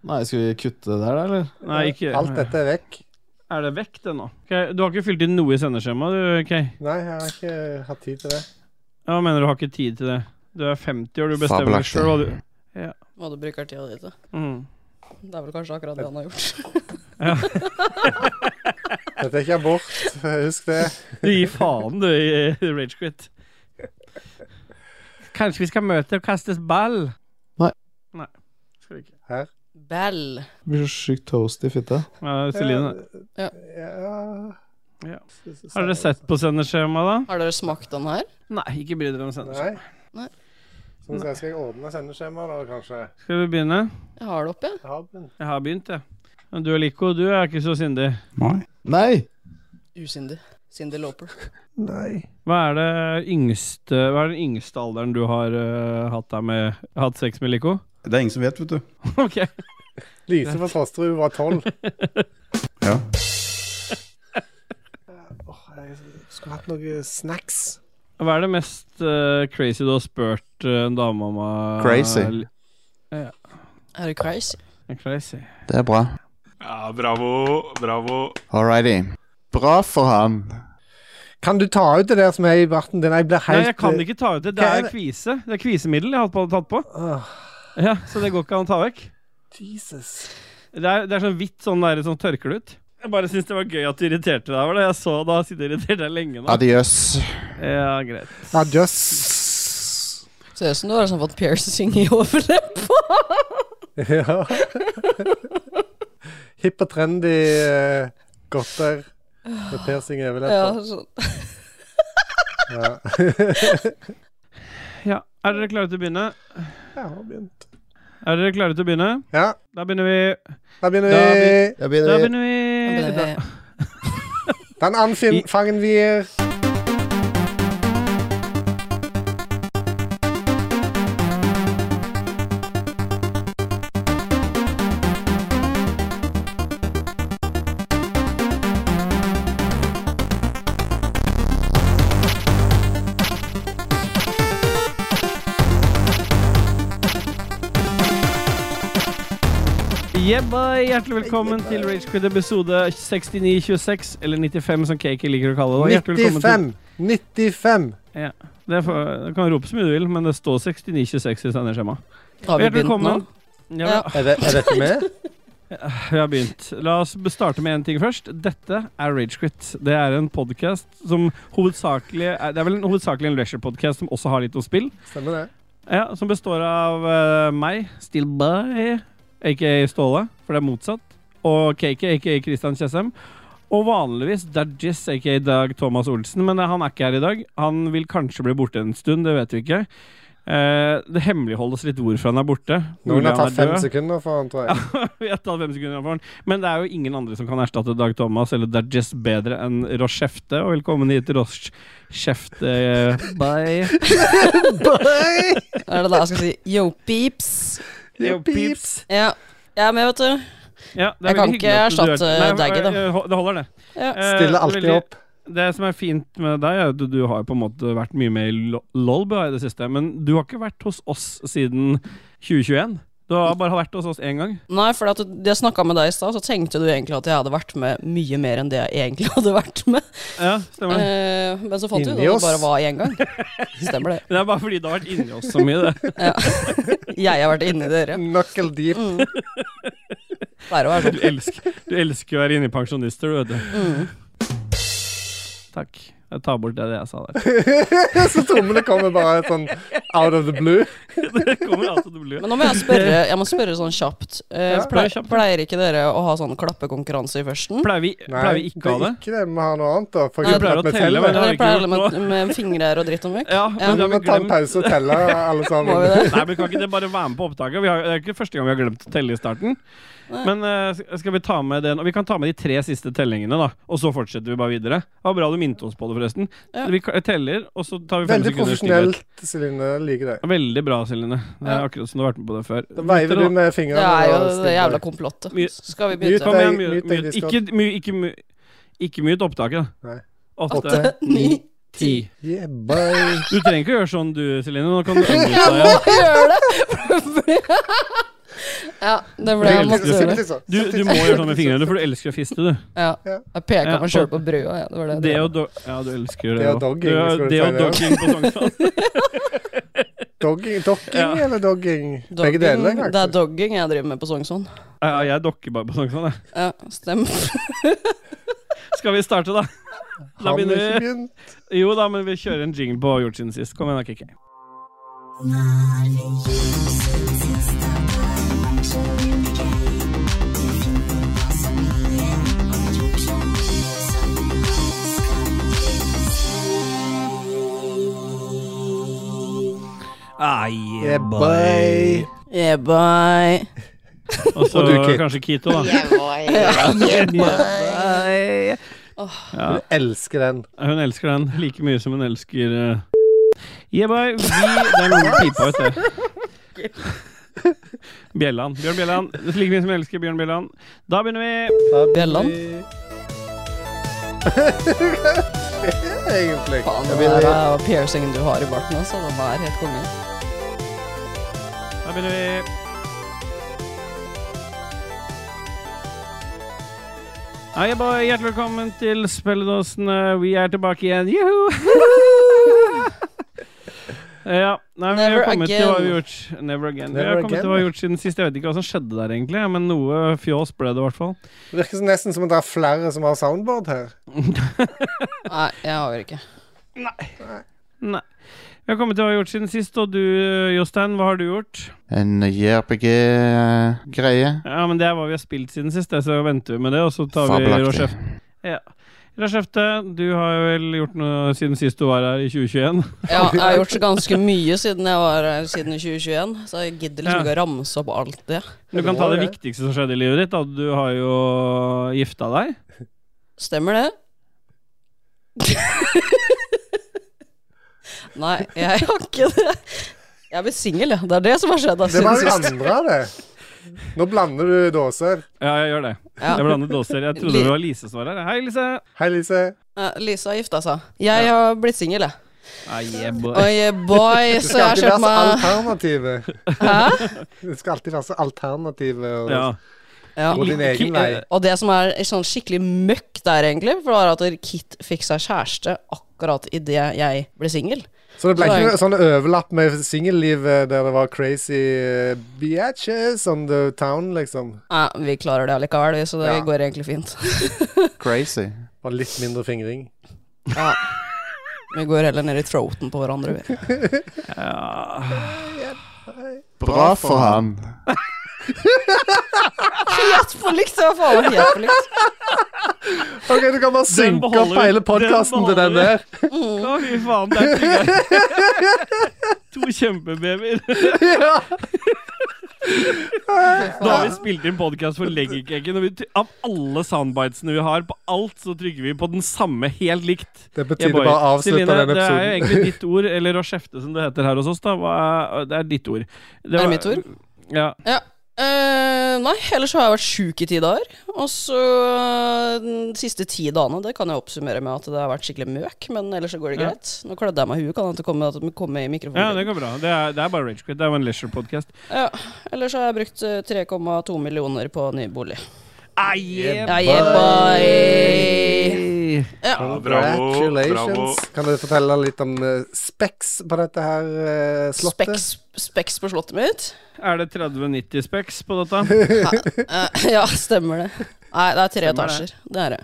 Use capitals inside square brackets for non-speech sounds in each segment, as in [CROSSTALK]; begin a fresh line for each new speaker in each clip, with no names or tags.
Nei, skal vi kutte det der, da, eller?
Nei, ikke
Alt dette er vekk.
Er det vekk, det nå? Ok, Du har ikke fylt inn noe i sendeskjemaet, du, Kay?
Nei, jeg har ikke hatt tid til det.
Ja, hva mener du har ikke tid til det? Du er 50 år, du bestemmer
Fabelaktig.
sjøl hva du
Hva du bruker tida di til.
mm.
Det er vel kanskje akkurat det han har [LAUGHS] gjort.
[LAUGHS]
Dette er ikke abort, [LAUGHS] husk det.
Du gir faen, du, i Ragequit. Kanskje vi skal møte og kastes ball?
Nei.
Nei. Skal vi ikke.
Bell.
Blir så sjukt toast i fitta.
Ja, Celine.
Eh, Ja.
Ja. Har dere sett på sendeskjemaet,
Har dere smakt den her?
da? Nei, ikke bry dere om
Nei.
sendeskjemaet.
Nei.
Så skal skal jeg ordne sendeskjema, da, kanskje.
Skal vi begynne?
Jeg har det oppi. jeg.
Ja, men-
Jeg har begynt, jeg. Men du Lico, du er ikke så sindig.
Nei.
Nei!
Usindig. Cindy Lauper.
Nei.
Hva er, det yngste, hva er den yngste alderen du har eh, hatt, deg med, hatt sex med, Lico?
Det er ingen som vet, vet du.
[LAUGHS] ok.
Lise fra Fosterud var tolv.
Ja.
Jeg skulle hatt noe snacks.
Hva er det mest eh, crazy du har spurt eh, en dame om? eh,
Crazy.
li-
Er du crazy?
Ja, crazy.
Det er bra.
Ja, bravo, bravo.
Alrighty. Bra for han.
Kan du ta ut det der som er i barten din? Jeg blir helt
Nei, jeg kan ikke ta ut det. Det
Hva er
er
det?
kvise. Det er kvisemiddel jeg har på- tatt på.
Åh,
Ja, Så det går ikke an å ta vekk.
Jesus.
Det er, det er sånn hvitt sånn der som tørker det ut. Jeg bare syns det var gøy at du irriterte deg over det. Jeg så da sittet irritert deg lenge nå.
Adiøs.
Ja, greit.
Adjøss.
Ser ut som du har sånn fått piercing i overleppa.
Ja. Hipp og trendy uh, godter med piercing i
[LAUGHS] Ja,
overleppa.
sånn.
Ja.
Ja, Er dere klare til å begynne?
Jeg har begynt.
Er dere klare til å begynne?
Ja,
Da begynner vi.
da begynner
Da
vi.
Jeg
Eh,
Da
begynner.
begynner vi. Da-
Den anfangen vi gir.
Yeah, boy. Hjertelig velkommen til Ragequid episode 6926, eller 95 som Cakey liker å kalle det. Hjertelig velkommen til-
95. 95.
Det er for, du kan rope så mye du vil, men det står 6926 i sendeskjemaet.
Har vi
Hjertelig
begynt nå?
velkommen. Ja,
Ja.
Er, det, er dette med?
Vi har begynt. La oss be- starte med én ting først. Dette er Ragequit. Det er en podkast som hovedsakelig er, Det er vel en, hovedsakelig en leisure-podkast som også har litt om spill.
Stemmer det.
Ja, Som består av eh, meg, Still By, aka Ståle, for det er motsatt, og KK, aka Christian Tjessem. Og vanligvis Dajis, aka Dag Thomas Olsen, men eh, han er ikke her i dag. Han vil kanskje bli borte en stund, det vet vi ikke. Eh, det hemmeligholdes litt hvorfor han er borte.
Noen
Mulig
har
han
tatt
er
fem
død.
sekunder for han, tror jeg.
[LAUGHS] Vi har tatt fem sekunder for den. Men det er jo ingen andre som kan erstatte Dag Thomas eller Dajess bedre enn Rochefte. Og velkommen hit, Rochefte. eh, Bye.
Er det da jeg skal si yo, peeps?
Yo, peeps.
Ja. Jeg er med, vet du.
Ja, det
Jeg
er
kan
veldig
ikke
hyggelig at du er-
erstatte
Nei,
Daggy, da.
eh, Det
[LAUGHS]
holder, det.
Ja.
Eh,
Stiller alltid
veldig-
opp.
Det som er fint med deg, er at du- du har jo på en måte vært mye med i Lo- LOLB i det siste. Men du har ikke vært hos oss siden 2021. Du har bare vært hos oss én gang.
Nei, for at du- jeg snakka med deg i stad, så tenkte du egentlig at jeg hadde vært med mye mer enn det jeg egentlig [LAUGHS] hadde vært med.
Ja, stemmer det.
Eh, men så fant vi ut at
Inni
det
oss.
bare var én gang. Stemmer det.
Det er bare fordi det har vært inni oss så mye,
[LAUGHS]
det.
Jeg har vært inni dere.
Knuckle
[LAUGHS]
deep.
Mm. Pleier å være
Du
sånn. Mm.
elsker, du elsker å være inni pensjonister, du vet du. Takk. Jeg tar bort det, det jeg sa der. [LAUGHS]
Så trommene kommer bare sånn out of the blue.
Det kommer alltid til å bli
Men nå må jeg spørre, jeg må spørre sånn kjapt. Eh,
Ja,
spør
pleier,
kjapt.
pleier ikke dere å ha sånn klappekonkurranse i førsten?
Pleier vi, pleier vi ikke å ha det?
Ikke det. Vi må ha noe annet, da. For
Vi
eksempel
pleier
at
å
vi
telle,
teller.
men- har
Dere
vi
pleier
ikke
alle
gjort
med, med fingrer og dritt om vekk?
Ja, men det
Vi
har
må
vi
ta en
glemt.
pause og telle, alle sammen.
Må vi det? [LAUGHS]
Nei, men Kan ikke det bare være med på opptaket? Vi har, det er ikke første gang vi har glemt å telle i starten.
Nei.
Men eh, sk- skal vi ta med den? Og vi kan ta med de tre siste tellingene, da. Og så fortsetter vi bare videre. Det var bra du minte oss på det, forresten.
Ja.
Vi ka- teller, og så tar vi fem
Veldig
sekunder
profesjonelt, Celine. Jeg liker det.
stillhet. Veldig bra, Celine. Det er
Ja.
akkurat som du har vært med på det før.
Da veiver du med fingrene.
Det er jo
og
det jævla
stiller.
komplottet.
Mye-
Skal vi
Mye
Kom
begynne?
ta-
igjen,
Mute
mute,
deg,
mute.
Discord.
Ikke, mu, ikke, mu, ikke mute opptaket, da.
Nei.
Åtte,
[LAUGHS] Åtte, ni
ti.
Yeah, boy. [LAUGHS]
[LAUGHS] Du trenger ikke å gjøre sånn du, Celine. Nå kan du unmute deg.
Jeg må gjøre det! [LAUGHS] Ja, det ble jeg måtte gjøre. det.
Du, du må gjøre sånn med fingrene, for du elsker å fiste, du.
Ja. Jeg peka
Ja,
meg sjøl på brødet. Ja, det var det.
Det og do Ja, du elsker det
Det og
også.
dogging,
Du-
skal du
Det
si
og
det, ja.
dogging på Sognsvann. [LAUGHS]
Dogging, dokking
Ja.
eller dogging? Begge
Dogging-
deler,
det er
kanskje.
dogging jeg driver med på Sognsvann.
Ja, jeg dokker bare på Sognsvann, jeg.
Ja, stemmer. [LAUGHS]
Skal vi starte, da? Da
Har vi
begynner
ikke
vi.
begynt?
Jo da, men vi kjører en jingle på Gjort siden sist. Kom igjen, da, KK. Ah, yeah,
Yeah, bye.
Yeah, bye.
Og så
Og du, Kit.
kanskje Kito, da.
Jeg elsker den.
Hun elsker den like mye som hun elsker uh... Jebai, vi Den pipa ut, det. Bjelland. Bjørn Bjelland. Like mye som jeg elsker Bjørn Bjelland. Da begynner vi.
Bjelland?
[LAUGHS] Egentlig.
Faen, det der er piercingen du har i barten, altså. Det var helt konge.
Da begynner vi. Hei, Jebai. Hjertelig velkommen til Spelledåsen. Vi er tilbake igjen. Juhu! [LAUGHS] Ja. Nei, men vi har
Never
kommet til hva vi har
again.
gjort. Never again. vi
Never
har kommet
again.
til hva vi har gjort siden sist. Jeg vet ikke hva som skjedde der, egentlig, men noe fjås ble det i hvert fall.
Det virker som nesten som at det er flere som har soundboard her.
Nei, jeg har jo ikke.
Nei. Vi har kommet til hva vi har gjort siden sist, og du Jostein, hva har du gjort?
En JRPG-greie.
Ja, men det er hva vi har spilt siden sist, det, så venter vi med det, og så tar vi Rochef. Ja. Rochefte, du har jo vel gjort noe siden sist du var her i 2021.
Ja, jeg har gjort så ganske mye siden jeg var her siden 2021, så jeg gidder liksom ikke å ramse opp alt det.
Du kan ta det viktigste som skjedde i livet ditt. Da. Du har jo gifta deg.
Stemmer [LAUGHS] det? Nei, jeg har ikke det. Jeg er blitt singel, jeg. Det er det som har skjedd. da,
Det var
[LAUGHS]
jo
siden sist.
andre, det. Nå blander du dåser.
Ja, jeg gjør det.
Ja.
Jeg blandet dåser. Jeg trodde det var Lise som var her. Hei, Lise.
Hei, Lise.
Ja, Lise har gifta seg. altså. Jeg har blitt singel, jeg.
Nei, yeah, boy.
Oi, boy,
Det
så
skal
jeg har
alltid være
kjøpt
så
meg
alternative.
Hæ?
Det skal alltid være så alternative og
Ja.
Ja.
gå din egen vei.
Og det som er sånn skikkelig møkk der, egentlig, for det var at Kit fikk seg kjæreste akkurat idet jeg ble singel.
Så det ble ikke noe sånn overlapp med singellivet der det var crazy eh, bitches on the town, liksom.
Nei, vi klarer det allikevel, vi, så det
Ja.
går egentlig fint. [LAUGHS]
Crazy.
Bare litt mindre fingring.
Ja. Vi går heller ned i throaten på hverandre, vi.
Bra for han.
Helt [LAUGHS] på likt! Det var faen meg helt på likt.
OK, du kan bare synke opp
beholder vi.
hele
Den
podkasten til den
beholder
der.
Å, fy faen, der trygg jeg.
[LAUGHS]
To kjempebabyer.
[LAUGHS] Ja.
Da har vi spilt inn podkast for Leggercaken, og vi, ty- av alle soundbitesene vi har på alt, så trykker vi på den samme helt likt.
Det
Jeg
betyr bare å avslutte
Celine,
den
det er jo
episoden.
egentlig
[LAUGHS]
ditt ord, eller å skjefte som det heter her hos oss, da. Hva er, det er ditt ord. Det
[LAUGHS] Er
var-
det mitt ord?
Ja.
Ja. Eh, nei, ellers så har jeg vært sjuk i ti dager. Og så eh, de siste ti dagene, det kan jeg oppsummere med at det har vært skikkelig møk, men ellers så går det
Ja.
greit. Nå klødde jeg meg i huet, kan hende det kommer- at det kommer i mikrofonen.
ja, det går bra. Det er, det er bare Ragequit. Det er jo en leisure-podkast.
Ja, ellers har jeg brukt eh, 3,2 millioner på ny bolig.
Yeah.
bye!
Ja, bravo, bravo.
Congratulations. Kan du fortelle litt om eh, specs på dette her eh, slottet?
Speks, speks på slottet mitt.
[LAUGHS]
Er det 3090 specs på dette?
Eh, ja, stemmer det. Nei, det er tre etasjer. Det er det.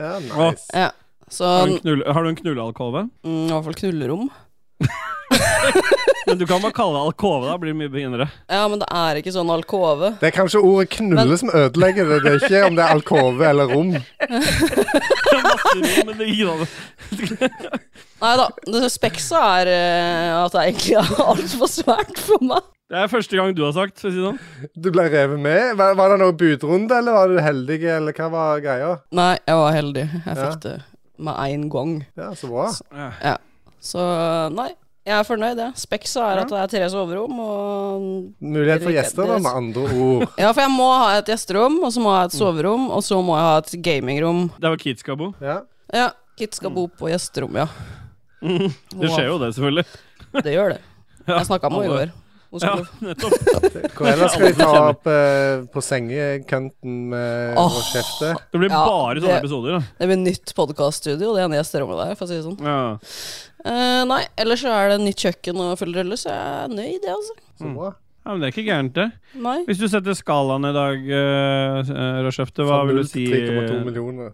Ja, nice.
Ja. Så
Har du en
mm,
knull- har du en knullealkove?
i hvert fall knullerom.
Men du kan bare kalle det alkove, da blir det mye finere. [LAUGHS]
Ja, men det er ikke sånn alkove.
Det er kanskje ordet 'knulle' som ødelegger det. Det er ikke om det er alkove eller rom.
Det er masse rom, men det gir alle-
Nei da, det speksa er eh, at det egentlig er [LAUGHS] altfor svært for meg.
Det er første gang du har sagt, for å si det sånn.
Du ble revet med. Var, var det noe budrunde, eller var du heldig, eller hva var greia?
Nei, jeg var heldig. Jeg
Ja.
fikk det med én gang.
Ja, så bra.
Ja.
Så eh, nei, jeg er fornøyd, jeg. Speksa er at det er tre soverom og
Mulighet for gjester, da, med andre
[LAUGHS]
ord.
Ja, for jeg må ha et gjesterom, og så må jeg ha
Mm.
et soverom, og så må jeg ha et gamingrom.
Det var Keats [LAUGHS] Kabo.
Ja.
Ja, Kit skal bo på gjesterom, ja.
Det skjer jo det, selvfølgelig. [LAUGHS]
Det gjør det. Jeg snakka med henne i
alle-
går. Nå
Ja,
skal du-
nettopp.
Hvor ellers skal de ta opp eh, på sengekanten med
Åh.
å kjefte?
Det blir
Ja,
bare sånne
det-
episoder, da.
Det blir nytt podkaststudio, det er neste rommet der, for å si det sånn.
Ja.
Eh, nei, ellers så er det nytt kjøkken og full rulle, så jeg er nøyd, jeg, altså.
Mm.
Så bra.
ja, men det er ikke gærent, det.
Nei.
Hvis du setter skalaen i dag, uh, Rødskjefte, hva vil du si eh,
3,2 millioner.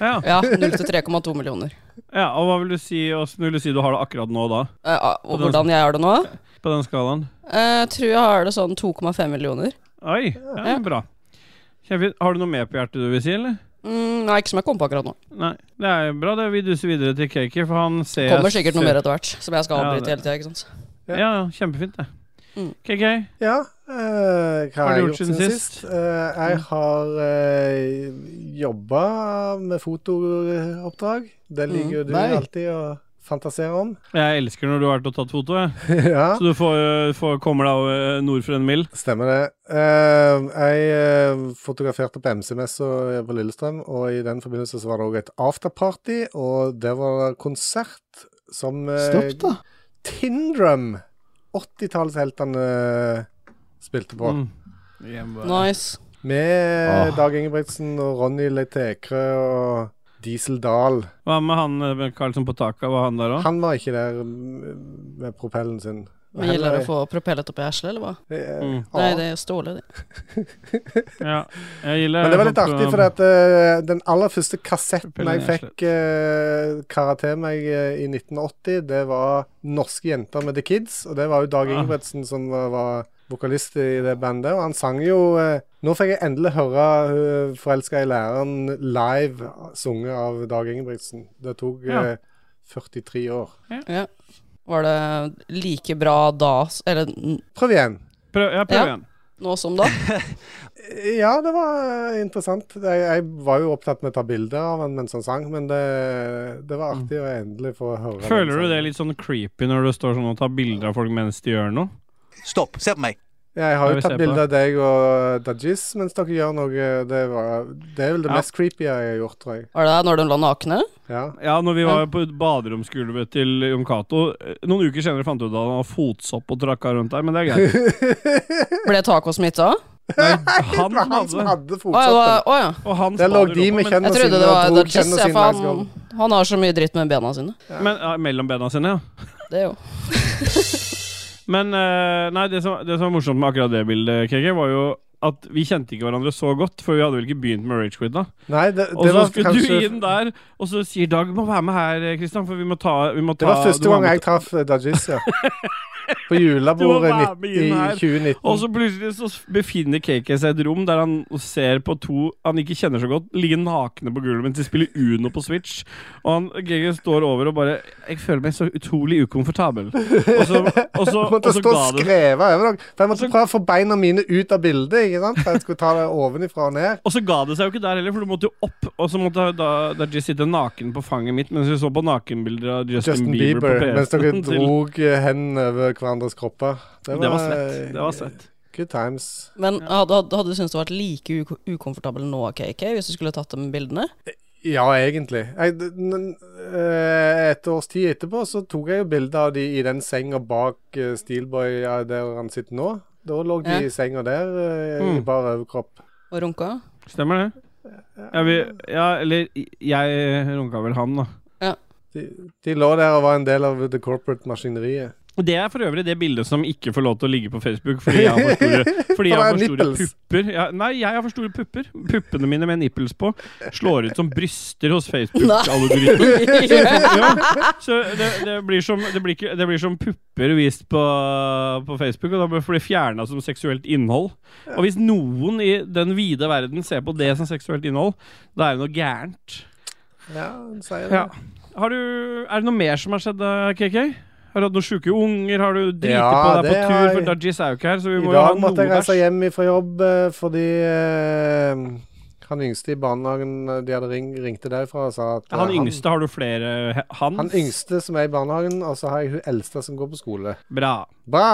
ja,
Ja, 0 til 3,2 millioner.
ja, og hva vil du si Åssen vil du si du har det akkurat nå, da?
Eh, ah, og hvordan jeg har det nå?
På den skalaen?
Eh, Jeg tror jeg har det sånn 2,5 millioner.
Oi, ja,
Ja.
bra. Kjempefint. Har du noe mer på hjertet du vil si, eller?
Mm, nei, ikke som jeg kom på akkurat nå.
Nei, det er bra. det Vi duser videre til Kaker, for han ser
Kommer sikkert noe mer etter hvert, som jeg skal
Ja,
avbryte
det-
hele tida, ikke sant.
Ja, ja, kjempefint, det.
Mm.
KK,
Ja, eh, hva har jeg gjort siden sist? Eh, jeg har uh, jobba med fotooppdrag. Det liker jo du
Nei.
alltid å fantasere [LAUGHS] om.
jeg elsker når du har vært og tatt foto, jeg.
ja.
Så du får, får, kommer deg over eh, nord for en mil.
Stemmer det. Eh, jeg eh, fotograferte på MC-messa på Lillestrøm, og i den forbindelse så var det òg et afterparty, og der var det konsert som eh,
Stopp, da.
Tindrum, 80-tallsheltene, spilte på.
Mm.
Nice.
Med
Ah.
Dag Ingebrigtsen og Ronny Letekre og Diesel Dahl.
Hva med han eh, med Karlsson på taket? Var han
[LAUGHS]
der òg?
Han var ikke der mm, med propellen sin.
Men gjelder det å få propellet opp i heslet, eller hva?
Eh,
Mm.
ah.
Nei, det er Ståle, det.
Ja. Jeg gilder
Men det var litt artig, for at, eh, den aller første kassetten
Propellen
jeg
er
fikk uh, karakter meg eh, i 1980, det var 'Norske jenter med The Kids'. Og det var jo Dag
Ah.
Ingebrigtsen som var, var vokalist i det bandet. Og han sang jo eh, Nå fikk jeg endelig høre uh, 'Forelska i læreren' live eh, sunget av Dag Ingebrigtsen. Det tok
Ja.
eh, 43 år.
Ja. Var det like bra da s- Eller n-
Prøv igjen.
Prøv, ja, prøv
Ja.
igjen.
nå som da?
Ja, det var eh, interessant. Jeg, jeg var jo opptatt med å ta bilder av han mens han sang, men det, det var artig å endelig få høre den
Mm. Føler du
sangen.
det litt sånn creepy når du står sånn og tar bilder av folk mens de gjør noe?
Stopp, se på meg.
Ja, jeg har
Jeg
jo
vil se
tatt
på
bilde av deg og Dajis mens dere gjør noe. eh, Det, var, det er vel det
Ja.
mest creepy jeg har gjort, tror jeg.
Var det når de la nakne?
[LAUGHS]
Ja.
Ja, når vi var på baderomsgulvet til Jon Cato eh, Noen uker senere fant du ut at han har fotsopp og trakka rundt der, men det er
[LAUGHS]
greit.
Ble taco smitta?
Nei,
Det
han
var han som
hadde
hadde
Å ja, det var-
fotsoppen.
å ja.
Og han
Der lå
spader
de
opp,
med
men-
kjennene
Jeg trodde
sine
det
og
var
dro
Dodges,
kjennene
ja,
sine
for
langs
han,
gulvet.
han har så mye dritt med bena sine.
Men ja, Mellom bena sine, ja.
Det er jo
Men eh, nei, det som, det som var morsomt med akkurat det bildet, KK, var jo at vi kjente ikke hverandre så godt, for vi hadde vel ikke begynt med Rage Quit da.
Nei, det,
Og
det
så
var
skulle
kanskje
du inn der, og så sier Dag må være med her, Kristian, for vi må ta, vi må ta
Det var første
du må
gang
med-
jeg traff eh, Dajis,
[LAUGHS]
ja. På
Du
julebordet
må være
nitt-
med
i
inn her.
2019.
Og så plutselig så befinner KK seg i et rom der han ser på to han ikke kjenner så godt, ligge nakne på gulvet mens de spiller Uno på Switch. Og han, KK står over og bare Jeg føler meg så utrolig ukomfortabel. Og så, og så,
[LAUGHS] Jeg
og
måtte
så ga
stå og
det
skreve over dere. For jeg måtte prøve å få beina mine ut av bildet. ikke sant? For jeg skulle ta det ovenifra og ned.
og så ga det seg jo ikke der heller, for du måtte jo opp. Og så måtte da, da Jess sitte naken på fanget mitt mens vi så på nakenbilder av Justin,
Justin
Bieber,
Bieber,
på
mens dere
PC-en. [LAUGHS] til-
drog eh, hendene over hverandres kropper. eh,
Det var svett. Det var svett.
Good times.
Men hadde, hadde, hadde du syntes det vært like uko- ukomfortabel nå, KK, hvis du skulle tatt de bildene?
Ja, egentlig. Jeg, d- n- eh, et års tid etterpå så tok jeg jo bilde av de i den senga bak eh, Steelboy ja, der han sitter nå. Da lå de
Ja.
i senga der eh, i
Mm.
bar overkropp.
Og
[LAUGHS]
runka?
Stemmer det? Ja, vi, ja, eller jeg runka vel han, da.
De, de lå der og var en del av det corporate maskineriet.
Og Det er for øvrig det bildet som ikke får lov til å ligge på Facebook fordi jeg har for
[LAUGHS]
store, fordi jeg har
det
for
er
store
nipples.
pupper. Ja, nei, jeg har for store pupper. Puppene mine med nipples på slår ut som bryster hos
[LAUGHS]
Facebook-algoritmen. Ja, så det, det, blir som, det, blir ikke, det blir som pupper vist på, på Facebook, og da får de fjerna som seksuelt innhold. Og hvis noen i den vide verden ser på det som seksuelt innhold, da er det noe gærent.
Ja, hun sier det.
Ja. Har du, er det noe mer som har skjedd, eh, KK? Har du hatt noen sjuke unger? Har du driti
Ja,
på deg
det
på
har
tur? For
jeg.
Dajis er jo ikke her, så vi
I
må jo ha
dag
noe
måtte jeg reise
bæsj.
hjem fra jobb eh, fordi eh, han yngste i barnehagen eh, de hadde ring, ringte derfra og sa at eh,
Han yngste, har du flere he- hans?
han yngste som er i barnehagen, og så har jeg hun eldste som går på skole.
Bra.
Bra!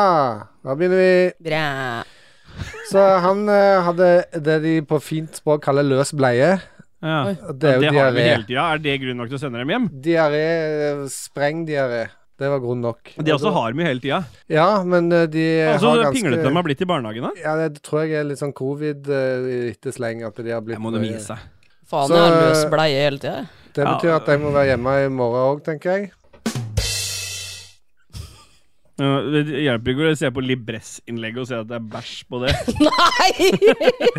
Da begynner vi.
Bra.
Så han eh, hadde det de på fint språk kaller løs bleie.
Ja.
Oi.
Og Det er jo
har vi
diaré.
hele tida. Er det grunn nok til å sende dem hjem?
Diaré, eh, sprengdiaré. Det var grunn nok.
De også har mye hele tida.
Ja, men eh, de
Altså,
har ganske
pinglete de har blitt i barnehagen, da.
Ja, det tror jeg er litt sånn covid eh, etter sleng, at de har blitt eh,
Jeg må dem gi seg.
Faen,
Så-
jeg har løs bleie hele tida.
Det
Ja.
betyr at jeg må være hjemme i morgen òg, tenker jeg.
Ja, Det hjelper ikke å se på Libress-innlegget og se at det er bæsj på det.
[LAUGHS]
Nei!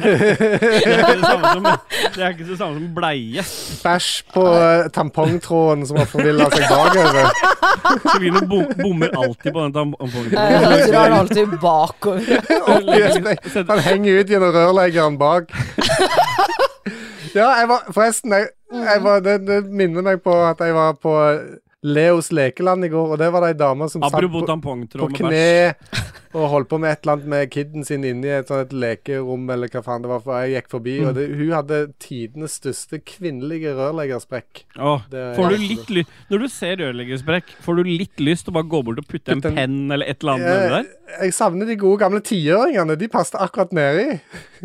Det er ikke det samme som, det er ikke det samme som bleie.
Bæsj på eh, tampongtråden som har forvilla seg
[LAUGHS]
bakover.
Celine bom, bommer alltid på den tampongen.
[LAUGHS] Jeg drar alltid
[LAUGHS]
bakover.
Opp i et sted. Han henger ut gjennom rørleggeren
[LAUGHS]
bak. Ja, jeg var Forresten, jeg, jeg var, det, det minner meg på at jeg var på eh, Leos lekeland i går, og der var det ei dame som
Apropos
satt på, på
tampongtråd med bæsj.
kne og holdt på med et eller annet med kiden sin inni et sånt et lekerom, eller hva faen det var, for jeg gikk forbi,
Mm.
og det, hun hadde tidenes største kvinnelige rørleggersprekk.
Åh,
Det-
Får du litt lyst Når du ser rørleggersprekk, får du litt lyst til å bare gå bort og putte en
Putte en-
penn eller et eller annet nedi
Jeg,
der?
jeg savner de gode gamle tiåringene. De passet akkurat nedi.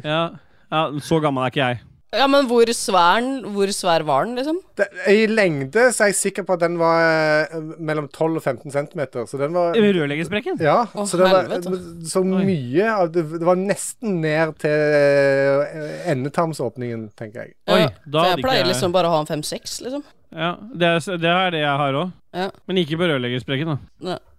Ja. ja, så gammel er ikke jeg.
Ja, men hvor svær, hvor svær var den, liksom?
Det- I lengde så er jeg sikker på at den var eh, mellom 12 og 15 centimeter. Så den var
Rørleggersprekken?
Ja,
Å,
så det var
helvete.
så mye av det, det var nesten ned til eh, endetarmsåpningen,
[LAUGHS]
tenker jeg.
Oi,
Ja,
da
For
hadde
jeg
ikke
pleier
jeg
liksom bare å ha en fem-seks, liksom.
Ja, det er, det er det jeg har òg.
Ja.
Men ikke på rørleggersprekken, da.
Nei.
[LAUGHS]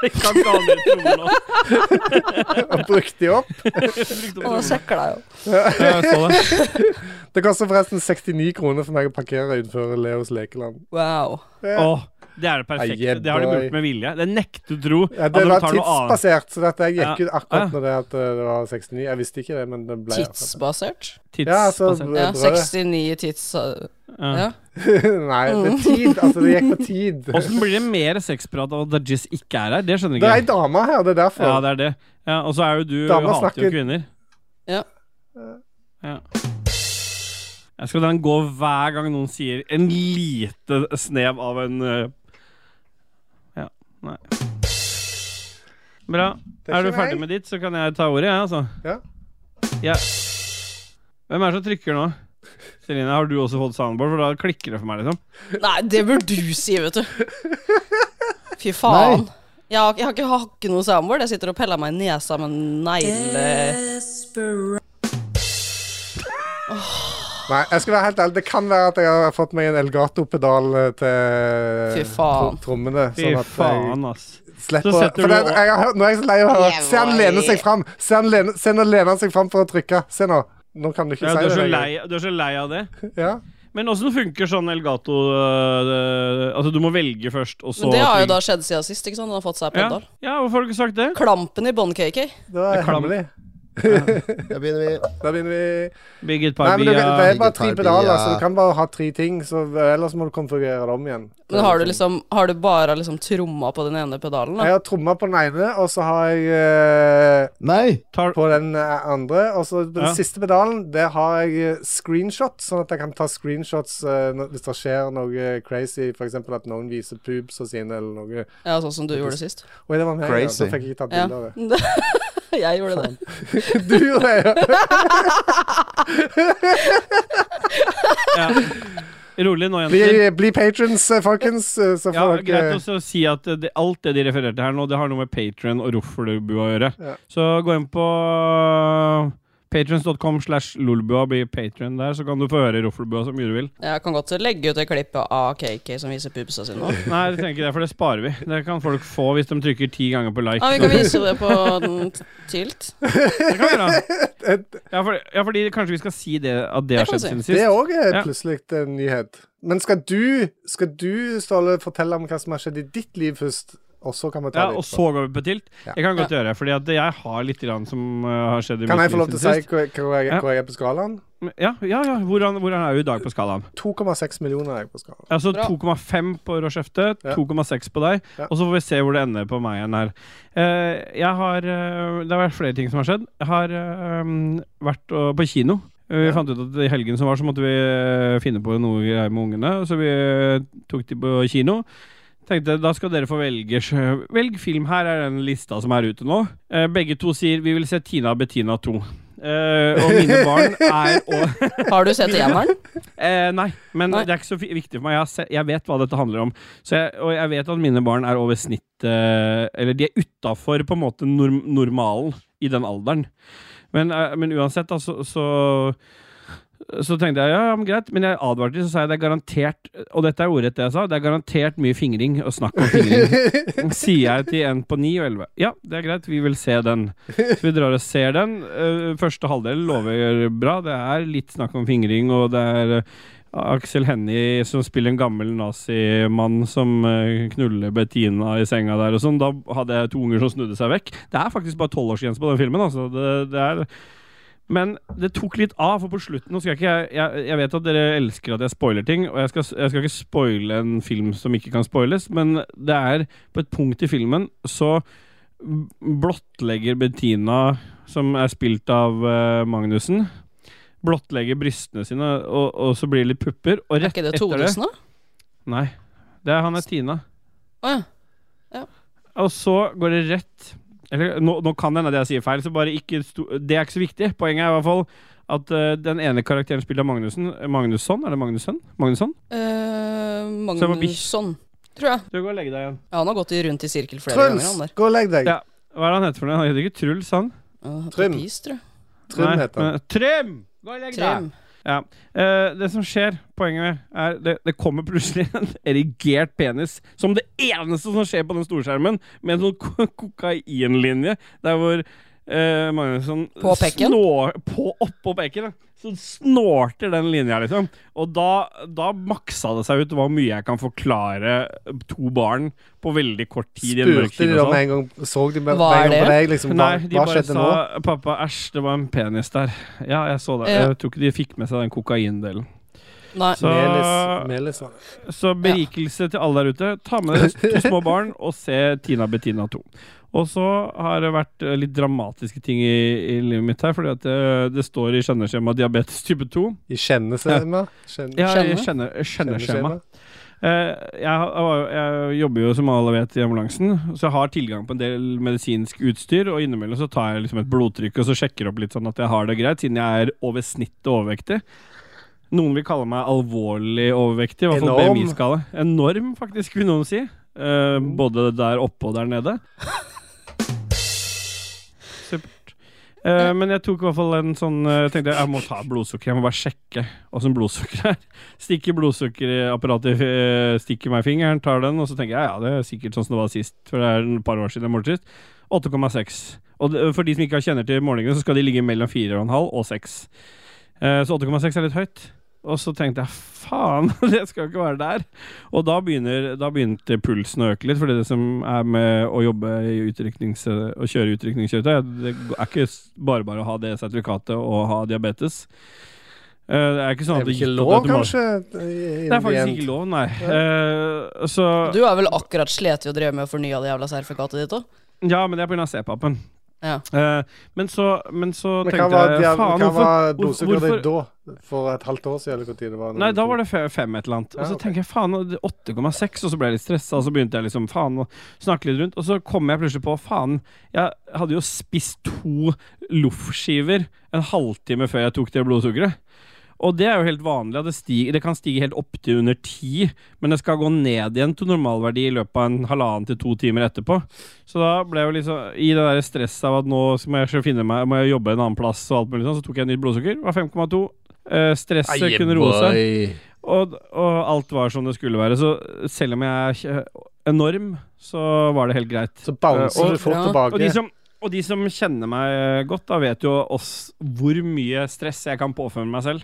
Jeg kan ikke ha mer
[LAUGHS]
trommer nå.
Og brukte de opp.
Å, søkla jo.
Ja, jeg så det.
Det koster forresten 69 kroner for meg å parkere utenfor Leos lekeland.
Wow.
Åh, det er det perfekte.
Aye,
det har de
boy.
gjort med vilje. Det nekter du tro.
Ja,
at
det
de
var
tar noe annet.
tidsbasert, så dette, jeg gikk
Ja.
ut akkurat
Ja.
når det, at eh, det var 69. Jeg visste ikke det, men det ble akkurat det.
Tidsbasert?
Ja, altså,
Tidsbasert.
Ja,
brødet.
69 tids...
Ja.
Ja.
[LAUGHS] Nei, det er tid. Altså, det gikk på tid.
Åssen blir det mer sexprat av at Dajis ikke er her? Det skjønner
Det
ikke
er ei
jeg.
dame her, det er derfor.
Ja, det er det. Ja, og så er jo du
Dama
hater jo
snakker.
kvinner.
Ja.
Ja. Jeg skal la den gå hver gang noen sier en lite snev av en eh, Ja, nei. Bra.
Det
Er du
ikke
ferdig
meg.
med ditt, så kan jeg ta ordet, jeg, altså.
Ja.
Ja. Hvem er det som trykker nå? Celine, har du også fått soundboard? For da klikker det for meg, liksom.
Nei, det burde du si, vet du. Fy faen. Jeg har, jeg har ikke hakket noe soundboard. Jeg sitter og peller meg i nesa med en negle.
Nei, jeg skal være helt ærlig. Det kan være at jeg har fått meg en Elgato-pedal eh, til
Fy faen.
tro- trommene.
Fy
Sånn at jeg
faen, ass.
slipper
Så setter
For
du
det, jeg har hørt, Nå er jeg så lei av å høre Se han lene seg fram! Se han lene, se nå lener han seg fram for å trykke. Se nå. Nå kan du ikke
Ja, du,
si
er så
det
lei, du er så lei av det.
Ja.
Men åssen funker sånn Elgato øh, Altså, du må velge først, og så
Men det har jo da skjedd siden sist, ikke sant? Han har fått seg
ja.
pedal.
ja, hvorfor har du ikke sagt det?
Klampen i bånn, KK.
Det var
Det er klam.
hemmelig.
Da begynner vi.
Da begynner vi
Bigget
Nei, men du, det
Parbia
er bare tre
Gitar,
pedaler,
ja.
så du kan bare ha tre ting. Så Ellers må du konfigurere det om igjen.
Men har du liksom Har du bare liksom tromma på den ene pedalen, da?
Jeg har tromma på den ene, og så har jeg eh,
Nei!
tar
på den eh, andre. Og så den
Ja.
siste pedalen, der har jeg eh, screenshot, sånn at jeg kan ta screenshots eh, når- hvis det skjer noe crazy, f.eks. at noen viser pubes og sine eller noe.
Ja, sånn som du gjorde sist. [LAUGHS]
Oi, det var meg, ja.
Crazy.
Da fikk jeg ikke tatt
Ja.
bilde av det. [LAUGHS]
Jeg gjorde det.
Du gjorde det, ja.
ja. Rolig nå,
Bli,
jenter.
bli patrons, eh, folkens, eh, så
Ja,
får
greit
dere
også å si at det, alt det de refererte her nå, det har noe med Patron og Roffelbua å gjøre.
Ja.
Så gå inn på øh, patrons.com slash lolbua, bli patron der, så kan du få høre Roffelbua så mye du vil.
Jeg kan godt legge ut det klippet av KK som viser pupsa sine nå.
Nei, jeg trenger ikke det, for det sparer vi. Det kan folk få hvis de trykker ti ganger på like.
Ja, vi kan vise det på den tilt.
Det kan vi
[LAUGHS]
gjøre. Ja, for, ja, fordi kanskje vi skal si det at det
Det
har
kan
skjedd
vi
siden
Det
sist.
òg er eh,
Ja.
plutselig en nyhet. Men skal du, skal du Ståle, fortelle om hva som har skjedd i ditt liv først, og så kan vi ta
Ja,
det
og
etterpå?
så går vi på tilt.
Ja.
Jeg kan godt gjøre det, fordi at jeg har litt grann som uh, har skjedd i
Kan
mitt
jeg få
liv
lov til å
siden
si
sist.
hvor jeg, hvor jeg,
Ja.
hvor jeg er på skalaen?
Ja, ja, ja. Hvordan, hvordan er du i dag på skalaen?
2,6 millioner er jeg på skalaen.
Altså
Bra.
2,5 på Rochefte,
Ja.
2,6 på deg,
Ja.
og så får vi se hvor det ender på meg igjen her. Eh, jeg har eh, Det har vært flere ting som har skjedd. Jeg har eh, um, vært og, på kino. Eh, Vi fant ut at i helgen som var, så måtte vi eh, finne på noe greier med ungene, så vi eh, tok de på kino. Tenkte, Da skal dere få velge sj- Velg film. Her er den lista som er ute nå. Eh, Begge to sier vi vil se Tina og Bettina 2. Eh, og mine
[LAUGHS]
barn er òg
Har du [LAUGHS] sett eneren?
eh, Nei, men
Nei.
det er ikke så fi- viktig for meg. Jeg, har se, jeg vet hva dette handler om. Så jeg, og jeg vet at mine barn er over snittet Eller de er utafor på en måte norm, normalen i den alderen. Men, eh, men uansett, da, så, så så tenkte jeg ja, ja, men greit, men jeg advarte dem, så sa jeg det er garantert Og dette er ordrett det jeg sa, det er garantert mye fingring og snakk om fingring. Sier jeg til en på 9 og 11 Ja, det er greit, vi vil se den Så vi drar og ser den Eh, Første halvdel lover bra Det er litt snakk om fingring Og det er eh, Aksel Hennie som spiller en gammel nazimann Som eh, knuller Bettina i senga der og sånn Da hadde jeg to unger som snudde seg vekk Det er faktisk bare 12-årsgrense på den filmen altså. det, det er men det tok litt av, for på slutten Nå skal jeg ikke jeg, jeg, jeg vet at dere elsker at jeg spoiler ting, og jeg skal, jeg skal ikke spoile en film som ikke kan spoiles, men det er På et punkt i filmen så b- blottlegger Bettina, som er spilt av eh, Magnussen Blottlegger brystene sine, og, og så blir det litt pupper. Og
Er
rett
ikke det
etter det
Todesen, da?
Nei. Det er, han er Tina.
Å ja.
Og så går det rett Eller nå, nå kan det hende at jeg sier feil, så bare ikke sto, Det er ikke så viktig. Poenget er i hvert fall at eh, den ene karakteren spilt av Magnussen Magnusson? Er det Magnusson? Magnusson? Så jeg
Eh,
må bikkje.
Magnusson, tror jeg.
Du går og legger deg igjen.
Ja, han har gått i rundt i sirkel flere ganger,
Truls,
han der.
gå og legg deg.
Ja. Hva er det han heter for noe? Han heter ikke Truls, han?
Uh,
Trym.
Pis, tror jeg.
Trym
Nei,
heter han.
men- Trym! Gå og legg deg.
Trym.
Eh, det som skjer, poenget med, er det, det kommer plutselig en erigert penis som det eneste som skjer på den storskjermen, med en sånn ko- kokainlinje der hvor eh, Magnusson
På pekken?
snår- på, oppå pekken, ja. så snorter den linja, liksom. Og da, da maksa det seg ut hvor mye jeg kan forklare to barn på veldig kort tid. i en mørk
Spurte de da
kinosal.
med en gang Så de med,
Hva
med en
er
gang på
det?
deg, liksom? Hva,
Nei, de
hva
bare
skjedde
sa
nå?
'pappa, æsj, det var en penis der'. Ja, jeg så det.
Ja.
Jeg tror ikke de fikk med seg den kokaindelen.
Nei.
Så-
Melis, Melis var det.
Så berikelse til alle der ute. Ta med dere to små barn og se Tina Bettina 2. Og så har det vært eh, litt dramatiske ting i, i livet mitt her, fordi at det, det står i kjenneskjema diabetes type 2.
I kjenneskjema? Kjenn-
Ja, i
Skjønne?
kjenne- kjenneskjema.
Kjenneskjema?
Eh, jeg, har- jeg jobber jo som alle vet i ambulansen, så jeg har tilgang på en del medisinsk utstyr. Og innimellom så tar jeg liksom et blodtrykk og så sjekker opp litt sånn at jeg har det greit, siden jeg er over snittet overvektig. Noen vil kalle meg alvorlig overvektig, i hvert fall
Enorm.
BMI-skala. Enorm, faktisk, vil noen si. Eh, både der oppe og der nede. Supert. Eh, men jeg tok i hvert fall en sånn eh, tenkte jeg, jeg må ta blodsukker. Jeg må bare sjekke åssen blodsukkeret er. Stikker blodsukkerapparatet eh, Stikker meg i fingeren, tar den, og så tenker jeg ja, det er sikkert sånn som det var sist. For det er et par år siden jeg målte sist. 8,6. Og det, for de som ikke kjenner til målingene, så skal de ligge mellom 4,5 og 6. Eh, så 8,6 er litt høyt. Og så tenkte jeg faen, [LAUGHS] det skal jo ikke være der. Og da, begynner, da begynte pulsen å øke litt, fordi det som er med å jobbe i utryknings- og kjøre utrykningskjøretøy, det er ikke s- bare bare å ha det sertifikatet og ha diabetes. Eh, Det er ikke sånn
Er
at
det
det
ikke
gikk
lov,
opp automatisk.
kanskje?
Det er faktisk ikke lov, nei. Eh, så
Du har vel akkurat slet i å dreve med å fornye det jævla sertifikatet ditt òg?
Ja, men det er pga. C-papen.
Ja.
Eh, men så, men så
Men hva
tenkte
var,
jeg
dia-
faen,
hva
hvorfor
var blodsukkeret ditt da?
hvorfor-
For et halvt år siden, eller hvor tid det var?
Nei, da var det fe- fem et eller annet. Og
Ja,
så
ok.
tenker jeg faen, og det er 8,6, og så ble jeg litt stressa, og så begynte jeg liksom faen å snakke litt rundt. Og så kom jeg plutselig på faen, jeg hadde jo spist to loffskiver en halvtime før jeg tok det blodsukkeret. Og det er jo helt vanlig. at Det, stiger, det kan stige helt opp til under ti, men det skal gå ned igjen til normalverdi i løpet av en halvannen til to timer etterpå. Så da ble jeg jo liksom i det der stresset av at nå må jeg finne meg, må jeg jobbe en annen plass, og alt mulig sånn, så tok jeg nytt blodsukker. Det Var 5,2. Eh, stresset kunne roe seg. Og, og alt var som det skulle være. Så selv om jeg er eh, enorm, så var det helt greit.
Så bouncer
Og-
du fort
Ja.
Og de
tilbake.
som, og de som kjenner meg godt, da vet jo oss hvor mye stress jeg kan påføre meg selv.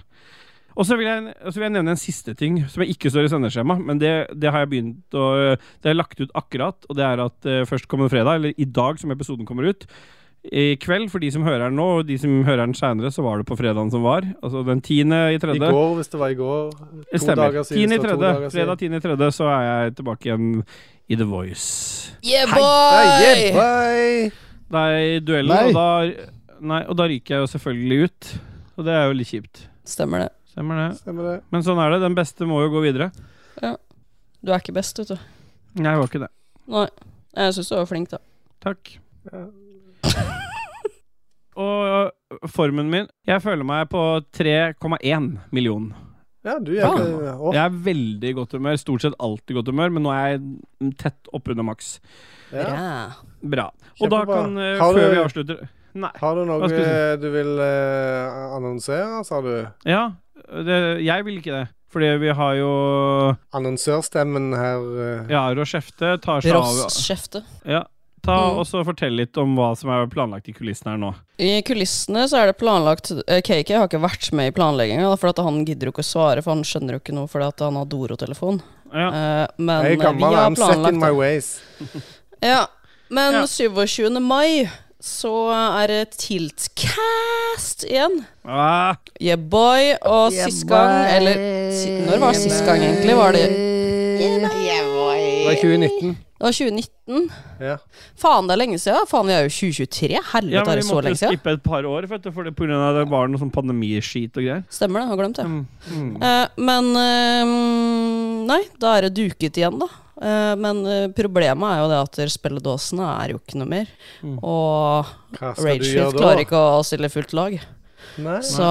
Og så vil, jeg, og så vil jeg nevne en siste ting som jeg ikke står i sendeskjema, men det, det har jeg begynt å Det er lagt ut akkurat, og det er at eh, førstkommende fredag, eller i dag som episoden kommer ut i kveld, for de som hører den nå, og de som hører den seinere, så var det på fredagen som var. Altså den tiende i
I
tredje.
går, hvis det var i går.
Det
To
stemmer.
dager siden,
Tiende i
så to
tredje.
dager siden.
Fredag 10. i tredje så er jeg tilbake igjen i The Voice.
Yeah,
Nei, yeah,
boy!
boy!
Det er i duellen,
Nei.
og da, nei, og da ryker jeg jo selvfølgelig ut. Og det er jo litt kjipt.
Stemmer det.
Stemmer det.
Stemmer det.
Men sånn er det. Den beste må jo gå videre.
Du er ikke best, vet du.
Nei, jeg var ikke det.
Nei. Jeg syns du var flink, da.
Takk. Og øh, formen min Jeg føler meg på 3,1 million.
Ja, du gjør det. Å,
Jeg er veldig i godt humør. Stort sett alltid i godt humør, men nå er jeg tett oppunder maks.
[LAUGHS] ja.
Ja.
Bra. Og da
Kjempebra.
kan eh,
Har
Før
du-
vi avslutter Nei.
Har du
Hva
noe
skal jeg
du vil eh, annonsere, sa du?
Ja, øh, det, jeg vil ikke det. Fordi vi har jo
Annonsørstemmen her eh.
Ja, Rochefte tar seg av
Rostskjefte.
Ja. Ta
Mm.
og så Fortell litt om hva som er planlagt i kulissene her nå.
I kulissene så er det planlagt eh, KK har ikke vært med i planlegginga, da, for at han gidder jo ikke å svare, for han skjønner jo ikke noe fordi at han har Doro-telefon.
Ja.
Eh, men
Jeg er
eh, vi
gammel,
har
I'm set in my
planlagt
ways.
ja. Men
Ja.
27. mai så er det Tiltcast igjen.
Ah,
Yeah, boy. Og sist gang Eller si, når var sist gang, egentlig? Var det
Det er 2019.
Det var 2019.
Ja.
Faen, det er lenge siden. Faen, vi er jo 2023. Helvete,
ja, men
er det
Vi
så
måtte
lenge siden?
skippe et par år for, for det, på grunn av det var noe sånn pandemiskit og greier.
Stemmer det, jeg har glemt det.
Mm. Mm.
Eh, men eh, Nei, da er det duket igjen, da. Eh, men eh, problemet er jo det at spilledåsene er jo ikke noe mer.
Mm.
Og
Hva skal du
Ragefield
gjøre
klarer
da?
ikke å stille fullt lag.
Nei.
Så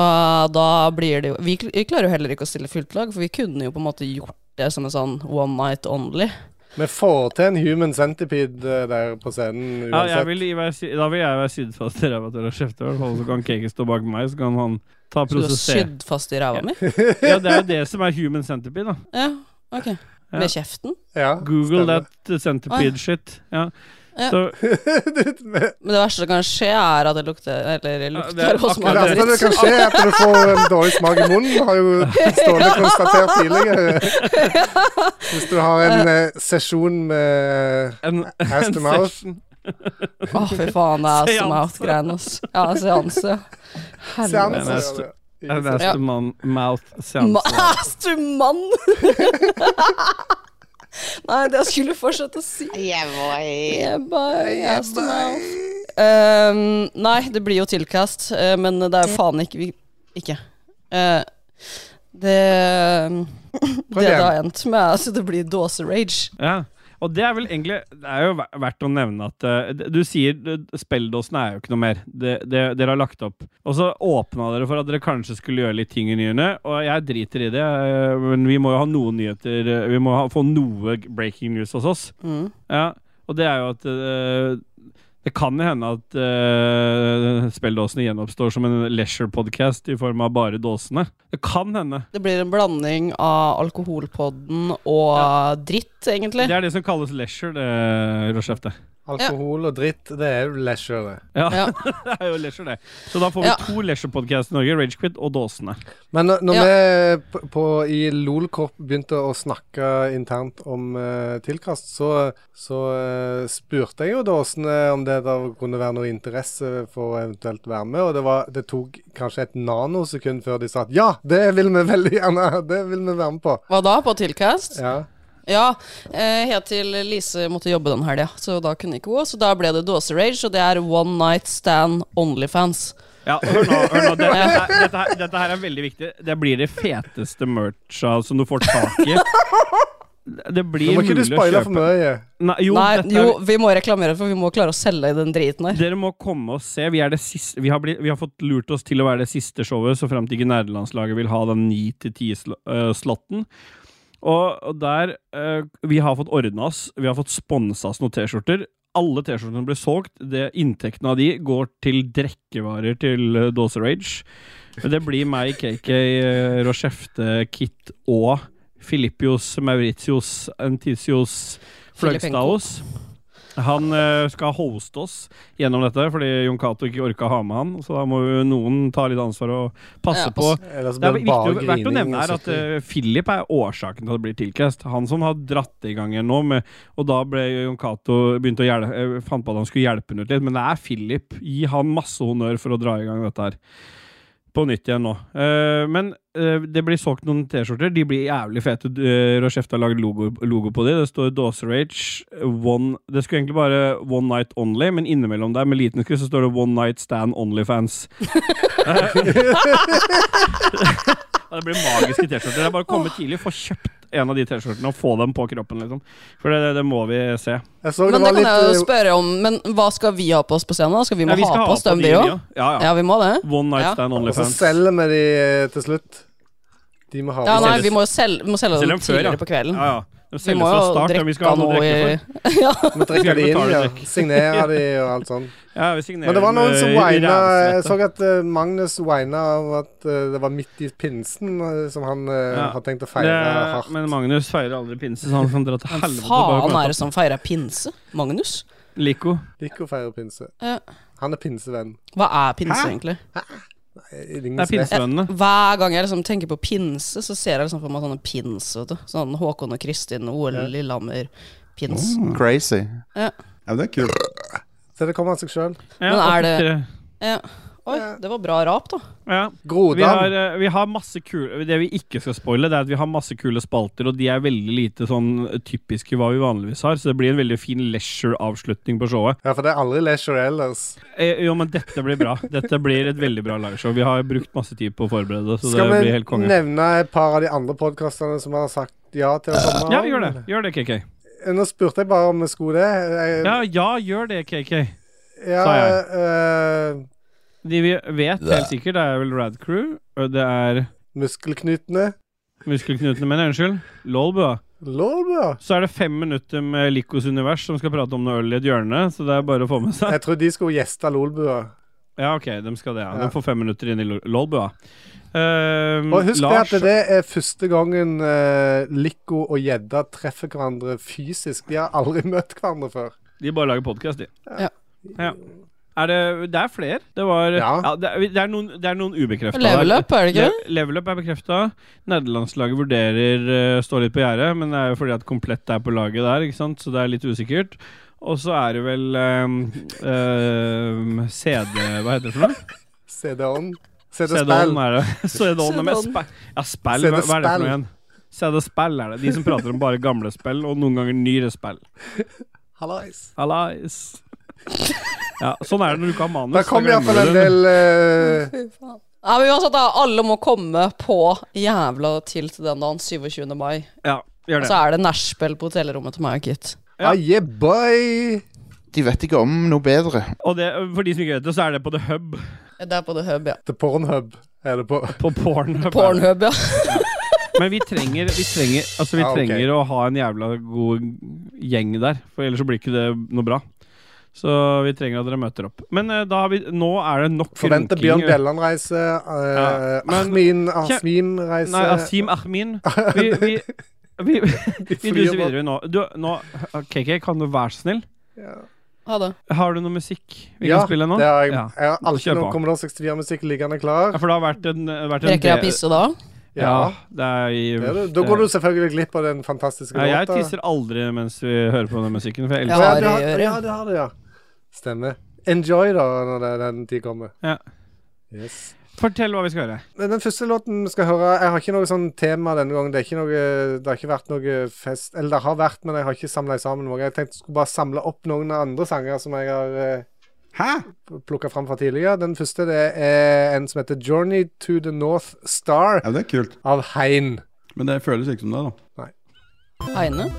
da blir det jo vi, kl- vi klarer jo heller ikke å stille fullt lag, for vi kunne jo på en måte gjort det som en sånn one night only.
Vi får til en human centipede eh, der på scenen
Ja, jeg
uansett.
vil, gi- være sy- da vil jeg være sydd fast i ræva til Rochefte, i hvert fall. Så kan Keke stå bak meg, så kan han ta og
Så du har
prosessere.
sydd fast i ræva mi?
Ja, det er jo det som er human centipede, da.
Ja, ok. Med kjeften?
Ja,
Google
stemmer.
that centipede shit. Ja.
Ja.
Så
Men det verste som kan skje, er at det lukter Eller lukter
det er
hos
akkurat
Det
meg.
det.
verste som kan skje, er at du får en
[LAUGHS]
dårlig smak i munnen. Har jo Ståle konstatert tidligere. Hvis du har en eh, sesjon med eh,
en,
ass to mouth
Å, fy faen, det er
Seanse.
astmaut-greiene, ass. Ja, seanse.
Seanse,
Helvete.
ass-
ja, det.
en
Ikke sant?
ass to man, mouth seanse.
[LAUGHS] Mast du mann! Nei, det jeg skulle fortsette å si. Yeah, boy. Ass to mouth. Ehm, nei, det blir jo tilkast, eh, men det er jo faen ikke vi, Ikke. Eh,
[LAUGHS]
det
Prøv
Det det har
igjen.
endt med, altså det blir dåserage.
Ja. Og det er vel egentlig Det er jo ver- verdt å nevne at eh, d- du sier eh, spelledåsen er jo ikke noe mer. Det, det, dere har lagt opp. Og så åpna dere for at dere kanskje skulle gjøre litt ting i nyene, og jeg driter i det, eh, men vi må jo ha noen nyheter. eh, Vi må ha, få noe g- breaking news hos oss.
Mm.
Ja. Og det er jo at eh, det kan jo hende at uh, spelledåsene gjenoppstår som en leisure-podkast i form av bare dåsene. Det kan hende.
Det blir en blanding av alkoholpodden og dritt, egentlig.
Det er det som kalles leisure, det, Roshefte.
Alkohol og dritt, det er jo leisure, det.
Ja,
Ja.
[LAUGHS] det er jo leisure, det. Så da får vi
Ja.
to leisure-podcasts i Norge, Ragequit og Dåsene.
Men når, når
Ja.
vi på, på, i LOL-korp begynte å snakke internt om eh, tilkast, så, så eh, spurte jeg jo Dåsene om det der kunne være noe interesse for å eventuelt være med, og det, var, det tok kanskje et nanosekund før de sa at ja, det vil vi veldig gjerne, [LAUGHS] det vil vi være med på.
Hva da, på tilkast?
Ja.
Ja, eh, helt til Lise måtte jobbe den helga, så da kunne ikke hun. Så da ble det dåserage, og det er One Night Stand Onlyfans.
Ja, hør nå, hør nå. Dette, her- dette, her, dette her er veldig viktig. Det blir det feteste mercha som du får tak
[LAUGHS]
i. Det
Nå
blir
må ikke du
mulig å
spoile for
kjøpe.
mye.
Nei, jo,
Nei,
dette er-
jo, vi må reklamere, for vi må klare å selge den driten her.
Dere må komme og se. Vi, er det siste, vi, har blitt, vi har fått lurt oss til å være det siste showet, så frem til ikke nerdelandslaget vil ha den 9-10-slotten. eh, Og, og der eh, Vi har fått ordna oss. Vi har fått sponsa oss noen T-skjorter. Alle T-skjortene blir solgt. Det, inntektene av de går til drikkevarer til uh, Dåse Rage. Det blir meg, KK, uh, Rochefte, Kit og Filippios, Mauritius, Antisios, Fløgstaos. Han eh, skal hoste oss gjennom dette, fordi Jon Cato ikke orka å ha med han. Så da må jo noen ta litt ansvar og passe
Ja,
på. Altså,
Ellers
Det er
blir det
viktig
bare
å, verdt å
grining
nevne
og
her at
sutring.
eh, Philip er årsaken til at det blir tilkast. Han som har dratt i gang igjen nå, med, og da ble jo Jon Cato begynte å hjel- eh, fant på at han skulle hjelpe han ut litt, men det er Philip. Gi han masse honnør for å dra i gang dette her. På nytt igjen nå. Eh, men eh, det blir solgt noen T-skjorter. De blir jævlig fete. Uh, Rochefte har lagd logo, logo på de. Det står Dåserage One Det skulle egentlig bare One Night Only, men innimellom der med liten skrift så står det One Night Stand Onlyfans. Ja, det blir magiske T-skjorter. Det er bare å komme tidlig, få kjøpt en av de T-skjortene og få dem på kroppen, liksom. For det, det, det må vi se.
Jeg så det
Men det
var
kan
litt
jeg jo
eh,
spørre om. Men hva skal vi ha på oss på scenen? da? Skal vi
Ja,
må
vi skal
ha
ha
på oss
på
dem,
de,
vi òg?
ja. Ja, ja.
Ja, vi må det.
One night
Ja.
stand
Og eh, så
Onlyfans.
selger vi de eh, til slutt. De må ha
Ja,
på
nei,
selges.
vi må jo selge, vi må selge
Selger
dem
dem før, ja.
tidligere på kvelden.
Ja, ja. De
Vi
selges
må
fra
jo
start, men vi
drikke
skal ha
av
noe å
noe i
drikke for.
ja.
Vi drikker de inn,
betale
ja.
drikk.
Signerer
[LAUGHS]
de og alt sånn.
Ja, vi signerer
Men det var
dem,
noen som
eh, i
wina Jeg
rævsvettet.
så at eh, Magnus wina av at eh, det var midt i pinsen eh, som han eh,
Ja.
har tenkt å
Det-
feire eh, hardt.
Men Magnus feirer aldri pinse, så han kan dra til
Hvem
helvete. bare
faen
med
er det som feirer pinse? Magnus?
Lico.
Liker å feire pinse.
Ja.
Han er pinsevenn.
Hva er pinse,
Hæ?
egentlig?
Eh,
Det er
Ingen vet.
pinsevennene.
Hver gang jeg liksom tenker på pinse, så ser jeg liksom for meg sånne pins. Vet du. Sånn Håkon og Kristin, OL
Ja.
Lillehammer, pins.
Mm.
Crazy.
Ja.
Ja, men det er kult.
Så det kommer av seg sjøl.
Men er det-
83.
Ja. Oi, det var bra rap, da.
Ja. Vi har,
Grodan.
eh, vi har masse kule Det vi ikke skal spoile, det er at vi har masse kule spalter, og de er veldig lite sånn typiske hva vi vanligvis har, så det blir en veldig fin leisure-avslutning på showet.
Ja, for det er aldri leisure ellers.
Eh, jo, men dette blir bra. Dette blir et veldig bra liveshow. Vi har brukt masse tid på å forberede det, så
Skal
det blir helt
vi
konge.
nevne et par av de andre podkastene som har sagt ja til å komme? Eh,
Ja, gjør det. Gjør det, KK.
Nå spurte jeg bare om vi skulle det. Jeg,
Ja, ja, gjør det, KK.
ja,
sa jeg.
eh,
De vi vet helt sikkert, det er vel Rad Crew, og det er
muskelknutene.
Muskelknutene mine, unnskyld. Lolbua.
Lolbua.
Så er det fem minutter med Likos univers som skal prate om noe øl i et hjørne, så det er bare å få med seg.
Jeg trodde de skulle gjeste Lolbua.
Ja, OK, de skal det. Ja.
Ja.
De får fem minutter inn i Lo- Lolbua. Ehm,
Og husk
Lars-
det at det er første gangen uh, Lico og gjedda treffer hverandre fysisk. De har aldri møtt hverandre før.
De bare lager podkast, de.
Ja.
Ja. Er det, det er flere. Det var
Ja.
ja, det, er, det er noen, det er noen ubekrefta.
Level up, er det ikke det?
Level Up er bekrefta. Nederlandslaget vurderer eh, står litt på gjerdet, men det er jo fordi at Komplett er på laget der, ikke sant? så det er litt usikkert. Og så er det vel eh, eh, CD Hva heter det for noe?
CD-on. CD-spill.
CD-on er det. [LAUGHS] CD-on er med
CD-on.
spe- Ja, spill, hva, hva er det for
CD-spill.
noe igjen? CD-spill er det. De som prater om bare gamle spill, og noen ganger nyere spill.
Hallais.
Hallais. Ja, sånn er det når du ikke har manus.
Da kom
da glemmer
iallfall
du
en
det.
del eh,
Ja, men uansett, da. Alle må komme på jævla til til den dagen, 27. mai.
Ja, gjør
Og
det.
så er det nachspiel på hotellrommet til meg og Kit.
[LAUGHS] Ja.
ah, Yeah, boy!
De vet ikke om noe bedre.
Og det, for de som ikke vet det, så er det på The Hub.
Det er på The Hub, ja.
The Pornhub er det på.
På Pornhub.
Pornhub, ja. [LAUGHS]
Men vi trenger, vi trenger, altså vi
Ja, Ah, ok.
trenger å ha en jævla god gjeng der, for ellers så blir ikke det noe bra. Så vi trenger at dere møter opp. Men eh, da har vi, nå er det nok
Forventer Bjørn Bjelland-reise.
Ja,
Uh,
men- Kje-
Asmin-reise.
Nei, Asim Ahmin. Vi, vi,
[LAUGHS]
vi, vi duser videre nå. Du, nå. KK, kan du være så snill?
Ha det.
Har du noe musikk vi
Ja,
kan spille nå?
det har jeg.
Ja.
Jeg har alltid
Kjør
noe
på.
Commodore 64-musikk liggende
Ja,
klar.
for det har vært en, vært en
Rekker jeg å
del-
pisse da?
Ja.
Ja.
Det er,
Det er det. Da går du selvfølgelig glipp av den fantastiske
ja, Jeg
låta.
tisser aldri mens vi hører på den musikken, for jeg
Ja.
elsker
du har,
Harryøre.
ja, du har det, ja. Stemmer. Enjoy, da, når det, den tid kommer.
Ja.
Yes.
Fortell hva vi skal høre.
Men Den første låten vi skal høre Jeg har ikke noe sånn tema denne gangen. Det, er ikke noe, det har ikke vært noe fest Eller det har vært, men jeg har ikke samla sammen noe. Jeg tenkte jeg skulle bare samle opp noen av andre sanger som jeg har eh, plukka fram fra tidligere. Den første det er en som heter 'Journey to the North Star'
Ja, men det er kult.
av Hein.
Men det føles ikke som det, da.
Heine?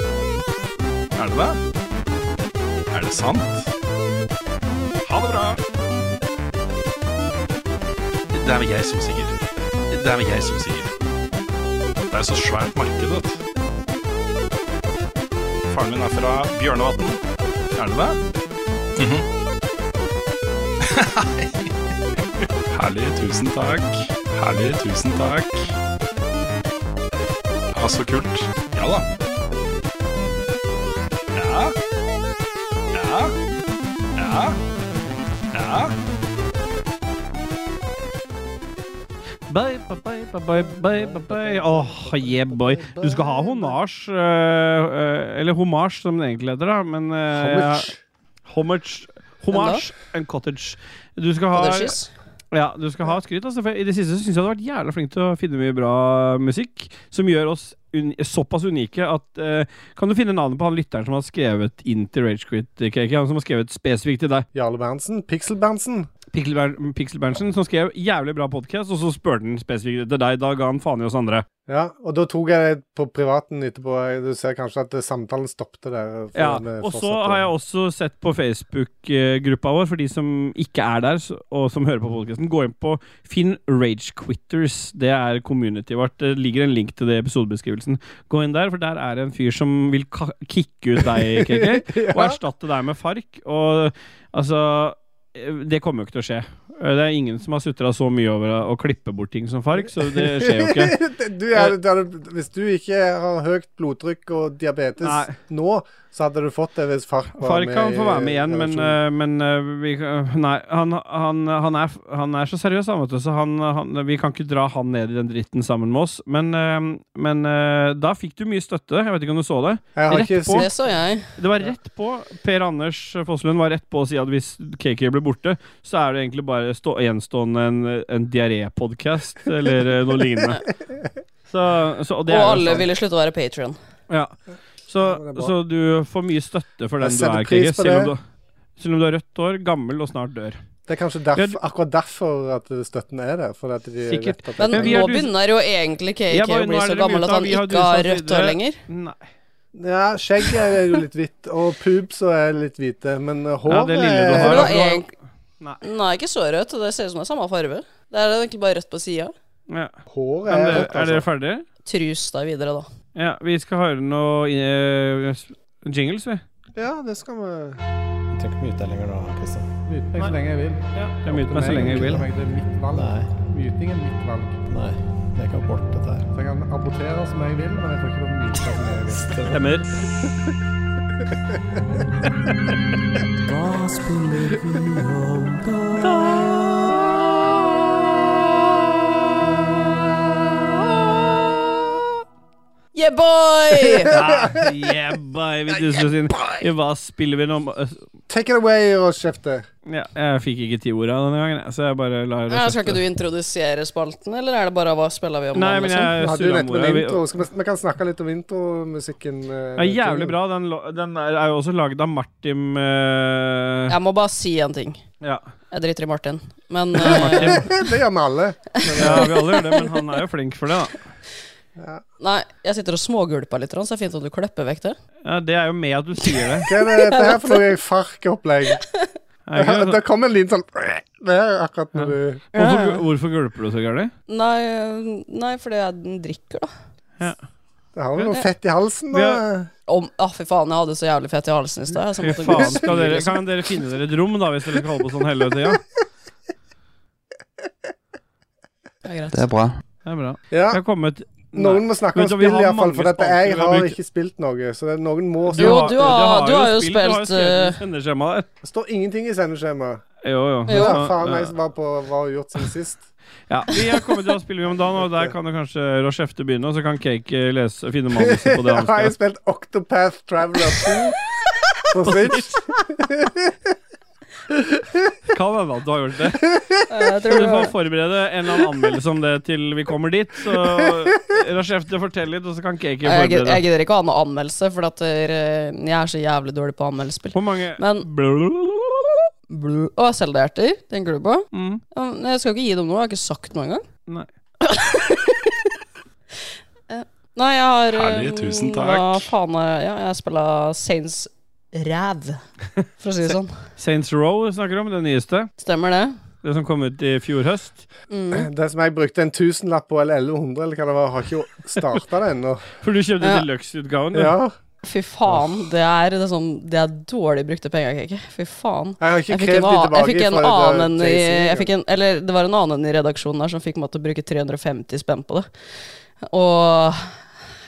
Er det det? Er det sant? Ha det bra.
Det er vel jeg som sier. Det er vel jeg som sier. Det er så svært marked, vet du. Faren min er fra Bjørnevatn. Er det det? Mhm. [LAUGHS] Herlig, tusen takk. Herlig, tusen takk. Ja, så kult. Ja da. Ja. Ja. Ja.
Bye, bye, bye, bye, bye, bye, bye, bye. Åh, yeah, boy. Du skal ha honasj, eh, eh, eller homasj som det egentlig heter, da. Men uh,
Homage.
homage Homage and cottage. Du skal ha
Delicious.
ja, du skal ha skryt. Altså, for I det siste syns jeg du har vært jævla flink til å finne mye bra musikk. Som gjør oss un såpass unike at eh, Kan du finne navnet på han lytteren som har skrevet inn til Ragequit? Cake? Han som har skrevet spesifikt til deg?
Jarle Berntsen. Pixel Berntsen.
Pixelber- Pixel Berntsen, som skrev jævlig bra podkast, og så spurte han spesifikt til deg. Da ga han faen i oss andre.
Ja, og da tok jeg det på privaten etterpå. Du ser kanskje at eh, samtalen stoppet der. for eh,
Ja,
vi
og så
fortsatte.
har
[LAUGHS]
jeg også sett på Facebook-gruppa vår, for de som ikke er der, så- og som hører på podkasten, gå inn på Finn Ragequitters. Det er communityet vårt. Det ligger en link til det i episodebeskrivelsen. Gå inn der, for der er det en fyr som vil ka kicke ut
[LAUGHS]
deg, KK, og erstatte deg med FARC. Og altså eh, det kommer jo ikke til å skje. Eh, Det er ingen som har sutra så mye over å- å klippe bort ting som FARC, så det skjer jo ikke.
[LAUGHS] du, er, du er, hvis du ikke har høyt blodtrykk og diabetes
Nei.
nå, så hadde du fått det hvis Fark var
Far
med.
kan få
i
være med igjen, men,
redaksjonen.
eh, men eh, vi, eh, Nei, han, han, han, er, han er så seriøs, han, vet du, så han, han, vi kan ikke dra han ned i den dritten sammen med oss. Men, eh, men eh, da fikk du mye støtte. Jeg vet ikke om du så det.
Jeg har
eh, rett
ikke
på-
sett
Det så jeg.
Det var rett på. Per Anders Fosslund var rett på å si at hvis KK ble borte, så er det egentlig bare stå, gjenstående en, en diarépodkast eller eh, noe lignende. Så, så, og
Og
det er jo sånn-
alle
sant.
ville slutte å være Patrion.
Ja. Så,
Ja, det er bra.
så du får mye støtte for den
Jeg
du
setter
er,
pris
KK,
på
selv om
det.
du, selv om du har rødt hår, gammel og snart dør.
Det er kanskje
Ja,
derf,
du-
akkurat derfor at støtten er der. Fordi at de
Sikkert.
vet at
Men
Men vi
nå
har dus-
begynner jo egentlig
Ja,
KK
bare
å
nå
bli
er
så
dere
gammel at
muta,
han
vi har
ikke har
dusa
rødt hår
videre.
lenger.
Nei.
Ja, skjegget er jo litt hvitt, og pubes er litt hvite, men eh, håret
det lille du
For
har, da.
er
det var
du har jo-
egentlig...
Nei.
Nei, ikke så rødt. Det ser ut som det er samme farge. Det er egentlig bare rødt på sida.
Ja.
Håret
Men
er
dere,
rødt,
er dere
altså.
ferdige?
Trus deg videre, da.
Ja, vi skal høre noe eh, jingles, vi.
Ja, det skal vi
Du trenger ikke mute deg lenger nå, Kristian.
Myte meg
Nei.
så lenge jeg vil.
Jeg myter meg så lenge jeg vil.
Myte meg, Det er mitt valg.
Nei,
Myting er mitt valg.
nei. Det er ikke abort, dette her.
Så jeg kan abortere som jeg vil, men jeg får ikke lov til å myte meg som jeg vil.
Stemmer.
Yeah,
[LAUGHS]
boy!
Ja, yeah, boy, vi duser oss inn. I hva spiller vi nå?
Take it away, Råskjefte.
Ja, jeg fikk ikke ti orda denne gangen, jeg, så jeg bare lar
Ja, skal ikke du introdusere spalten, eller er det bare hva spiller vi om?
Nei,
nå,
men
liksom?
jeg
Vi hadde jo
surra
dette
mora.
med
Vi-
intro. Skal vi, vi kan snakke litt om intromusikken. eh,
Ja, jævlig bra. Den, lo- den er er jo også laget av Martin eh,
Jeg må bare si en ting.
Ja.
Jeg driter i Martin,
[LAUGHS]
men eh,
det gjør vi alle.
ja, vi alle gjør det, men han er jo flink for det, da.
Nei, jeg sitter og smågulper litt, så det er fint om du klipper vekk det.
Ja, det er jo med at du sier det.
Hva er det- dette her for noe farkeopplegg?
Er
[LAUGHS]
det ikke
Det
det?
kom en liten sånn Det er akkurat når du
Hvorfor, gu- hvorfor gulper du så gærent?
Nei, eh, nei fordi jeg den drikker, da.
Det har jo noe fett i halsen, da.
Om, ah, fy faen, jeg hadde så jævlig fett i halsen i stad. jeg, så
Fy
måtte gå
faen,
og
skal
spy,
dere,
liksom.
kan dere finne dere et rom da, hvis dere skal holde på sånn hele tida?
Det er greit.
Det er bra.
Det er bra.
Ja,
Jeg har kommet
noen må snakke om
Vet du, vi
spill,
har
iallfall, for
mange
dette jeg
spalter vi har
har
brukt.
ikke spilt noe. Så det, noen må
Jo, du har-
spilt-
du har jo
Du har jo
spilt,
skrevet
eh,
i sendeskjemaet der.
Det står ingenting i sendeskjemaet.
Jo, jo.
Jo.
Ja,
Så,
faen,
eh,
jeg som var på hva har gjort siden
[LAUGHS]
sist.
ja. Vi har kommet til å spille om dagen, og der kan jo kanskje Rochefte begynne, og så kan Cake eh, lese, finne manuset på det
Jeg
han
[LAUGHS] har
skal
jeg spilt Octopath Traveler
[LAUGHS]
2 på Switch.
Kan hende at du har gjort det.
Jeg
Så
tror
du
det
får
var-
forberede en eller annen anmeldelse om det til vi kommer dit. Så Rochefte, fortell litt, og så kan Cake
Jeg gidder- jeg
forberede.
gidder ikke å ha noe anmeldelse, for at eh, jeg er så jævlig dårlig på anmeldespill.
Hvor mange
Men Blue Å, Selda-hjerter, tenker du på?
mm.
Ja, men Jeg skal ikke gi dem noe, jeg har ikke sagt noe engang.
Nei.
[LAUGHS] Eh, Nei, jeg har
Herlig,
eh,
tusen
Hva
takk.
faen er- Ja, jeg spiller Saints Ræv, for å si det sånn.
Saints Row snakker du om, det nyeste.
Stemmer det?
Det som kom ut i fjor høst.
[LAUGHS]
Mm.
Det som jeg brukte en tusenlapp på, eller 1100, eller hva det var, har ikke jo starta det ennå.
For du kjøpte
[LAUGHS] Ja.
deluxe-utgaven? du.
Ja,
Fy faen, det er, det er, sånn, det er dårlig brukte penger, Kiki. Fy faen.
jeg har ikke
Jeg fikk
krevd
en,
de
an- jeg
tilbake.
fikk en
fra det der
annen i,
JC,
jeg fikk en, Eller det var en annen i redaksjonen her som fikk meg til å bruke 350 spenn på det. Og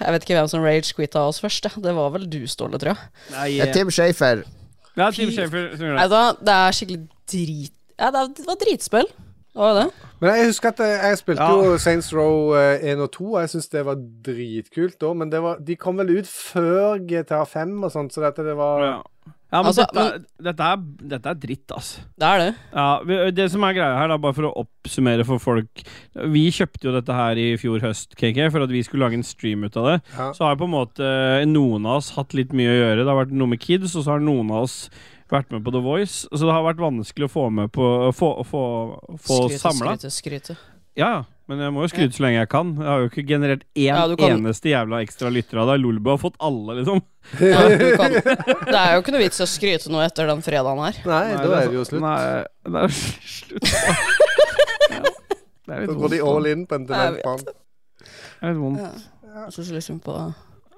jeg vet ikke hvem som rage quitta oss først. jeg. Det var vel du, Ståle, tror jeg.
Nei,
Det er Tim Schafer.
Det er Tim Schafer som gjør
Nei
det.
da, det er skikkelig drit... Ja, det er- det var dritspill. Var det det?
Men jeg husker at eh, jeg jeg spilte
Ja.
jo Saints Row eh, 1 og 2, og jeg syns det var dritkult da, men det var, de kom vel ut før GTA5 og sånt, så dette det var
Ja, men,
Altså,
dette, Dette, er, dette er dritt, altså.
Det er det.
Ja, vi- det som er greia her, da, bare for å oppsummere for folk Vi kjøpte jo dette her i fjor høst, KK, for at vi skulle lage en stream ut av det.
Ja.
Så har på en måte eh, noen av oss hatt litt mye å gjøre. Det har vært noe med kids, og så har noen av oss vært med på The Voice. Så det har vært vanskelig å få med på å Få, å få, få
Skryte,
samla.
skryte, skryte.
Ja, ja. Men jeg må jo skryte så lenge jeg kan. Jeg har jo ikke generert én
Ja, du kan-
eneste jævla ekstra lytter av deg. Lolbu har fått alle, liksom.
Ja, du kan. Det er jo ikke noe vits i å skryte noe etter den fredagen her.
Nei, da er det jo
så-
slutt.
Nei, det er [LAUGHS] slutt. Ja, Det er litt
Da går de
vondt,
all in på en
Jeg
dement
vet.
mann.
Det er litt vondt.
Jeg synes liksom på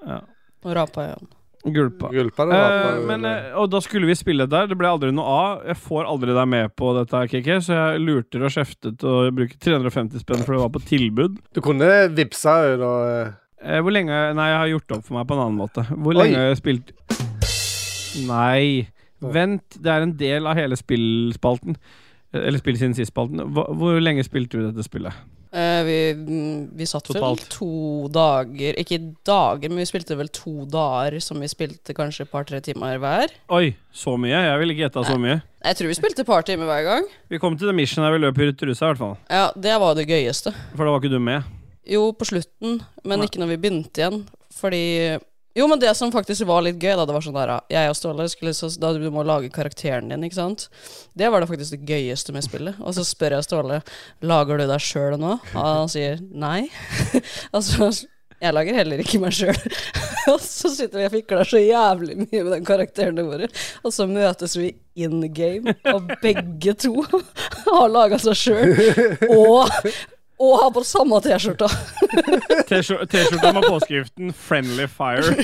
Ja.
Nå rapa jeg igjen.
Gulpa.
Gulpa det
Eh,
var
men, eh, og da skulle vi spille der. Det ble aldri noe av. Jeg får aldri deg med på dette, her, KK, så jeg lurte og kjeftet og brukte 350 spenn for det var på tilbud.
Du kunne vippsa jo da eh.
Eh, hvor lenge Nei, jeg har gjort det opp for meg på en annen måte. Hvor
Oi.
lenge har jeg spilt Nei. Vent, det er en del av hele spillspalten. Eh, Eller spill siden sist-spalten. Hva- Hvor lenge spilte du dette spillet?
Eh, vi, mm, vi satt vel
Totalt.
to dager Ikke dager, men vi spilte vel to dager som vi spilte kanskje et par-tre timer hver.
Oi, så mye? Jeg ville ikke gjetta så mye.
Jeg tror vi spilte et par timer hver gang.
Vi kom til The Mission der vi løp i trusa, i hvert fall.
Ja, Det var det gøyeste.
For da var ikke du med.
Jo, på slutten, men
Nei.
ikke når vi begynte igjen. Fordi Jo, men det som faktisk var litt gøy, da, det var sånn der ah, Jeg og Ståle skulle så Da du må lage karakteren din, ikke sant. Det var det faktisk det gøyeste med spillet. Og så spør jeg Ståle Lager du deg sjøl nå? Og han sier nei. [LAUGHS] altså jeg lager heller ikke meg sjøl. [LAUGHS] og så sitter vi og fikler så jævlig mye med den karakterene våre. Og så møtes vi in game, og begge to [LAUGHS] har laga seg sjøl. Og, og har på samme T-skjorta.
T-skjor- T-skjorta med påskriften 'Friendly Fire'.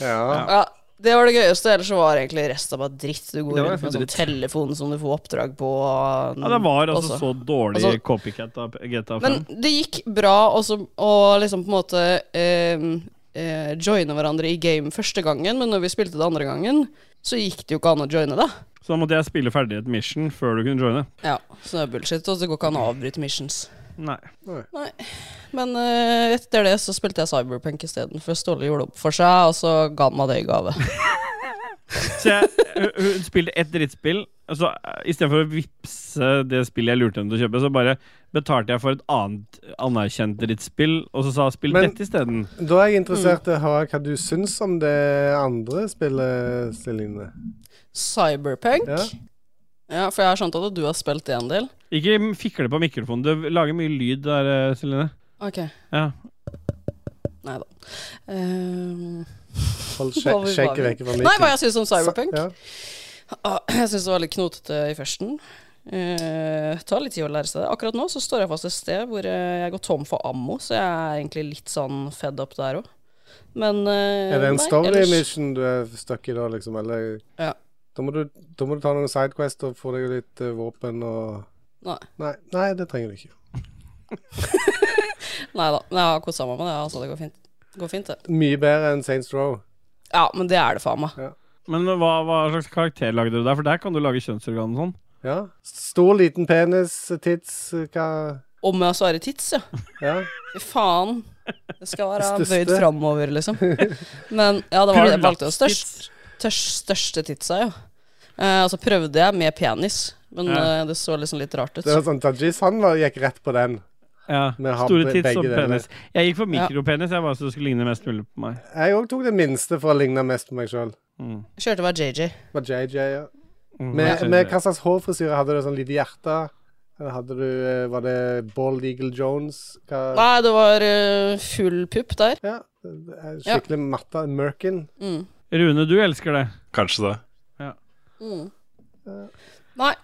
Ja.
Ja, det var det gøyeste. Ellers så var egentlig resten bare dritt. Du går
Det var
rundt med en
egentlig
sånn telefon som du får oppdrag på. og-
Ja, det var altså
også.
så dårlig
Altså-
copycat av GTA 5.
Men det gikk bra også, å liksom på en måte ehm, eh, joine hverandre i game første gangen, men når vi spilte det andre gangen, så gikk det jo ikke an å joine, da.
så da måtte jeg spille ferdig et mission før du kunne joine.
Ja, Så det er bullshit. Og det går ikke an å avbryte missions.
Nei.
Men eh, etter det så spilte jeg Cyberpunk isteden, for Ståle gjorde opp for seg, og så ga han meg det i gave.
[LAUGHS] Så jeg, hun- hun spilte ett drittspill. Så eh, istedenfor å vippse det spillet jeg lurte henne til å kjøpe, så bare betalte jeg for et annet anerkjent drittspill, og så sa jeg, 'spill
Men-
dette isteden'.
Da er jeg interessert
Mm.
i å høre hva du syns om det andre spillet, Celine.
Cyberpunk?
Ja.
ja, for jeg har skjønt at du har spilt det en del.
Ikke m- fikle på mikrofonen. Du lager mye lyd der, eh, Celine.
Ok
Ja.
Nei da. Ehm,
Hold
Hva var
skje-
vi-
skjegget vekk fra
nei, hva
mikken.
jeg syns om Cyberpunk?
Ja.
Ah, [CLEARS THROAT] Jeg syns det var litt knotete i førsten. Eh, det tar litt tid å lære seg det. Akkurat nå så står jeg fast et sted hvor eh, jeg går tom for ammo, så jeg er egentlig litt sånn fed up der òg. Men eh,
Er det en
nei,
story
ellers-
mission du er stuck i da, liksom? Eller
Ja.
da, må du, da må du ta noen sidequest og få deg litt eh, våpen og
Nei.
Nei, nei, det trenger du ikke.
Nei da. men Jeg har kosa meg med det. Altså, det går fint. Går fint, det.
Mye bedre enn Saints Row.
Ja, men det er det faen meg.
Men hva, hva slags karakter lagde du der? For der kan du lage kjønnsorgan og sånn.
Ja. Stor, liten penis, tits, hva
Om jeg svarer tits, ja.
Ja.
Fy faen. Det skal være
Største.
bøyd framover, liksom. Men ja, det var det. Jeg valgte jo størst.
Prolaps-tits.
tørs, største titsa, ja. Eh, og så prøvde jeg med penis, men
Ja.
eh, det så liksom litt rart ut.
Det var sånn Tajis, han var, gikk rett på den.
Ja.
Med ham-
Store tits
begge
og
deler.
penis. Jeg gikk for
Ja.
mikropenis. Jeg var så det skulle ligne mest mulig på meg.
Jeg òg tok det minste for å ligne mest på meg sjøl.
Mm.
Kjørte meg JJ.
Var JJ, ja.
Mm,
Med,
jeg-
med hva slags hårfrisyre? Hadde du sånn lite hjerte? Eller hadde du eh, Var det Bald Eagle Jones? Hva
Nei, det var eh, full pupp der.
Ja. det er Skikkelig matta Merkin.
Mm.
Rune, du elsker det.
Kanskje det.
Mm. Nei.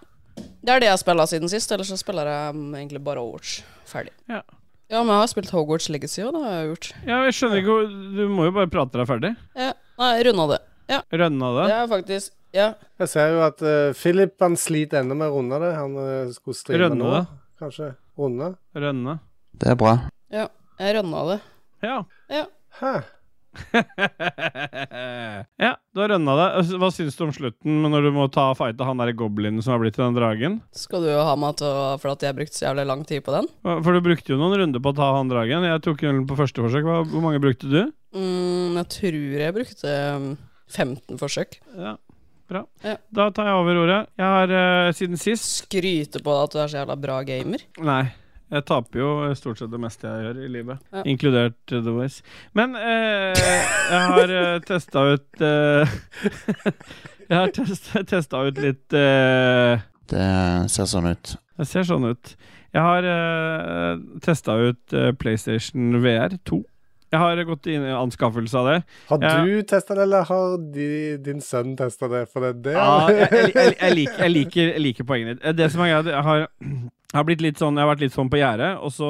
Det er det jeg har spilla siden sist, ellers så spiller jeg mm, egentlig bare Overwatch. Ferdig.
Ja.
Ja, men jeg har spilt Hogwarts Legacy òg, det har jeg gjort.
Ja, jeg skjønner ikke hvor- Du må jo bare prate deg ferdig.
Ja. Nei, runda det.
Rønna det.
Det er faktisk Ja.
Jeg ser jo at eh, Philip han sliter enda med å runde det. Han eh, skulle streame
Rønne
nå,
det.
kanskje. Runde?
Rønne.
Det er bra.
Jeg runda det.
Ja.
Hæ?
[LAUGHS] ja, du har rønna deg. Altså, Hva syns du om slutten når du må ta og fighte han der goblinen som har blitt til den dragen?
Skal du ha meg til å For at jeg har brukt så jævlig lang tid på den?
For du brukte jo noen runder på å ta han dragen. Jeg tok den på første forsøk. Hva- Hvor mange brukte du?
Mm, jeg tror jeg brukte mm, 15 forsøk.
Ja, bra.
Ja.
Da tar jeg over ordet. Jeg har eh, siden sist
Skryte på deg at du er så jævla bra gamer.
Nei. Jeg taper jo stort sett det meste jeg gjør i livet,
Ja.
inkludert eh, The Voice. Men eh, jeg har uh, testa ut eh, [LAUGHS] Jeg har test- testa ut litt eh,
Det ser sånn ut.
Det ser sånn ut. Jeg har uh, testa ut eh, PlayStation VR 2. Jeg har gått inn i anskaffelse av det.
Har
Ja.
du testa det, eller har de, din sønn testa det? For det, det
Ja, Ah, jeg,
[LAUGHS]
jeg, jeg, jeg, liker, jeg, liker, jeg liker poenget ditt. Eh, Det som er greia, det- jeg har, jeg har blitt litt sånn Jeg har vært litt sånn på gjerdet, og så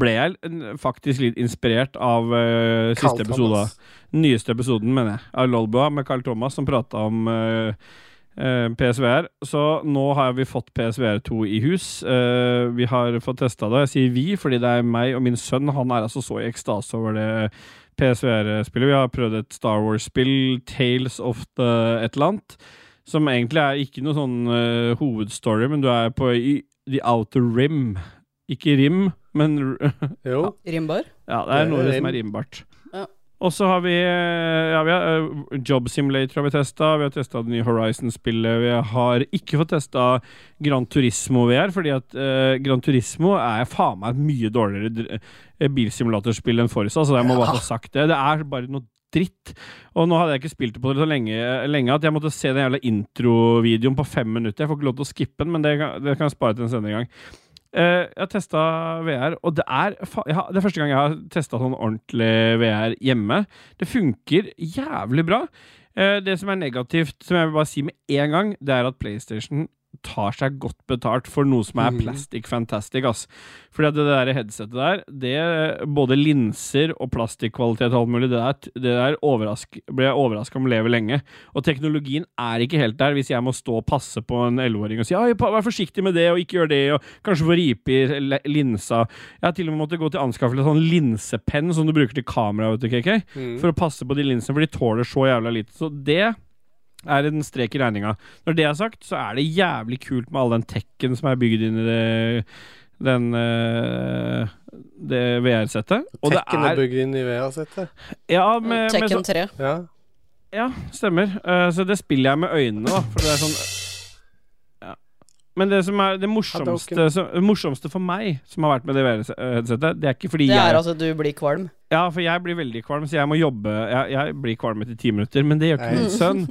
ble jeg eh, faktisk litt inspirert av eh,
Carl
siste episode. av- Nyeste episoden, mener jeg, av Lolbua med Carl Thomas, som prata om eh, eh, PSVR. Så nå har vi fått PSVR2 i hus. Eh, vi har fått testa det. Jeg sier vi fordi det er meg og min sønn. Han er altså så i ekstase over det PSVR-spillet. Vi har prøvd et Star Wars-spill, Tales of the et eller annet, som egentlig er ikke noe sånn eh, hovedstory, men du er på i, The Outer Rim. Ikke rim, men r- [LAUGHS]
Jo.
Rimbar.
ja, det er
Det er
noe
rim.
som er rimbart.
Ja.
Og så har vi, eh, ja, vi har, eh, Job Simulator har vi testa. Vi har testa det nye Horizon-spillet. Vi har ikke fått testa Gran Turismo VR, fordi at eh, Gran Turismo er faen meg et mye dårligere dr- eh, bilsimulatorspill enn Forza, så jeg må bare få sagt det. Det er bare noe dritt. Og nå hadde jeg ikke spilt det på det så lenge, eh, lenge at jeg måtte se den jævla introvideoen på fem minutter. Jeg får ikke lov til å skippe den, men det kan, det kan jeg spare til en senere gang. Eh, jeg har testa VR, og det er, fa jeg har, det er første gang jeg har testa sånn ordentlig VR hjemme. Det funker jævlig bra. Eh, det som er negativt, som jeg vil bare si med en gang, det er at PlayStation tar seg godt betalt for noe som er
Mhm.
plastic fantastic. Ass. Fordi at det der headsetet der, det, både linser og plastikkvalitet og alt mulig, det der, det der overrask, blir jeg overraska om lever lenge. Og teknologien er ikke helt der, hvis jeg må stå og passe på en 11-åring og si «Oi, pa- vær forsiktig med det, og ikke gjør det, og kanskje få ripe i le- linsa. Jeg har til og med måttet gå til anskaffelse av sånn linsepenn som du bruker til kamera, vet du, KK,
Mm.
for å passe på de linsene, for de tåler så jævla lite. Så det er en strek i regninga. Når det er sagt, så er det jævlig kult med all den tekken som er bygd inn i det den eh, det VR-settet. Og det
Tekken er
er
bygd inn i VR-settet.
Ja, med, med så,
Tekken 3.
Ja.
ja, stemmer. Eh, så det spiller jeg med øynene, da. For det er sånn ja. Men det som er det morsomste,
Hadoken.
som, det morsomste for meg som har vært med det VR-headsetet, det er ikke fordi
Det
jeg
er altså- at du blir kvalm.
Ja, for jeg blir veldig kvalm, så jeg må jobbe. Jeg, jeg blir kvalm etter ti minutter, men det gjør ikke [LAUGHS]
Nei.
min sønn.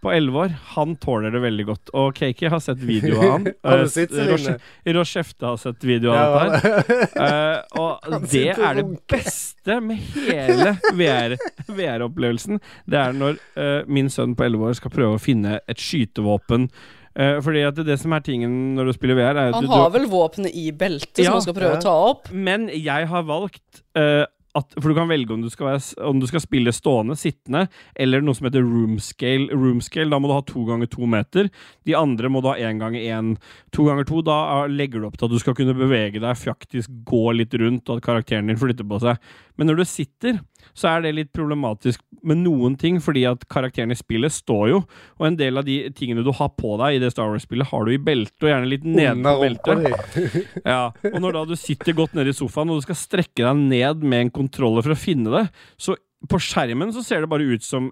På elleve år. Han tåler det veldig godt. Og Kaki har sett video av [LAUGHS] han.
Har du
Eh,
sett
Roche-
Celine?
Rochefte har sett video av
Ja,
dette her.
[LAUGHS]
Eh, og
Han
det
sitter og
er det
runker.
beste med hele VR VR-opplevelsen. det er når eh, min sønn på 11 år skal prøve å finne et skytevåpen. Uh, fordi at det, det som er tingen når du spiller VR, er at
Han
du,
har
du
vel våpenet i beltet
Ja.
som han skal
Ja.
prøve å ta opp.
Men jeg har valgt eh, at, For du kan velge om du, skal være, s- om du skal spille stående, sittende, eller noe som heter room scale. Room scale, da må du ha to ganger to meter. De andre må du ha én ganger én. To ganger to, da er- legger du opp til at du skal kunne bevege deg, faktisk gå litt rundt, og at karakteren din flytter på seg. Men når du sitter, så er det litt problematisk med noen ting, fordi at karakteren i spillet står jo, og en del av de tingene du har på deg i det Star Wars-spillet, har du i beltet, og gjerne litt
Under
nedenfor
rumpa
beltet.
di.
Ja, og når da du sitter godt nede i sofaen og du skal strekke deg ned med en kontroller for å finne det, så på skjermen så ser det bare ut som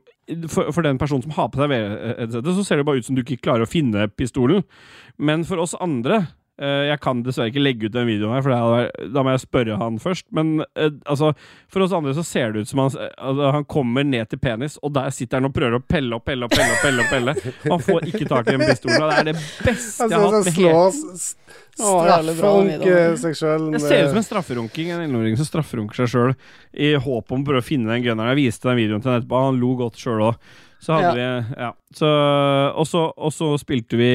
For, for den personen som har på seg VR-headsetet, så ser det bare ut som du ikke klarer å finne pistolen. Men for oss andre eh, Jeg kan dessverre ikke legge ut den videoen her, for det hadde vært- da må jeg spørre han først. Men eh, altså, for oss andre så ser det ut som han, altså, han kommer ned til penis, og der sitter han og prøver å pelle og pelle og pelle. og pelle, og pelle. Og [LAUGHS] han får ikke tak i den pistolen. Og det er det
[LAUGHS]
beste
Han
jeg har
ser ut
hatt.
som
med hele-
slår Altså, s-
Å, jævlig bra,
strafferunk
Vidar.
eh, seg sjøl
jeg ser ut som en strafferunking. En 11-åring som strafferunker seg sjøl i håp om å prøve å finne den gunneren. Jeg viste den videoen til han etterpå, han lo godt sjøl òg. Så hadde vi Ja. Så, og, så, og så spilte vi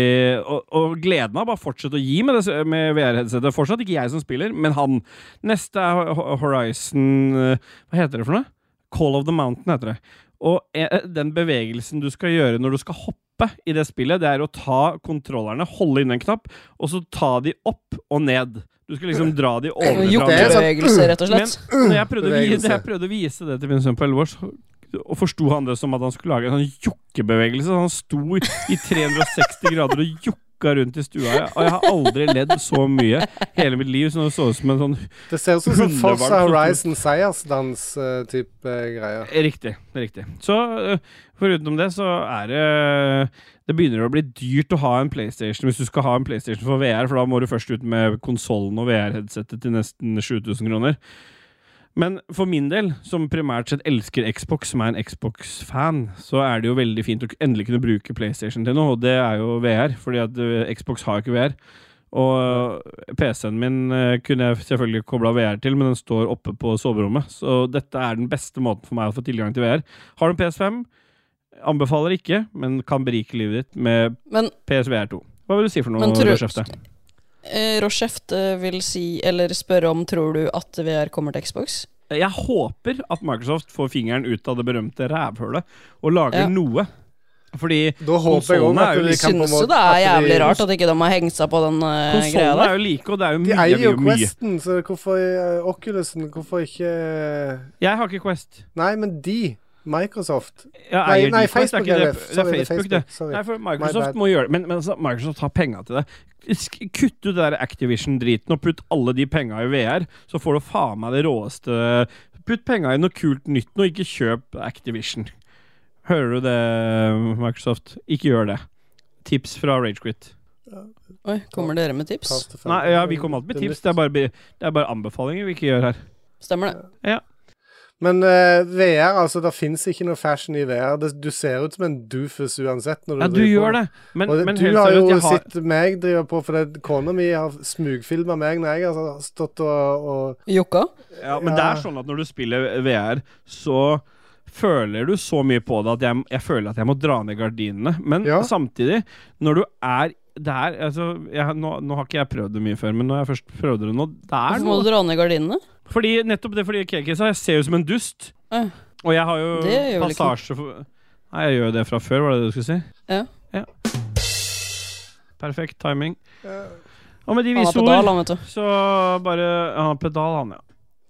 Og, og gleden av bare fortsette å gi med, det s- med VR-headsetet. Fortsatt ikke jeg som spiller, men han. Neste er Ho- Horizon eh, Hva heter det for noe? Call of the Mountain heter det. Og eh, den bevegelsen du skal gjøre når du skal hoppe i det spillet, det er å ta kontrollerne, holde inn en knapp, og så ta de opp og ned. Du Du skulle liksom dra
[CLEARS THROAT]
de ovenfra.
Jukkebevegelser, rett og slett.
Men når jeg prøvde, å vi,
Bevegelse.
jeg prøvde å vise det til min sønn på 11 år, så og forsto han det som at han skulle lage en sånn jukkebevegelse. Så han sto i 360 grader og jukka rundt i stua. Og jeg har aldri ledd så mye hele mitt liv. Så det så ut som en sånn
Det ser ut som sånn Forza
hundevalp.
Horizon seiersdans-type eh, greier.
Riktig. riktig. Så eh, foruten det, så er det øh, Det begynner å bli dyrt å ha en PlayStation hvis du skal ha en PlayStation for VR, for da må du først ut med konsollen og VR-headsetet til nesten 7000 kroner. Men for min del, som primært sett elsker Xbox, som er en Xbox-fan, så er det jo veldig fint å k- endelig kunne bruke PlayStation til noe, og det er jo VR, fordi at eh, Xbox har jo ikke VR. Og PC-en min eh, kunne jeg selvfølgelig kobla VR til, men den står oppe på soverommet. Så dette er den beste måten for meg å få tilgang til VR. Har du en PS5? Anbefaler ikke, men kan berike livet ditt med
Men-
PSVR2. Hva vil du si for noe,
Men tror-
Rødskjefte?
Eh, Rocheft eh, vil si, eller spørre om, tror du at VR kommer til Xbox?
Jeg håper at Microsoft får fingeren ut av det berømte rævhølet og lager
Ja.
noe. Fordi
Da håper jeg også
konsollene er
at
jo
de
Jeg
like,
kan på en
syns
måte-
jo det er
at de-
jævlig rart at ikke de har hengt seg på den eh, greia
konsollene
der.
er jo like, og det er jo
De
mye,
eier jo
mye, mye.
Questen, så hvorfor eh, Oculusen? Hvorfor ikke eh,
Jeg har ikke Quest.
Nei, men de. Microsoft.
Ja,
Nei,
eier
nei,
de Quest?
Facebook
er
er
ikke det,
det.
det
Sorry,
er
det er
Facebook,
Facebook.
det.
Sorry.
Nei, for
My
Microsoft
bad.
må gjøre Men, men altså, Microsoft har penga til det. Sk- Kutt ut det der Activision-driten og putt alle de penga i VR, så får du faen meg det råeste Putt penga i noe kult nytt nå, ikke kjøp Activision. Hører du det, Microsoft? Ikke gjør det. Tips fra Ragequit.
Oi, kommer dere med tips?
Nei, ja, vi kommer alltid med tips. Det er bare, be- det er bare anbefalinger vi ikke gjør her.
Stemmer det.
Men eh, VR, altså, det fins ikke noe fashion i VR. Det, du ser ut som en doofus uansett. Når du
Ja, du
driver på.
gjør det, men,
og det,
men
du
helt
har
seriøst,
jo
jeg har
sett meg drive på, for det- kona mi har smugfilma meg når jeg har stått og, og
Jokka?
Ja, men det er sånn at når du spiller VR, så føler du så mye på det at jeg, jeg føler at jeg må dra ned gardinene. Men
Ja.
samtidig, når du er der altså, jeg, nå, nå har ikke jeg prøvd det mye før, men når jeg først prøvde det nå Det er
Hvorfor Altså, må
noe
du dra ned gardinene?
Fordi nettopp det fordi KK sa jeg ser jo ut som en dust.
Eh.
Og jeg har jo
Det gjør vel ikke noe.
passasje for Nei, jeg gjør jo det fra før, var det det du skulle si?
Ja.
Perfekt timing. Og med de
Han
vise
er
ord
pedal, han, vet du.
så bare Han har pedal, han, ja.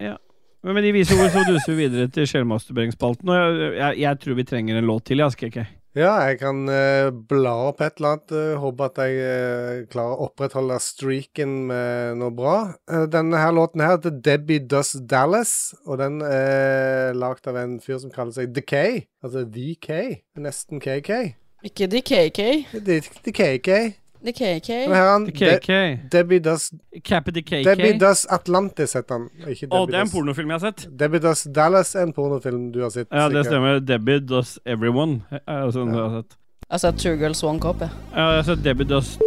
ja. Men med de vise ord så duser vi videre til sjelmasturberingsspalten. Og jeg, jeg, jeg tror vi trenger en låt til, jeg, Aske. ikke?
Ja, jeg kan eh, bla opp et eller annet. eh, håpe at jeg eh, klarer å opprettholde streaken med noe bra. Eh, denne her låten her heter Debbie Does Dallas, og den er lagd av en fyr som kaller seg The K. Altså The K. Nesten KK.
Ikke de KK.
The, the KK.
De KK.
Men her er han
The
De
KK.
Debbie Does,
Cappy the KK.
Debbie Does Atlantis, heter han. Ikke
Å, det
Debbie
er en
Does.
pornofilm jeg har sett.
Debbie Does Dallas er en pornofilm du har sett.
Ja, det
sikkert.
stemmer. Debbie does everyone. Er det sånn du har sett.
Altså, Jeg har sett Two Girls One Cup, jeg.
Ja, jeg har sett Debbie does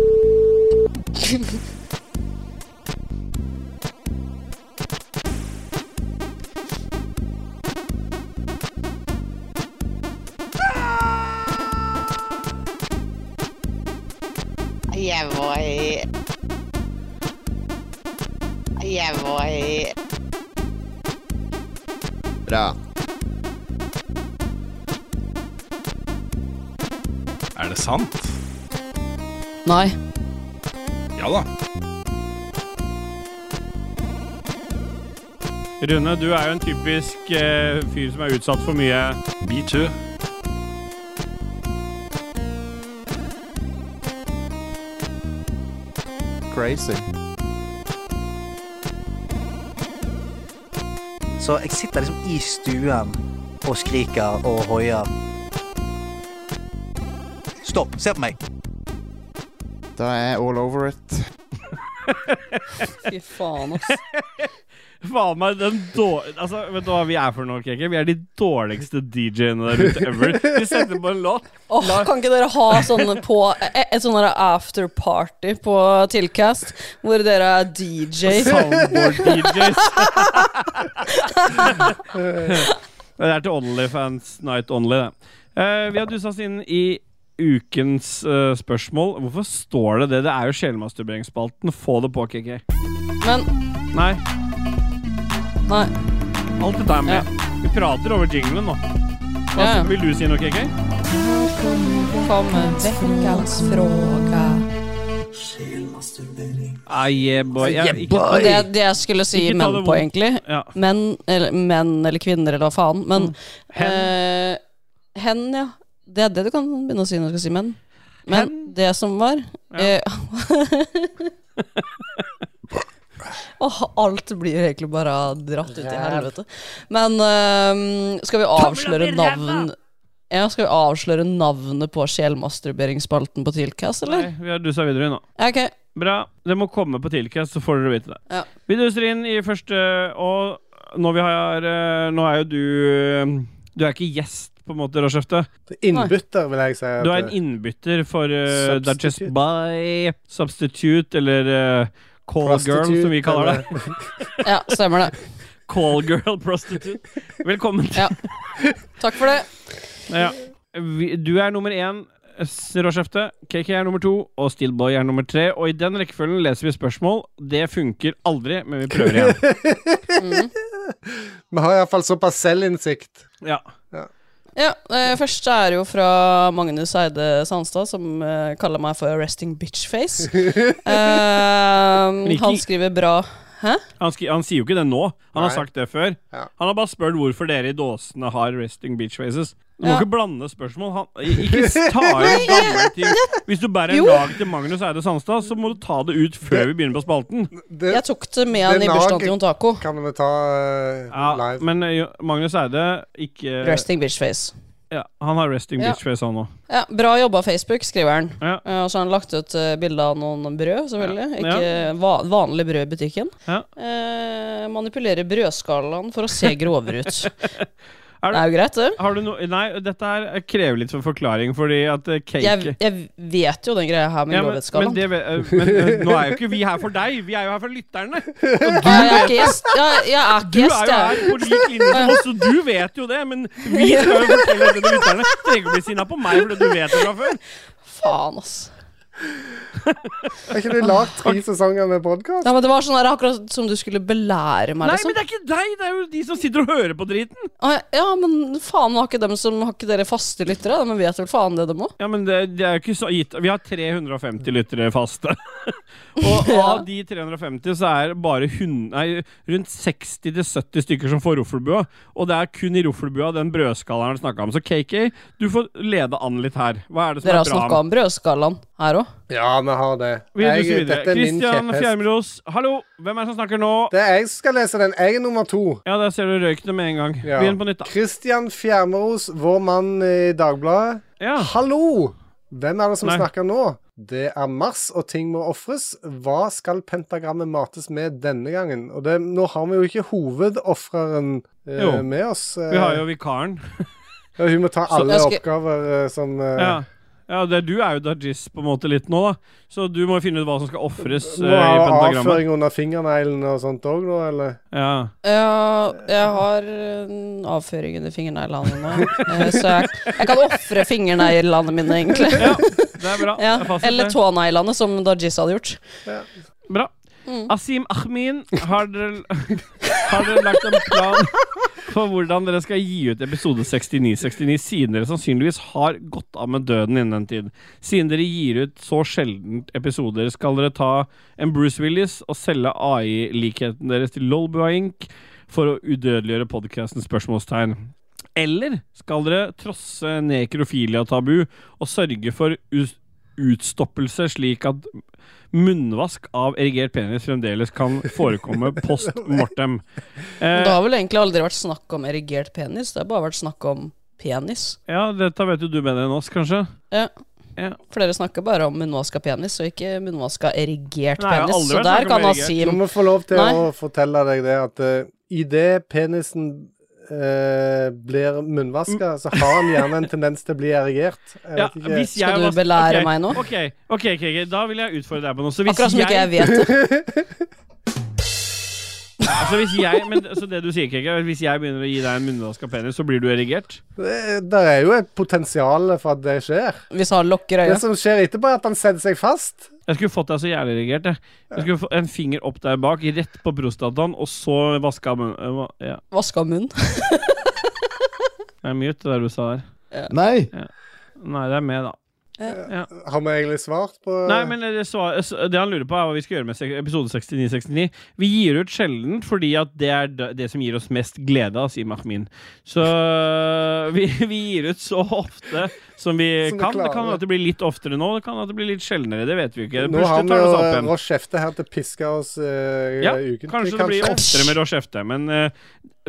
Yeah, boy. Yeah, boy.
Bra.
Er det sant?
Nei.
Ja da.
Rune, du er jo en typisk eh, fyr som er utsatt for mye
Me too.
Crazy.
Så jeg sitter liksom i stuen og skriker og hoier. Stopp. Se på meg.
Da er jeg all over it.
Fy faen, ass.
Faen meg, den dårlige Altså, vet du hva vi er for noe, Keke? Vi er de dårligste DJ-ene der ute ever. Vi setter på en låt.
Åh, kan ikke dere ha sånne på et, et sånn afterparty på Tilcast, hvor dere er DJ?
Soundboard-DJs. [LAUGHS] det er til Onlyfans Night Only, det. Eh, vi har dusa oss inn i ukens eh, spørsmål. Hvorfor står det det? Det er jo sjelmasturberingsspalten. Få det på, KK.
Men
Nei,
nei.
alt dette er med. Vi prater over jinglen nå. Hva,
Ja, ja.
Vil du si noe, KK?
eh, Velkommen veckans fråga.
Sjelmasturbering.
Ah, yeah, boy. Jeg- ikke-
Men Det, det jeg skulle si
Ikke ta
menn
det
på,
vondt.
egentlig.
Ja.
Menn, eller, menn eller kvinner, eller hva faen. Men
Mm.
hen. hen, ja. Det er det du kan begynne å si når du skal si menn. Men det som var eh, [LAUGHS] Åh, alt blir egentlig bare dratt ut i
Ræv.
helvete. Men eh, skal vi avsløre
Tomler opp i ræva!
navn ja, Skal vi avsløre navnet på sjelmasturberingsspalten på Tilkast, eller?
Nei, vi har dusa videre nå.
Ok.
Bra. Det må komme på Tilcast, så får dere vite det.
Ja.
Vi duser inn i første Og når vi har eh, Nå er jo du eh, Du er ikke gjest, på en måte, Rashefte.
Innbytter, vil jeg si. at eh,
Du er en
det-
innbytter for uh,
Substitute.
Duchess by Substitute, eller eh, Call Girl,
Prostitute,
som vi kaller det.
Ja, stemmer det.
[LAUGHS] Call Girl Prostitute. Velkommen.
[LAUGHS]
Ja. Takk for det.
Ja. Vi- Du er nummer én, s- Råskjefte. KK er nummer to, og Steelboy er nummer tre. Og i den rekkefølgen leser vi spørsmål. Det funker aldri, men vi prøver
[LAUGHS]
igjen.
Vi har iallfall såpass selvinnsikt.
Ja.
Ja, eh, Første er jo fra Magnus Eide Sandstad, som eh, kaller meg for Resting Bitchface. Eh, han
ikke-
skriver bra. Hæ?
Han, skri, han sier jo ikke det nå. Han har
Nei.
sagt det før. Han har bare spurt hvorfor dere i dåsene har resting beach faces. Du må
Ja.
ikke blande spørsmål. Han, ikke
[LAUGHS]
ta ut gamle ting. Hvis du bærer
Jo.
lag til Magnus Eide Sandstad, så må du ta det ut før vi begynner på spalten.
Jeg tok det med han i bursdagen til Jon Taco.
Kan vi ta eh,
Ja, men eh, jo- Magnus Eide, ikke eh,
Resting bitch face.
Ja, han har resting
Ja.
bitch face, han òg.
Ja, Bra jobba, Facebook, skriver han.
Ja.
Eh, og så har han lagt ut uh, bilde av noen brød, selvfølgelig.
Ja.
Ikke va vanlig brød i butikken.
Ja.
Eh, manipulerer brødskalaen for å
[LAUGHS]
se grovere ut. det er jo greit, det.
Har du no nei, dette her eh, krever litt for forklaring, fordi at eh, cake
Jeg, jeg vet jo den greia her med
Ja, men, men,
grovhetsskalaen.
det, ve- eh, men eh, nå er jo ikke vi her for deg, vi er jo her for lytterne. Og
Ja, jeg er ikke gjest. Ja, jeg er ikke
Du er jo
gjest,
her
jeg.
på lik
[LAUGHS]
linje som oss, og du vet jo det, men vi skal jo fortelle det til lytterne. Du Trenger ikke bli sinna på meg fordi du vet det fra før.
Faen, ass.
Har ikke du
[LAUGHS]
lagd tre sesonger med podkast?
Ja, men det var sånn der, akkurat som du skulle belære meg,
Nei,
liksom.
men det er ikke deg, det er jo de som sitter og hører på driten.
Ah, Ja, men faen, har ikke, dem som, har ikke dere faste lyttere? De vet vel faen det, dem òg?
Ja, men det, det er jo ikke så gitt. Vi har 350 lyttere faste. [LAUGHS] Og av de 350 så er det bare hun, nei, rundt 60-70 stykker som får roffelbua. Og det er kun i roffelbua den brødskalaen snakka om. Så KK, du får lede an litt her. Hva er det som
Dere har
er bra?
snakka om brødskalaen her òg.
Ja, vi har det.
Vi
Jeg-
duser videre.
dette er min
Kristian
kjepphest.
Fjermelos, hallo! Hvem er det som snakker nå?
Det er jeg som skal lese den. Jeg er nummer to.
Ja, der ser du røykene med en gang.
Ja.
Begynn på nytt, da.
Kristian Fjermeros, vår mann i Dagbladet. Hallo! Hvem er det som
Nei.
snakker nå? Det er Mars, og ting må ofres. Hva skal pentagrammet mates med denne gangen? Og det, nå har vi jo ikke hovedofreren eh,
Jo.
med oss. eh.
Vi har jo vikaren.
Ja, hun må ta
Så-
alle
Jeg skal-
oppgaver eh, som eh,
Ja. Ja, det, Du er jo dajis på en måte litt nå, da. Så du må finne ut hva som skal ofres eh,
Må
i
ha
pentagrammet.
avføring under fingerneglene og sånt òg nå, eller?
Ja.
Ja, jeg har eh, avføring under fingerneglene nå, eh, så jeg, jeg kan ofre fingerneglene mine, egentlig.
Ja, det er bra.
Ja,
Det er fasit,
eller
det.
tåneglene, som Dajis hadde gjort.
Bra.
Mm.
Asim Ahmin, har dere, [LAUGHS] har dere lagt en plan for hvordan dere skal gi ut episode 6969, siden dere sannsynligvis har gått av med døden innen den tid? Siden dere gir ut så sjelden episoder, skal dere ta en Bruce Willis og selge AI-likheten deres til Lolbua Inc. for å udødeliggjøre podkastens spørsmålstegn? Eller skal dere trosse nekrofilia-tabu og sørge for us- utstoppelse, slik at munnvask av erigert penis fremdeles kan forekomme post mortem?
Men Det
Eh,
har vel egentlig aldri vært snakk om erigert penis, det har bare vært snakk om penis.
ja, dette vet jo du bedre enn oss, kanskje?
Ja.
Ja.
For dere snakker bare om munnvaska penis, og ikke munnvaska erigert
Nei, jeg har
penis.
aldri
Så
vært
der
snakk om
kan
erigert.
Asim
Du må få lov til
Nei.
å fortelle deg det at uh, idet penisen eh, blir munnvaska, så har han gjerne en tendens til å bli erigert. Jeg
Mm. Ja,
vet ikke.
hvis jeg var- ok, ok, ok, ok, ok, da vil jeg utfordre deg på noe. Så hvis
Akkurat som ikke jeg vet
det. Altså hvis jeg, men, så det du sier, Keke, er at hvis jeg begynner å gi deg en munnvask av penis, så blir du erigert?
Det, det Eh, er jo et potensial for at det skjer.
Hvis han
[LAUGHS]
lukker øya.
Det som skjer etterpå, er at han setter seg fast.
Jeg skulle fått deg så jævlig erigert. Jeg. jeg skulle få en finger opp der bak, rett på prostataen, og så vaska munnen. Eh, Ja.
Vaska
[LAUGHS]
munn.
Det er mute, det der du sa der.
Nei!
Nei, det er med, da. Ja.
Har vi egentlig svart på
Nei, men det, svar, det han lurer på, er hva vi skal gjøre med sek- episode 69-69. Vi gir ut sjelden fordi at det er d- det som gir oss mest glede av, sier Mahmin. Så [LAUGHS] vi, vi gir ut så ofte som vi
Som vi
kan. Det
klarer.
kan at det blir litt oftere nå, det kan at det blir litt sjeldnere. Det vet vi jo ikke.
Nå har
Plutselig
vi
tar det
jo
seg opp igjen.
Ross Kjefte her til å piske oss eh,
Ja,
ukentlig.
kanskje det blir oftere med Rochefte, men eh,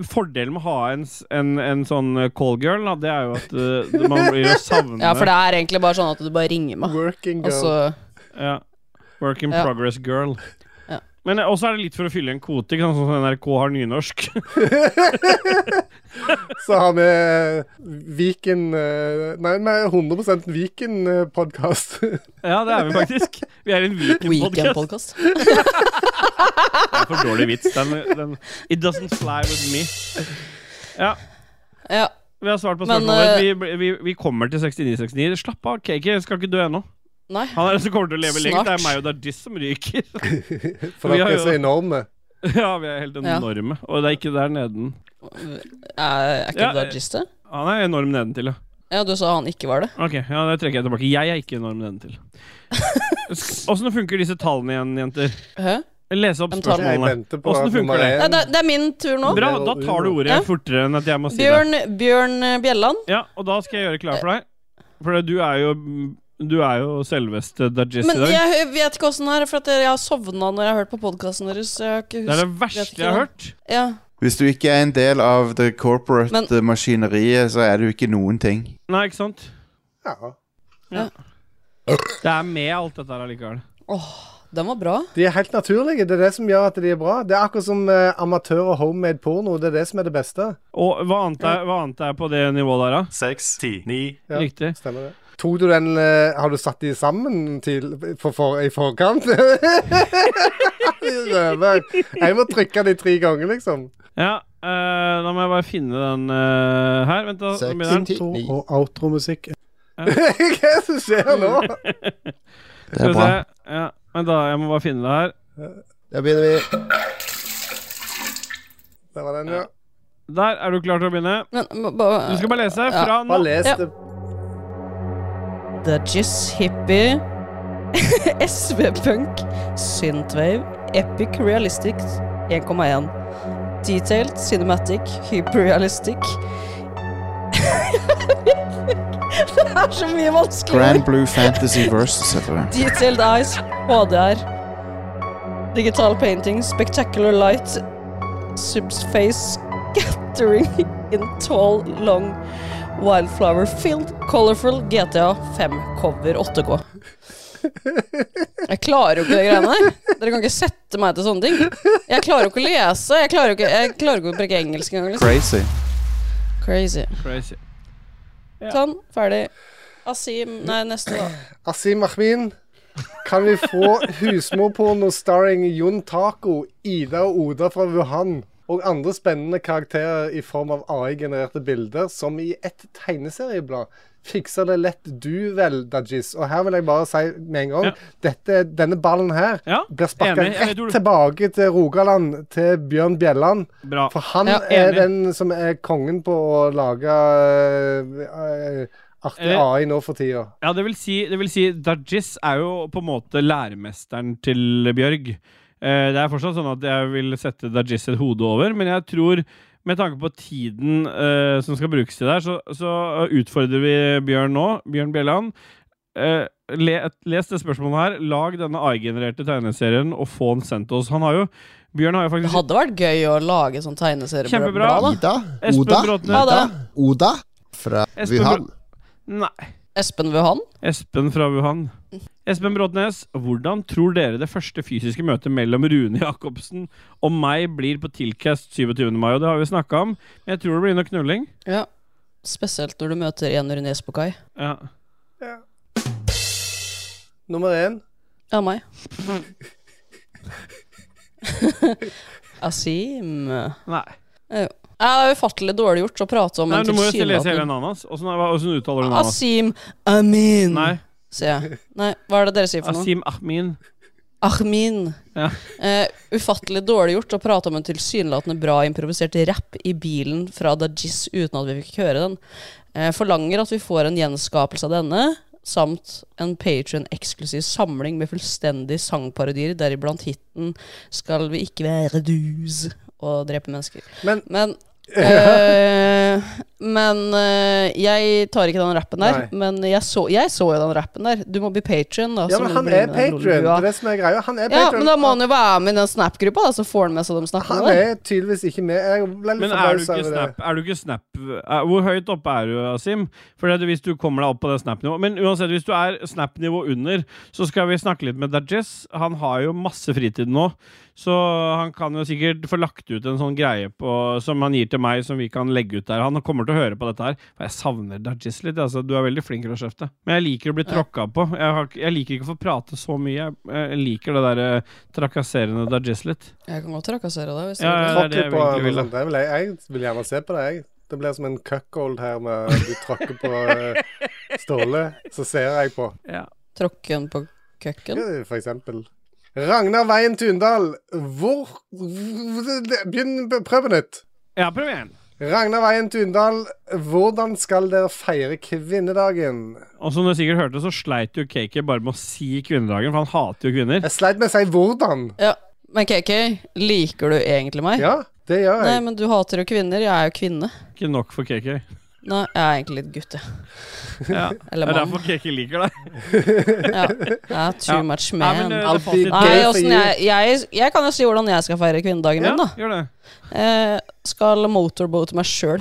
fordelen med å ha en, s- en, en sånn callgirl, da, det er jo at eh, man blir å savne
Ja, for det er egentlig bare sånn at du bare ringer meg.
Working
Og så
Ja. Work in
Ja.
progress girl.
Ja.
Men eh, også er det litt for å fylle en kvote, ikke sant, sånn som NRK har nynorsk.
Så har vi eh, Viken eh, Nei, vi er 100 eh, Viken-podkast.
[LAUGHS] ja, det er vi faktisk. Vi er en Viken-podkast.
Weekend-podkast.
Det er for dårlig vits. Den, den, it doesn't fly with me. Ja.
Ja.
Vi har svart på
Men, eh,
spørsmålet. Vi, bl- vi, vi kommer til 69-69. Slapp av, KK skal ikke dø ennå.
Nei.
Han er den som kommer til å leve lenge.
Snart.
Det er meg og Dajis som ryker.
[LAUGHS]
[LAUGHS]
For
Vi har
dere er
jo-
så enorme.
Ja, vi er helt
Ja.
enorme. Og det er ikke der neden.
Er ikke
Ja,
det Dajis det?
Han er enorm nedentil, ja.
Ja, du sa han ikke var det.
Ok, ja, det trekker jeg tilbake. Jeg er ikke enorm nedentil.
[LAUGHS]
Åssen funker disse tallene igjen, jenter?
Hæ?
Lese opp
De tallene.
Jeg
spørsmålene.
venter på
Åssen
at nummer
funker det?
én-
Nei, det, det er min tur nå.
Um, Bra, da tar du ordet
Ja.
fortere enn at jeg må si det.
Bjørn, Bjørn eh, Bjelland.
Ja, og da skal jeg gjøre klar for deg. For du er jo Du er jo selveste Dajis i
Men
dag.
jeg hø- vet ikke åssen det er, for at jeg har sovna når jeg har hørt på podkasten deres. så Jeg har ikke
Det er det
husk- vet
verste
ikke
jeg har
det.
hørt.
Ja.
Hvis du ikke er en del av det corporate
Men-
eh, maskineriet, så er du ikke noen ting.
Nei, ikke sant?
Ja.
Ja. Det er med alt dette her allikevel.
Åh, den var bra.
De er helt naturlige. Det er det som gjør at de er bra. Det er akkurat som eh, amatør og homemade porno. Det er det som er det beste.
Og hva annet er, hva annet er på det nivået der, da?
Seks, ti, ni
Ja,
Riktig.
Stemmer det. Tok du den eh, Har du satt de sammen til, for, for, i forkant? [LAUGHS] Røver. jeg må trykke de tre ganger, liksom.
Ja, eh, da må jeg bare finne den eh, her. Vent, da. da begynner den.
Intro og outro-musikk.
[LAUGHS] Hva er det som skjer nå?
Det er
Skal vi
bra.
se. Ja, men da, jeg må bare finne det her.
Da begynner vi.
Det var den, ja.
Der er du klar til å begynne.
Men, må-
Du
bare-
skal bare lese fra
Bare
nå.
les
Ja.
det.
Dudgies, hippie, [LAUGHS] SV-punk, synthwave, epic realistic 1,1. Detailed, cinematic, hyperrealistic [LAUGHS] Det er så mye vanskeligere.
Grand Blue Fantasy Versus heter det.
Detailed eyes, HDR. Digital painting, spectacular light, subspace [LAUGHS] scattering in tall, long wildflower field, colorful GTA 5 cover 8K. Jeg klarer jo ikke de greiene der. Dere kan ikke sette meg til sånne ting. Jeg klarer jo ikke å lese. Jeg klarer jo ikke, jeg klarer ikke å bruke engelsk engang. Liksom.
Crazy.
Crazy.
Crazy. Ja.
Sånn, ferdig. Asim Nei, neste, da.
Asim Ahmin, kan vi få husmorporno starring Jon Taco, Ida og Oda fra Wuhan og andre spennende karakterer i form av AI-genererte bilder, som i ett tegneserieblad? Fikser det lett du vel, Dajis? Og her vil jeg bare si med en gang
Ja.
dette, Denne ballen her
Ja,
blir sparka
enig. Jeg
rett
vet hvor du-
tilbake til Rogaland, til Bjørn Bjelland.
Bra.
For han
Ja,
er
enig.
den som er kongen på å lage øh, øh, artig
Eh,
AI nå for tida.
Ja, det vil si, det vil si Dajis er jo på en måte læremesteren til Bjørg. Eh, det er fortsatt sånn at jeg vil sette Dajis et hode over, men jeg tror med tanke på tiden eh, som skal brukes til det her, så, så utfordrer vi Bjørn nå. Bjørn Bjelland. Eh, le, les det spørsmålet her. Lag denne AI-genererte tegneserien og få den sendt oss. Han har jo Bjørn har jo
Det
faktisk
hadde vært gøy å lage sånn tegneserieblad.
Kjempebra.
da.
Ida.
Espen
Oda.
Bråten.
Ha det.
Oda fra
Espen
Wuhan.
Nei.
Espen Wuhan?
Espen fra Wuhan. Espen Bråtnes, hvordan tror dere det første fysiske møtet mellom Rune Jacobsen og meg blir på Tilcast 27. mai? Og det har vi snakka om, men jeg tror det blir noe knulling.
Ja. Spesielt når du møter en Rune Espokai.
Ja.
Nummer én.
Ja, meg. [LAUGHS] Asim Ja,
Nei.
Det er ufattelig dårlig gjort å prate om
Nei
en
men du må jo lese hele
tilsynelatende
navnet hans. Åssen hva- åssen uttaler du navnet hans?
Asim Amin,
Nei.
sier jeg. Nei, hva er det dere sier for noe?
Asim Ahmin.
Ahmin.
Ja.
Eh, ufattelig dårlig gjort å prate om en tilsynelatende bra improvisert rapp i bilen fra Dajis uten at vi fikk høre den. Eh, forlanger at vi får en gjenskapelse av denne, samt en Patrion-eksklusiv samling med fullstendig sangparodier, deriblant hiten 'Skal vi ikke være dus' og drepe mennesker.
Men, [LAUGHS]
eh, men eh, jeg tar ikke den rappen der.
Nei.
Men jeg så, jeg så jo den rappen der. Du må bli Patrion, da.
Ja,
så
men
må
han
Altså, du bli
er
med den
patron. Det
lolbua.
er det som er greia. Han er
Ja,
patron.
men da må han jo være med i den Snap-gruppa, da, så får han med seg de snappene
Han er tydeligvis ikke med. Jeg ble litt
Men er du
forbausa
ikke
over det.
snap, er du ikke snap er, Hvor høyt oppe er du, Asim? For det, er hvis du kommer deg opp på det snap-nivået Men uansett, hvis du er snap-nivå under, så skal vi snakke litt med Dajis. Han har jo masse fritid nå, så han kan jo sikkert få lagt ut en sånn greie på, som han gir til meg, som vi kan legge ut der. Han kommer til å høre på dette her. For jeg savner Dajis litt. Altså, du er veldig flink til å kjefte. Men jeg liker å bli tråkka på. Jeg, har, ikke- jeg liker ikke å få prate så mye. Jeg, jeg liker det derre trakasserende Dajis litt.
Jeg kan godt trakassere deg. Hvis
Ja,
du vil.
ja, det er det jeg
Tråkk litt på
egentlig vil, da.
han. Det vil jeg, jeg vil gjerne se på det, jeg. Det blir som en cuckold her med at du tråkker på eh, Ståle, så ser jeg på.
Tråkken på køkken.
Ja, For eksempel. Ragnar Veien Tundal, hvor Begynn, prøv på nytt.
Ja, prøv igjen.
Ragnar Veien Tundal, hvordan skal dere feire kvinnedagen?
Og som du sikkert hørte, så sleit jo KK bare med å si kvinnedagen, for han hater jo kvinner.
Jeg sleit med å si hvordan.
Ja. Men KK, liker du egentlig meg?
Ja, det gjør
Nei, men du hater jo kvinner. Jeg er jo kvinne.
Ikke nok for KK.
Nei, jeg er egentlig litt gutte.
Ja.
Eller
det er
mann.
derfor KK liker deg.
Ja. Ja, too much
Nei,
man.
men, eh,
Nei,
det fasit-
åssen jeg, jeg, jeg kan jo si hvordan jeg skal feire kvinnedagen
Ja,
min, da.
gjør det.
Eh, skal motorboat meg sjøl.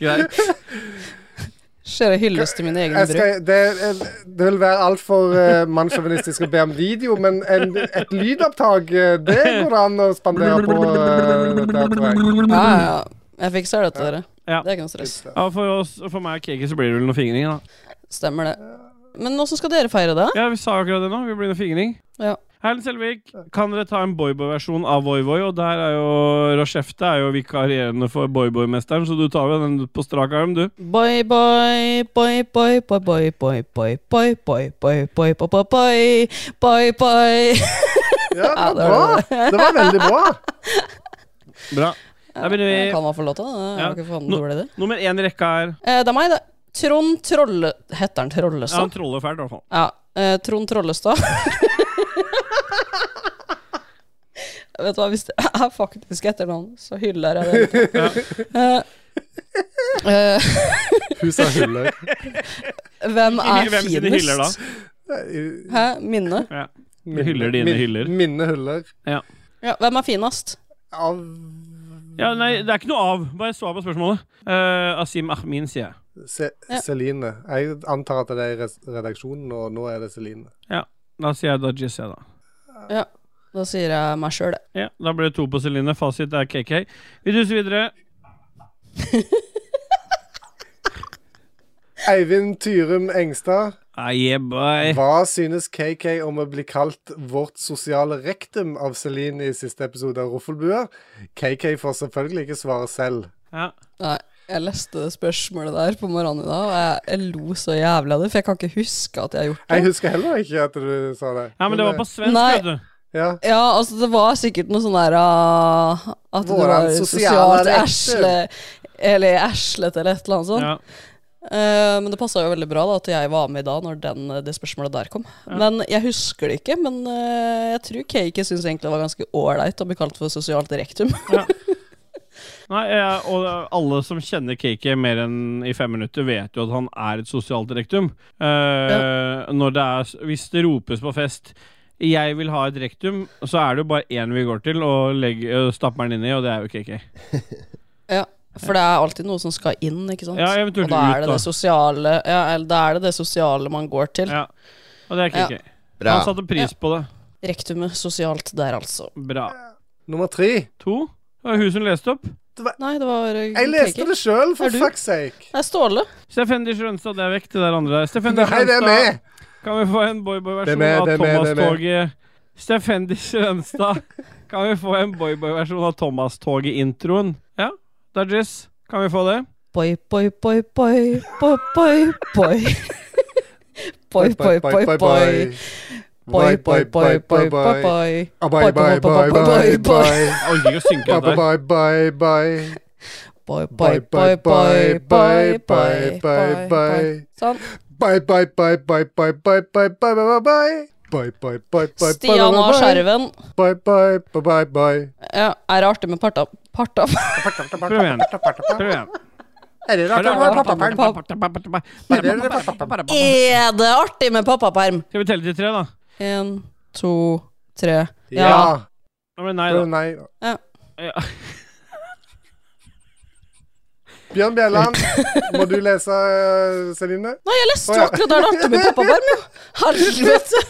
Greit.
Ser jeg hylles til mine egne
Jeg
bruk.
skal, det, det vil være altfor uh, mannssjåvinistisk å be om video, men en, et lydopptak, eh, det går det an å spandere på. eh, der, tror jeg.
Ja, ja, ja. Jeg fikser det til dere.
Ja.
Det er ikke noe stress.
Ja, for, oss, for meg og KK så blir det vel noe fingring, da.
Stemmer det. Men åssen skal dere feire det?
Ja, vi sa jo akkurat det nå. Vi blir noe fingring.
Ja.
Erlend Selvik, kan dere ta en boyboy-versjon av Voivoi? Og der er jo Rochefte er jo vikarierende for boyboy-mesteren, så du tar jo den på strak arm, du.
Boy, boy, boy, boy, boy, boy, boy, boy, boy, boy, boy, boy, boy, boy, boy, boy, boy.
Ja, det var bra. Det var veldig bra.
Bra. Da begynner vi.
Kan man få låta? Det er jo ikke faen
No-
dårlig, det.
Nummer én i rekka er
Eh, Det er meg, det. Trond Trolle... Heter han
Ja, han
Trollestad?
troller fælt, i hvert fall.
Ja. eh, Trond Trollestad. [LAUGHS] Vet du hva, hvis det er faktisk etternavn, så hyller jeg det. Eh, eh,
Hun sa hyller.
Hvem er
Hvem sine hyller, da?
finest? Hæ? Minne?
Ja. Vi hyller dine
Min-
hyller.
Mine hyller.
Ja.
Ja, hvem er finest?
Av
Ja, nei, det er ikke noe av. Bare svar på spørsmålet. Eh, Asim Ahmin, sier jeg.
Se Celine. Jeg antar at det er i res- redaksjonen, og nå er det Celine.
Ja, Da sier jeg Dodges, jeg, da.
Ja, da sier jeg meg sjøl, det.
Ja, Da blir det to på Celine. Fasit er KK. Vi duser videre.
Eivind Tyrum Engstad.
Ah, yeah, boy.
Hva synes KK om å bli kalt vårt sosiale rektum av Celine i siste episode av Ruffelbua? KK får selvfølgelig ikke svare selv.
Ja.
Nei, jeg leste det spørsmålet der på morgenen i dag, og jeg, jeg lo så jævlig av det, for jeg kan ikke huske at jeg har gjort det.
Jeg husker heller ikke at du sa det. eh,
Ja, men det var på svensk,
Nei.
vet du.
Ja.
Ja, altså, det var sikkert noe sånn der ah, At det
Våran
var
sosiale
sosialt
rektum.
æsle Eller æslete, eller et eller annet sånt.
Ja.
Eh, men det passa jo veldig bra da at jeg var med i dag, når den, det spørsmålet der kom. Men jeg husker det ikke, men eh, jeg tror Kake syns egentlig det var ganske ålreit å bli kalt for sosialt
[LAUGHS]
rektum.
Nei, jeg, og alle som kjenner KK mer enn i fem minutter, vet jo at han er et sosialt rektum. Eh, når det er, hvis det ropes på fest 'jeg vil ha et rektum', så er det jo bare én vi går til, og legger, og stapper den inni, og det er jo KK.
Ja, for det er alltid noe som skal inn, ikke sant?
Ja, eventuelt
og da
ut,
er det
da.
det sosiale Ja, eller da er det det sosiale man går til.
Ja. Og det er KK.
Ja.
Bra.
Han satte pris på det.
Rektumet sosialt der, altså.
Bra.
Nummer tre.
To. Det var hun som leste opp.
Nei, det var eh,
Jeg leste
Keke.
det sjøl,
Er
for
du?
fuck's sake.
Det er Ståle.
Stefendi Sjønstad, det er vekk, det der andre der. Stefendi
Nei, det er
Sjønstad,
med.
kan vi få en
Det er
boyboy-versjon
med,
av
det er med, det er med.
Thomas-toget? Stefendi
[LAUGHS]
Sjønstad, kan vi få en boyboy-versjon av Thomas-toget-introen? Ja, Dajis, kan vi få det?
Boy, boy, boy, boy, boy, boy, boy. Boy, boy, boy, boy. Boy, boy, boy, boy, boy, boy.
Ah, Bye, bye, bye, bye, bye.
boy.
Jeg orker ikke å synke
Bye,
det der.
bye, bye, bye.
Bye, bye, bye, bye, bye, bye, bye, bye. Sånn.
Bye, bye, bye, bye, bye, bye, bye, bye, bye, bye, bye. Bye, bye, bye, bye,
Stian
bye,
og
bye, bye.
skjerven.
Bye, bye, bye, bye, bye.
Ja, er det artig med parta... Parta...
Prøv igjen. Prøv igjen.
Er det rart?
Er det artig med pappaperm?
Eh. Skal vi telle til tre, da?
En, to, tre.
Ja.
Nå ble det nei, da.
Nei.
Ja.
Ja.
Bjørn
[LAUGHS]
Bjelland, må du lese eh, Celine?
Nei, jeg leste
Å,
jo
ja.
akkurat der det er artig med [LAUGHS] pappaperm, jo! Helvete!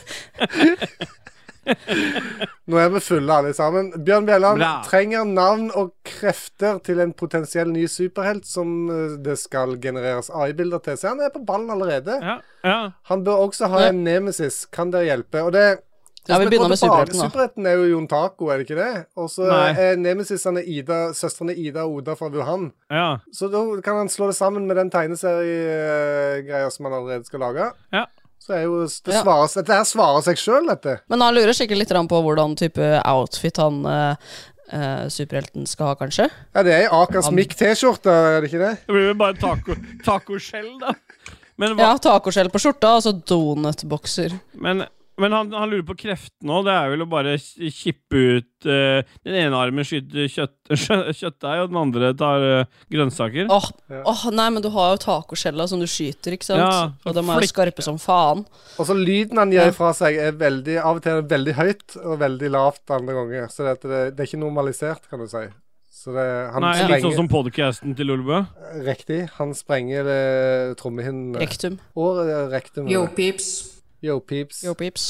Nå er vi fulle, alle sammen. Bjørn Bjelland
Bra.
trenger navn og krefter til en potensiell ny superhelt som eh, det skal genereres AI-bilder til. Så han er på ballen allerede.
Ja.
Han bør også ha en nemesis. Kan dere hjelpe? Og det
Ja, vi
hvis
begynner
går
med
tilbake-
superhelten, da.
Superhelten er jo Jon Taco, er det ikke det? Og så
Nei.
er nemesisene Ida, søstrene Ida og Oda fra Wuhan.
Ja.
Så da kan han slå det sammen med den tegneseriegreia som han allerede skal lage.
Ja.
Så er jo det svares, Dette her svarer seg sjøl, dette.
Men han lurer sikkert litt grann på hvordan type outfit han eh, eh, superhelten skal ha, kanskje.
Ja, det er ei Akers
Han-
Mic-T-skjorte, er det ikke det?
Det blir vel bare taco, tacoskjell, da. Men, hva,
Ja, tacoskjell på skjorta, altså donutbokser.
men, men han, han lurer på kreftene òg. Det er vel å bare k- kippe ut eh, Den ene armen skyter kjøtt, [LAUGHS] kjøttdeig, og den andre tar eh, grønnsaker.
Åh, åh, nei, men du har jo tacoskjella som du skyter, ikke sant?
Ja,
og de er
flikk.
jo skarpe som faen.
Og så lyden han
Ja.
gir fra seg, er veldig, av og til veldig høyt og veldig lavt andre ganger. Så det, det, det er ikke normalisert, kan du si. Så det, han
Nei, Litt sånn
sprenger
som podcasten til Olbø.
Riktig. Han sprenger eh, trommehinnen.
Rektum.
Og eh, rektum.
Yo, peeps.
Yo, peeps.
Yo, peeps.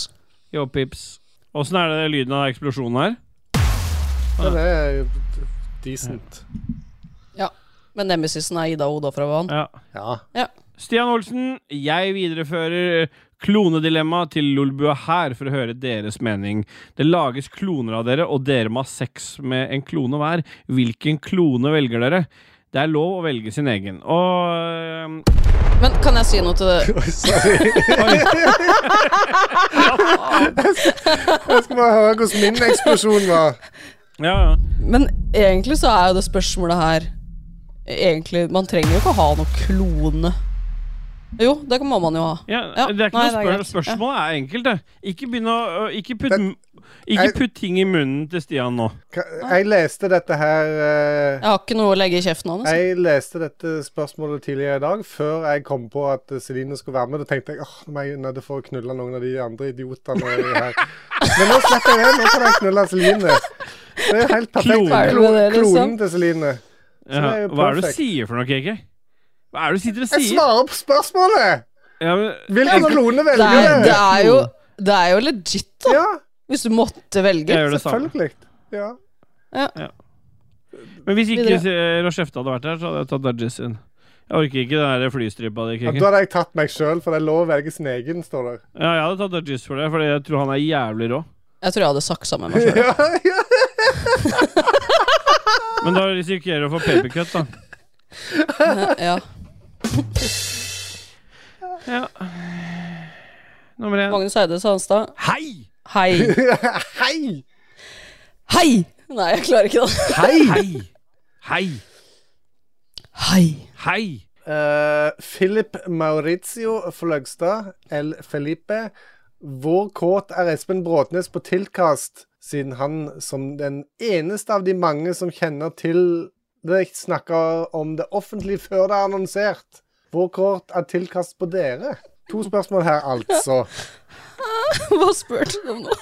Yo, pips. Åssen er det lyden av eksplosjonen her?
Ja, det er jo d- decent.
Ja. Men nemesisen er Ida og Oda fra Van.
Ja.
Ja.
Stian Olsen, jeg viderefører klonedilemmaet til Lolbua her for å høre deres mening. Det lages kloner av dere, og dere må ha sex med en klone hver. Hvilken klone velger dere? Det er lov å velge sin egen. Og eh, øhm,
Men kan jeg si noe til det?
Jeg skal bare høre hvordan min eksplosjon var.
Ja, ja.
Men egentlig så er jo det spørsmålet her Egentlig, man trenger jo ikke ha noe klone. Jo, det må man jo ha.
Ja,
Ja,
det er ikke
nei,
noe
det er
spør
greit.
Spørsmålet er enkelt, det. Ikke begynn å øh, Ikke putt ikke putt ting i munnen til Stian nå.
Jeg leste dette her eh,
Jeg har ikke noe å legge i kjeften hans.
Jeg leste dette spørsmålet tidligere i dag, før jeg kom på at eh, Celine skulle være med. Da tenkte jeg åh, nå må jeg nødt for å knulle noen av de andre idiotene her. Men nå slipper jeg det. Nå kan jeg knulle Celine. Det er helt perfekt.
Klonen.
Klo,
Er det det, liksom?
klonen til Celine. Så
Ja,
det er jo
hva er det du
perfekt.
sier for noe, KK? Hva er det du sitter og
Jeg
sier?
svarer på spørsmålet!
Ja, men,
Hvilken klone
Det
velger
er,
du?
det er jo Det er jo legit, da.
Ja.
Hvis du måtte velge.
Jeg gjør det samme.
Selvfølgelig. Ja.
Ja.
Men hvis ikke
Videre.
eh, Rochefte hadde vært her, så hadde jeg tatt Dudges inn. Jeg orker ikke den der flystripa di,
Ja,
Kiki.
da hadde jeg tatt meg sjøl, for det er lov å velge sin egen, står det.
Ja, jeg hadde tatt Dudges for det, Fordi jeg tror han er jævlig rå.
Jeg tror jeg hadde saksa med meg
[LAUGHS]
sjøl.
Men da risikerer du å få papercut, da.
Ja.
Ja. Nummer én.
Magnus Eide Sandstad.
Hei!
Hei.
[LAUGHS] Hei!
Hei! Nei, jeg klarer ikke det.
Hei! Hei!
Hei.
Hei!
Eh, Philip Maurizio Fløgstad, El Felipe. Hvor kåt er Espen Bråtnes på tilkast, siden han som den eneste av de mange som kjenner til det, snakker om det offentlig før det er annonsert? Hvor kåt er tilkast på dere? To spørsmål her, altså.
Hva spurte du om nå?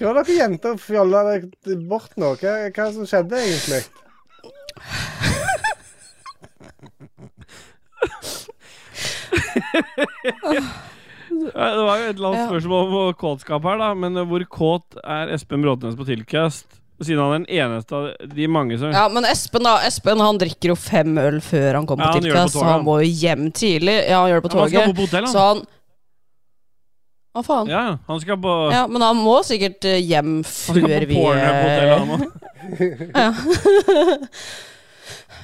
Hva har dere jenter fjolla dere bort nå? Hva, hva er det som skjedde, egentlig?
Ja, Det var jo et eller annet spørsmål om kåtskap her, da. Men eh, hvor kåt er Espen Bråtnes på Tilkast? Siden han er den eneste av de mange som
Ja, men Espen da, Espen han drikker jo fem øl før han kommer
Ja,
på
han gjør det på
tilkast, så
toget,
han
han.
må jo hjem tidlig. Ja, han gjør det på
Ja, men han
toget.
skal bo på hotell, han.
Så han Hva faen?
Ja, han skal på
Ja, men han må sikkert eh, hjem
Han skal
før eh,
på
vi
Pornhub-hotellet, han òg.
Ja. [LAUGHS]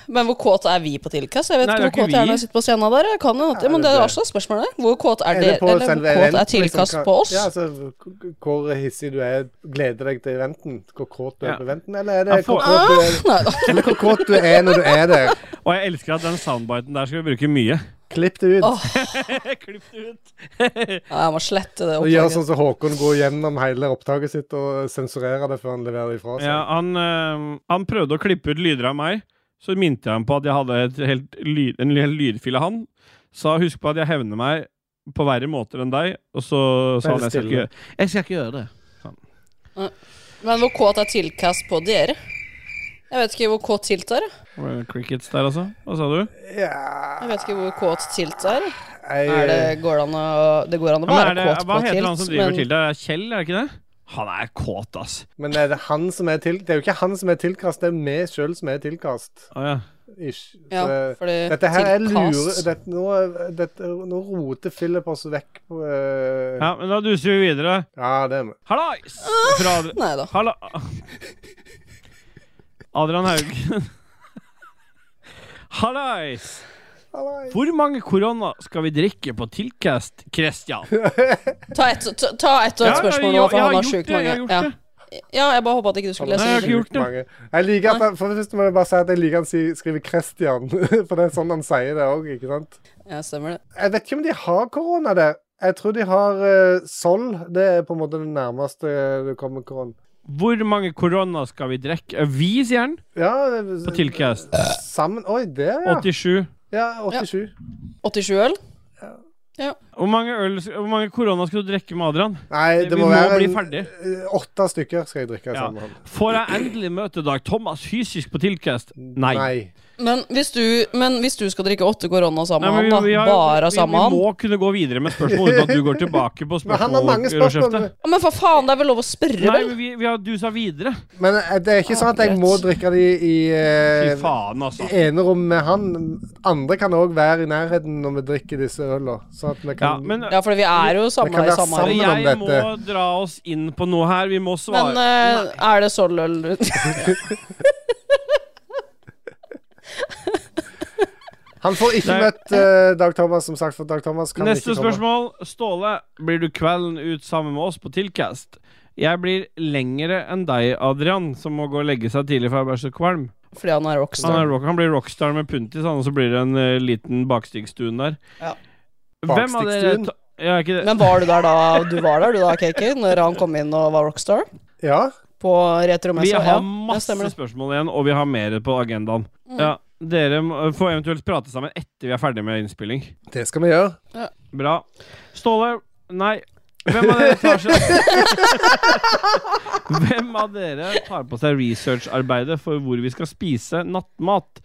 Men hvor kåte er vi på Tilkast? Jeg vet
Nei,
ikke hvor
det er ikke
kåte jeg er når jeg
vi.
sitter på scenen der. Jeg Kan jo, ja, men det er også spørsmålet. Hvor kåte
Er
er, det,
det på
eller
selve
hvor kåt
eventen,
er Tilkast
liksom?
på oss? [LAUGHS]
Ja, altså, k- hvor hissig du er, gleder deg til eventen, hvor kåt du er
Ja.
på eventen, eller er det
Jeg får-
hvor kåt du er,
eh, [LAUGHS]
eller hvor kåt du er når du er der?
Og jeg elsker at den soundbiten der skal vi bruke
[LAUGHS]
mye.
Klipp det ut.
Klipp det ut.
ja, jeg må slette det
Og gjør sånn
oppdraget.
som Håkon går gjennom hele opptaket sitt og sensurerer det før han leverer det ifra seg.
Ja, han, øhm, han prøvde å klippe ut lyder av meg. Så minte jeg ham på at jeg hadde et helt lyd, en hel lydfil av han. Sa husk på at jeg hevner meg på verre måter enn deg. Og så sa
Vær
han jeg skal,
stille.
ikke, gjøre- jeg skal ikke gjøre det.
Men hvor kåt er Tilkast på dere? Jeg vet ikke hvor kåt Tilt er. jeg.
Var det Crickets der, altså. Hva sa du?
Jeg vet ikke hvor kåt Tilt er.
Jeg-
er det, går det an å, det går an å
Men
være
er det,
kåt på
hva
Tilt.
heter han som driver
men-
til deg? Kjell, er det ikke det? Han er kåt, ass.
Men er det han som er til... Det er jo ikke han som er tilkast, det er vi sjøl som er tilkast.
Å, ja.
Ish.
Ja,
Så eh,
fordi
dette her er lure...
tilkast-
Dette, nå, dette, nå roter Philip oss vekk på eh,
Ja, men da duser vi videre.
Ja, det er vi.
Hallais! Fra Adrian.
Nei da.
Halla. Adrian Haugen. Hallais! Hvor mange korona skal vi drikke på Tilkast, Christian?
Ta ett ta, ta ett
Ja,
og ett
ja,
spørsmål nå,
ja, jeg har
for han har
gjort
sjukt
det, jeg
mange.
har gjort
Ja. ja, jeg bare håpa at ikke du skulle
Han
lese.
har
det.
sjukt mange. Jeg liker at han, for det første må jeg bare si at jeg liker at han si- skriver Christian, [LAUGHS] for det er sånn han sier det òg, ikke sant?
Ja, stemmer det.
Jeg vet ikke om de har korona der. Jeg tror de har eh, Sol. Det er på en måte det nærmeste du kommer korona.
Hvor mange korona skal vi drikke? Eh, Vi, sier han.
Ja, eh,
På Tilkast.
Sammen Oi, der, ja.
87.
Ja, 87.
87 øl?
Hvor mange, øl, hvor mange korona skal du drikke med Adrian?
Nei, det,
vi
må
må
være
bli
en-
ferdig.
eh, åtte stykker skal jeg drikke
Ja.
sammen med han.
Får jeg endelig møte Dag Thomas fysisk på Tilkast? Nei.
Nei.
Men hvis, du, men hvis du skal drikke åtte korona sammen
Nei,
med
men
han,
vi- vi
da?
har-
Bare
vi-
sammen med
Vi
han?
må kunne gå videre med spørsmål uten at du går tilbake på
Men han har mange spørsmål.
spørsmålrådskjeftet.
Ja, Men for faen, det er vel lov å spørre,
Nei,
vel?
men vi, vi har, du sa videre.
Men eh, det er ikke sånn at jeg må drikke de i eh,
Fy faen, altså.
enerom med han. Andre kan òg være i nærheten når vi drikker disse øla. Sånn at vi
Ja,
kan
men
Ja, fordi vi er jo
Det kan
samla i
være
samme
sammen.
rom.
om
jeg må
dette.
dra oss inn på noe her. Vi må svare.
Men eh, er det Sol-øl
Han får ikke
Nei.
møtt eh, Dag Thomas, som sagt, for Dag Thomas kan
Neste
ikke komme.
spørsmål. Ståle, blir du kvelden ut sammen med oss på Tilkast? Jeg blir lengre enn deg, Adrian, som må gå og legge seg tidlig, for jeg blir så kvalm.
[LAUGHS] Fordi han
Han,
er
er
rockstar.
rock, han blir rockstar med puntis, han, og så blir det en eh, liten bakstigsstuen der.
Ja.
Hvem av dere
Bakstigsstuen?
ta- ja, ikke det.
Men var du der da du var der, du da, KK? Når han kom inn og var rockstar?
Ja.
På
Vi
retromessa?
har
det
masse
stemmer det. Mm.
spørsmål igjen, og vi har mer på agendaen. Ja, dere må- får eventuelt prate sammen etter vi er ferdig med innspilling.
Det skal vi gjøre.
Bra. Ståle Nei. Hvem av dere tar seg Hvem av dere tar på seg researcharbeidet for hvor vi skal spise nattmat?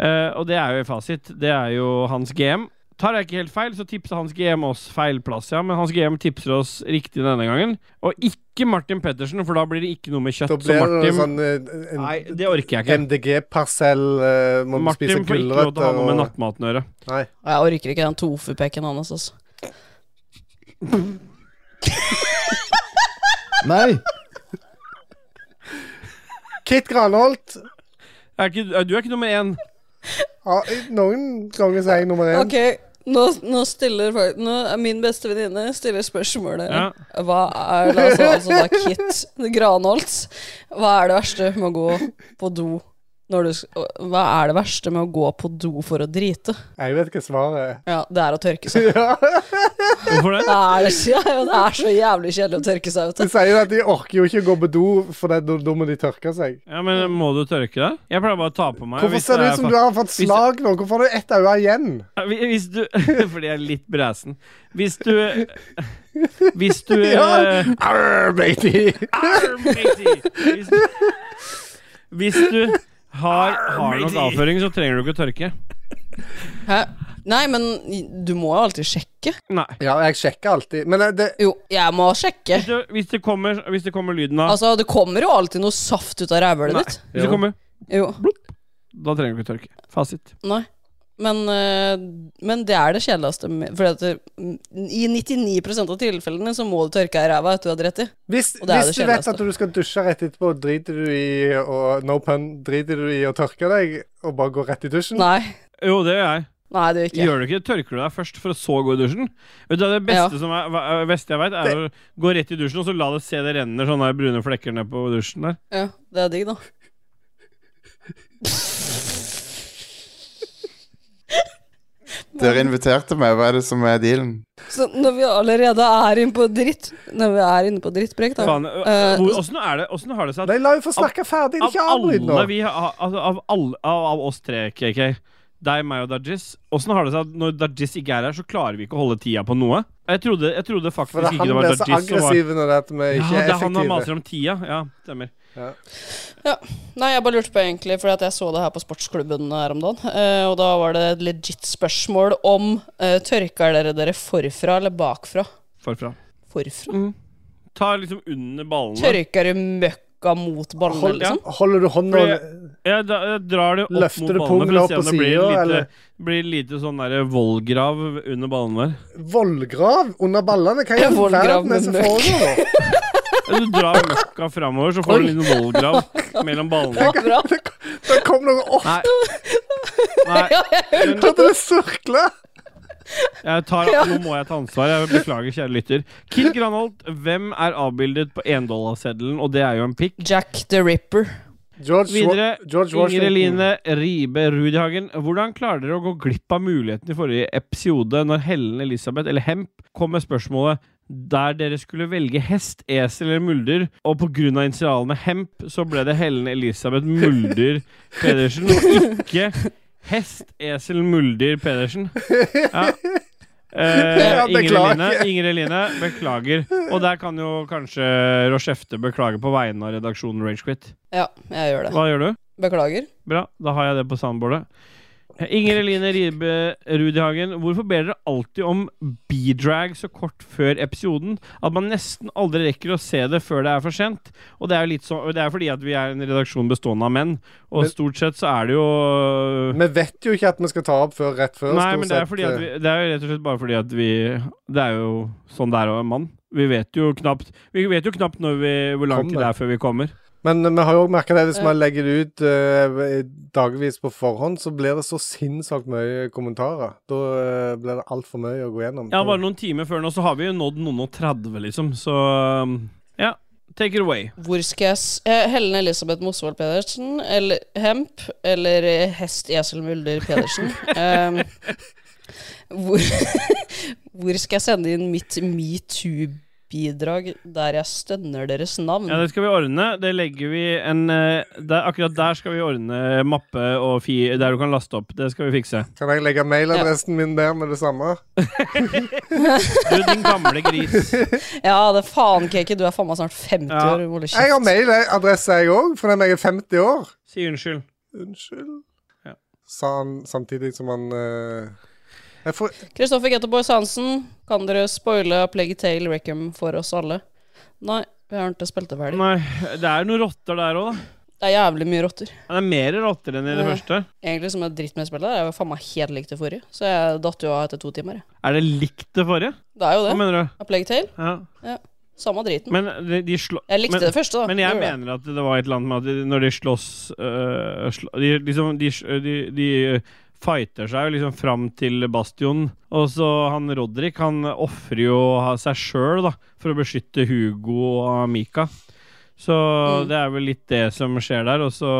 Eh, og det er jo i fasit. Det er jo hans GM. Tar jeg ikke helt feil, så tipsa hans GM oss feil plass, ja. Men hans GM tipser oss riktig denne gangen. Og ikke Martin Pettersen, for da blir det ikke noe med kjøtt.
Da
Så
blir det noe
Martin
sånn eh, en
Nei, det orker jeg ikke.
MDG-parsell eh, Må vi spise
Martin får ikke lov til å ha
gulrøtter
noe med
og
nattmaten å gjøre.
Nei.
Jeg orker ikke den tofu-peken hans, altså.
Nei!
Kit Granholt.
Er ikke, du er ikke nummer én.
Ja, ah, noen ganger sier jeg nummer én.
Ok, nå, nå stiller folk- nå er Min beste venninne stiller spørsmålet
Ja.
Hva er la oss, altså, da, Kit Granholt Hva er det verste med å gå på do når du, sk- Hva er det verste med å gå på do for å drite?
Jeg vet hva svaret er.
Ja, det er å tørke seg
Ja.
Hvorfor det?
Det er, [LAUGHS] ja, det er så jævlig kjedelig å tørke seg ut
De sier at de orker jo ikke å gå på do, for det- da da må de tørke seg.
Ja, men Må du tørke deg? Jeg pleier bare å ta på meg.
Hvorfor
hvis
ser det
er
ut som
fa-
du har fått
hvis-
slag nå? Hvorfor har du ett øye igjen?
Ja, hvi- Hvis du [LAUGHS] Fordi jeg er litt bresen. Hvis du
[LAUGHS]
Hvis du
Ja.
eh,
Arr, baby!
arr, matey. Hvis du, hvis du har, har nok
matey.
avføring, så trenger du ikke å tørke.
Hæ? Nei, men du må jo alltid sjekke
Nei.
Ja, jeg sjekker alltid. Men eh, det
Jo, jeg må sjekke
Hvis, du, hvis, det, kommer, hvis det kommer lyden av
Altså, det kommer jo alltid noe saft ut av rævhølet
Nei.
Altså,
ditt
Hvis det kommer,
Jo,
da trenger du ikke å tørke. Fasit.
nei Men, eh, men det er det kjedeligste. med- Fordi at det, I 99 av tilfellene så må du tørke deg i ræva etter du har driti.
Hvis,
Og det er
hvis
det
du vet
kjedeligste.
at du skal dusje rett etterpå, driter du i å no pun, driter du i å tørke deg og bare gå rett i dusjen?
Nei.
Jo, det gjør jeg.
Nei, det gjør ikke jeg.
Gjør du ikke det? Tørker du deg først, for å så gå i dusjen? Vet du, hva det beste, som er, hva- eh, beste jeg veit, er å gå rett i dusjen og så la det se det renner sånne brune flekker ned på dusjen der.
Ja, det er digg, da.
Dere inviterte meg, hva er det som er dealen?
Så når vi allerede er inne på dritt Når vi er inne på drittprek, da
Faen, øh,
eh,
hvor- Åssen er det- åssen har det seg at
Nei, la henne få snakke ferdig,
Av
ikke avbryt
alle
nå.
vi har, altså, av, alle, av, av oss tre, KK, deg, meg og Dajis Åssen har det seg at når Dajis ikke er her, så klarer vi ikke å holde tida på noe? Jeg trodde, jeg trodde faktisk
For
ikke
han
det var
blir
Dajis
så
som var
aggressiv når det er at vi ikke
ja,
er
det er han
effektive.
som maser om tida. Ja, stemmer.
Ja. Nei, jeg bare lurte på egentlig, fordi at jeg så det her på sportsklubben her om dagen. eh, og da var det et legit spørsmål om eh, tørker dere dere forfra eller bakfra?
Forfra.
Forfra?
Ta liksom under ballene.
Tørker du møkka mot ballene,
Hold- ja.
liksom?
Holder du hånda
Fordi jeg, jeg, da- jeg drar det opp
Løfter du
mot ballene
pungen
for å
opp
se
på
om det blir
siden,
lite,
eller?
blir lite sånn der vollgrav under ballene der.
Vollgrav under ballene? Hva
Ja,
er
vollgrav
verden
med
som
møkk. [LAUGHS]
foregår nå?
Du drar møkka framover, så får du en liten vollgrav mellom
[LAUGHS]
ballene.
Bakfra?
Det kom noe opp.
[LAUGHS] Nei.
ja, jeg hørte
det! Surkle!
Jeg tar, Nå må jeg ta ansvar. Jeg beklager, kjære lytter. Kid Granholt, hvem er avbildet på endollarseddelen? Og det er jo en pikk.
Jack the Ripper.
George, Wa-
Videre,
George
Inger
Washington.
Eline Ribe Rudhagen. Hvordan klarer dere å gå glipp av muligheten i forrige episode når Helen Elisabeth, eller Hemp, kom med spørsmålet der dere skulle velge hest, esel eller muldyr, og pga. initialene Hemp, så ble det Helen Elisabeth Muldyr Pedersen, og ikke Hest, esel, muldyr Pedersen. Ja. Eh,
Ja,
Inger
beklager.
Eline, Inger Eline, beklager. Og der kan jo kanskje Rochefte beklage på vegne av redaksjonen Ragequit.
Ja, jeg gjør det.
Hva gjør du?
Beklager.
Bra, da har jeg det på soundboardet. Inger Eline Ribe Rudihagen, hvorfor ber dere alltid om B-drag så kort før episoden at man nesten aldri rekker å se det før det er for sent? Og det er jo litt så, det er fordi at vi er en redaksjon bestående av menn, og
Men-
stort sett så er det jo
Vi vet jo ikke at vi skal ta opp før rett før.
Nei,
stort
men det er,
sett. eh,
fordi at vi, det er jo rett og slett bare fordi at vi Det er jo sånn det er å være mann. Vi vet jo knapt Vi vet jo knapt når vi, hvor lang tid det
Kommer.
er før vi kommer.
Men eh, vi har jo også merket det hvis
Ja.
man legger det ut eh, dagevis på forhånd, så blir det så sinnssykt mye kommentarer. Da eh, blir det altfor mye å gå gjennom.
Ja, bare noen timer før nå, så har vi jo nådd noen og 30, liksom. Så um, ja, take it away.
Hvor skal jeg s eh, Helen Elisabeth Mosvold Pedersen eller Hemp eller eh, Hest Esel Mulder
[LAUGHS]
Pedersen? Ehm, hvor, [LAUGHS] hvor skal jeg sende inn mitt metoo-bidrag der jeg stønner deres navn?
Ja, det skal vi ordne. Det legger vi en eh, der, Akkurat der skal vi ordne mappe og fi der du kan laste opp. Det skal vi fikse.
Kan jeg legge mailadressen min der med det samme?
Du, din gamle gris.
Ja, det faen, Kiki, du er faen meg snart 50 år. Hold kjeft.
Jeg har mailadresse, jeg òg, fordi jeg er 50 år.
Si unnskyld.
Unnskyld. Sa han samtidig som han eh, jeg får,
Kristoffer Gettoboys Hansen, kan dere spoile Plague Tale Reckham for oss alle? Nei, vi har ikke spilt det ferdig.
Nei, det er noen rotter der òg, da.
Det er jævlig mye rotter.
Ja, Det er mer rotter enn i det
Ja.
første.
Egentlig som er dritt med spillet, er jo faen meg helt likt det forrige. Så jeg datt jo av etter to timer. jeg.
Er det likt det forrige?
Det er jo det.
Hva mener du?
A Plague Tale.
Ja.
Ja. Samme driten.
Men de, de slå,
Jeg likte
men,
det første, da.
Men jeg
Det gjorde
mener at det var et eller annet med at de, når de slåss øh, slå, de, liksom, de, de, de fighter seg jo liksom fram til bastionen. Og så han Rodrik, han ofrer jo ha- seg sjøl, da, for å beskytte Hugo og Mika. Så det er vel litt det som skjer der, og så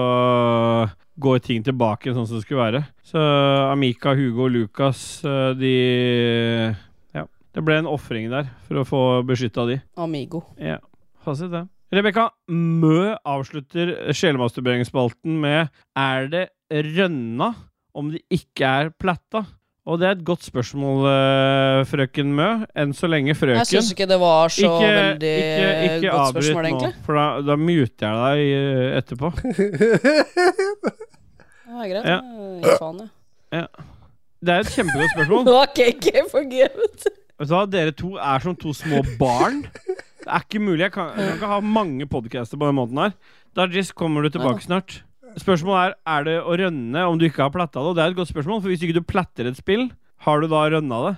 går ting tilbake sånn som det skulle være. Så Amika, Hugo og Lukas, øh, de Ja. Det ble en ofring der for å få beskytta de.
Amigo.
Ja, fasit det. Rebekka Mø avslutter sjelemasturberingsspalten med Er det rønna om det ikke er platta? Og det er et godt spørsmål, eh, frøken Mø. Enn så lenge, frøken.
Jeg syns ikke det var så
Ikke-
veldig
ikke- ikke
godt
avbryt
spørsmål,
nå,
egentlig.
For da, da muter jeg deg eh, etterpå.
Ja, greit.
Ja.
Jeg gir faen, jeg.
Ja. Det er et kjempegodt spørsmål.
[LAUGHS] Nå er KK forgivet.
Vet du hva, dere to er som to små barn. Det er ikke mulig. Jeg kan, jeg kan ikke ha mange podcaster på den måten her. Dajis, kommer du tilbake snart? Spørsmålet er er det å rønne om du ikke har platta det. Og det er et godt spørsmål, for hvis ikke du platter et spill, har du da rønna det?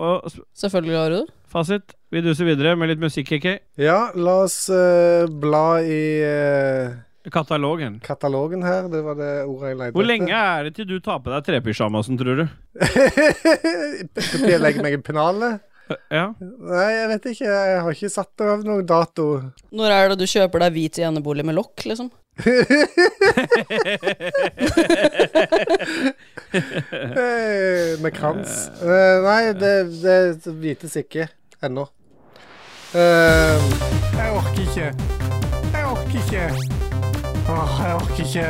Og
Selvfølgelig har du det.
Fasit. Vi duser videre med litt musikk, KK.
Ja, la oss eh, bla i eh,
Katalogen.
Katalogen her. Det var det ordet jeg lette
Hvor lenge er det til du tar på deg trepysjamasen, tror du?
[LAUGHS] Skal jeg legge meg i pennalet?
Ja.
Nei, jeg vet ikke. Jeg har ikke satt av noen dato.
Når er det du kjøper deg hvit enebolig med lokk, liksom?
Eh, Med krans. Eh, Nei, det, det vites ikke ennå. Eh,
Jeg orker ikke. Jeg orker ikke. Åh, jeg orker ikke.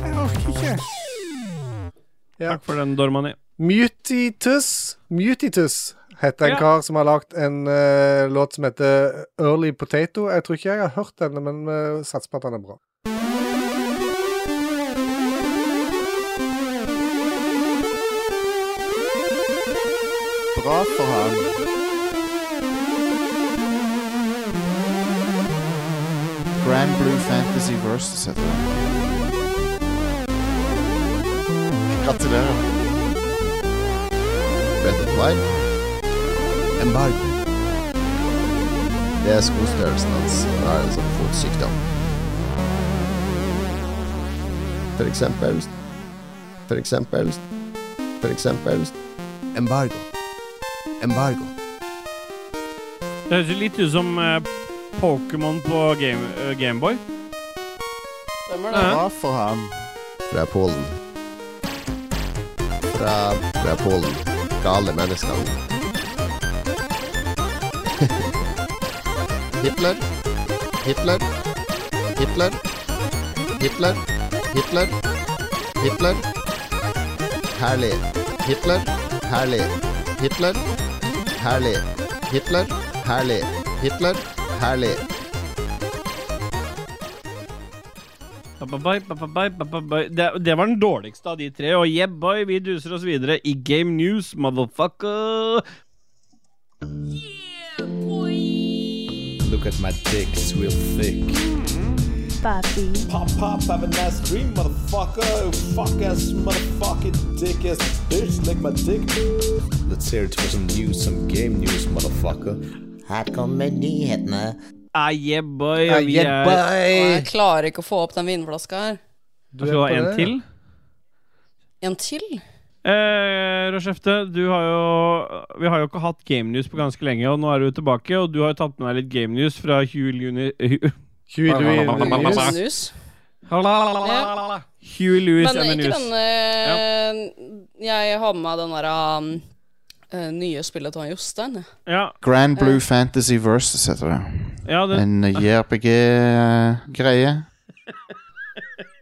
Jeg orker ikke.
Takk for den, Dormani.
Mutitus Mutitus heter en
Ja.
kar som har lagd en eh, låt som heter Early Potato. Jeg tror ikke jeg har hørt denne, men uh, satser på at den er bra.
Bra for han. Grand Blue Fantasy Versus heter det. Gratulerer.
Better Twine. Embargo. Det er skostørrelsen hans. Da er det sånn fotsykdom. For eksempel For eksempel For eksempel Embargo. Embargo.
Det høres jo litt ut som eh, Pokémon på Game- eh, Gameboy.
Stemmer
det.
Bra for han.
Fra Polen. Fra, fra Polen. Gale mennesker. [LAUGHS] Hitler. Hitler. Hitler. Hitler. Hitler. Hitler. Herlig. Hitler. Herlig. Hitler. Herlig. Hitler. Herlig. Hitler. Herlig.
Ba-ba-bai, ba-ba-bai, ba-ba-bai. Det, det var den dårligste av de tre. Og yeah, boy, vi duser oss videre i Game News, motherfucker.
Look at my dick, it's real thick.
Papi.
Pop, pop, have a nice dream, motherfucker. Fuck ass, motherfucking dick ass bitch, lick my dick. Let's hear it for some news, some game news, motherfucker. Her kommer nyhetene.
Ah, yeah, boy.
Ah,
vi
yeah,
er
Og jeg klarer ikke å få opp den vinflaska her.
Du skal ha
på
en
det, ja.
til?
En til?
Eh, Rochefte, du har jo Vi har jo ikke hatt Game News på ganske lenge, og nå er du tilbake, og du har jo tatt med deg litt Game News fra Huel Juni...
Huey Louie
News.
[LAUGHS] Huey Louis
Men
and the
ikke
News.
den eh, Jeg har med meg den derre eh, nye spillet til han Jostein. jeg.
Grand Blue
Ja.
Fantasy Versus heter det.
Ja, det-
En JRPG-greie.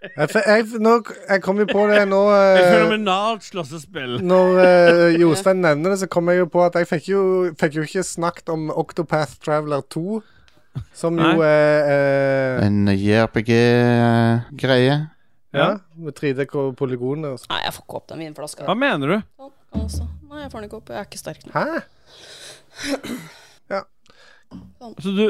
Jeg, f- jeg, f- nå, jeg kom jo på det nå eh,
Et fenomenalt slåssespill.
Når eh, Jostein nevner det, så kom jeg jo på at jeg fikk jo, fikk jo ikke snakket om Octopath Traveler 2. Som jo er eh,
En JRPG-greie.
ja. med 3D-polygoner og sånn.
Nei, jeg får ikke opp den vinflaska.
Hva mener du?
Altså, nei, jeg får den ikke opp. Jeg er ikke sterk nok.
Hæ?
Så Altså, du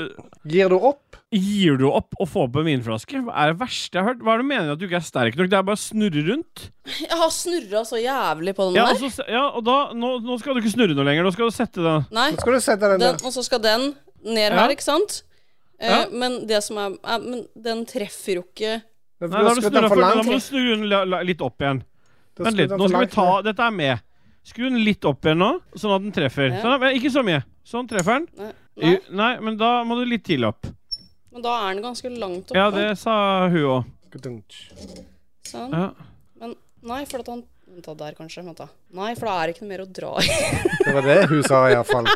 Gir du opp?
Gir du opp å få på en vinflaske? Hva er det verste jeg har hørt? Hva er det du mener at du ikke er sterk nok? Det er bare å snurre rundt.
Jeg har snurra så jævlig på den
Ja, og,
der.
så, se- ja, og da nå, nå skal du ikke snurre noe lenger. Nå skal du sette den.
Nei.
Nå skal du sette den
Den, og så skal den ned
Ja.
her, ikke sant? Eh,
Ja.
Men det som er, er Men den treffer jo ikke
Nei,
Nei,
da, har du snurret for, da må du snu den la- la- litt opp igjen.
Da
Vent
skrur
litt,
den
nå
for
skal vi
langt
ta Dette er med. Skru den litt opp igjen nå, sånn at den treffer.
Ja.
Sånn, men ikke så mye. Sånn treffer den.
Nei.
Jo, Nei, men da må du litt til opp.
Men da er den ganske langt oppe.
Ja, det sa hun òg.
Sånn.
Ja.
Men nei, for at han Vent da, der kanskje. Vent da. Nei, for da er det ikke noe mer å dra i. [LAUGHS]
Det var det hun sa, iallfall.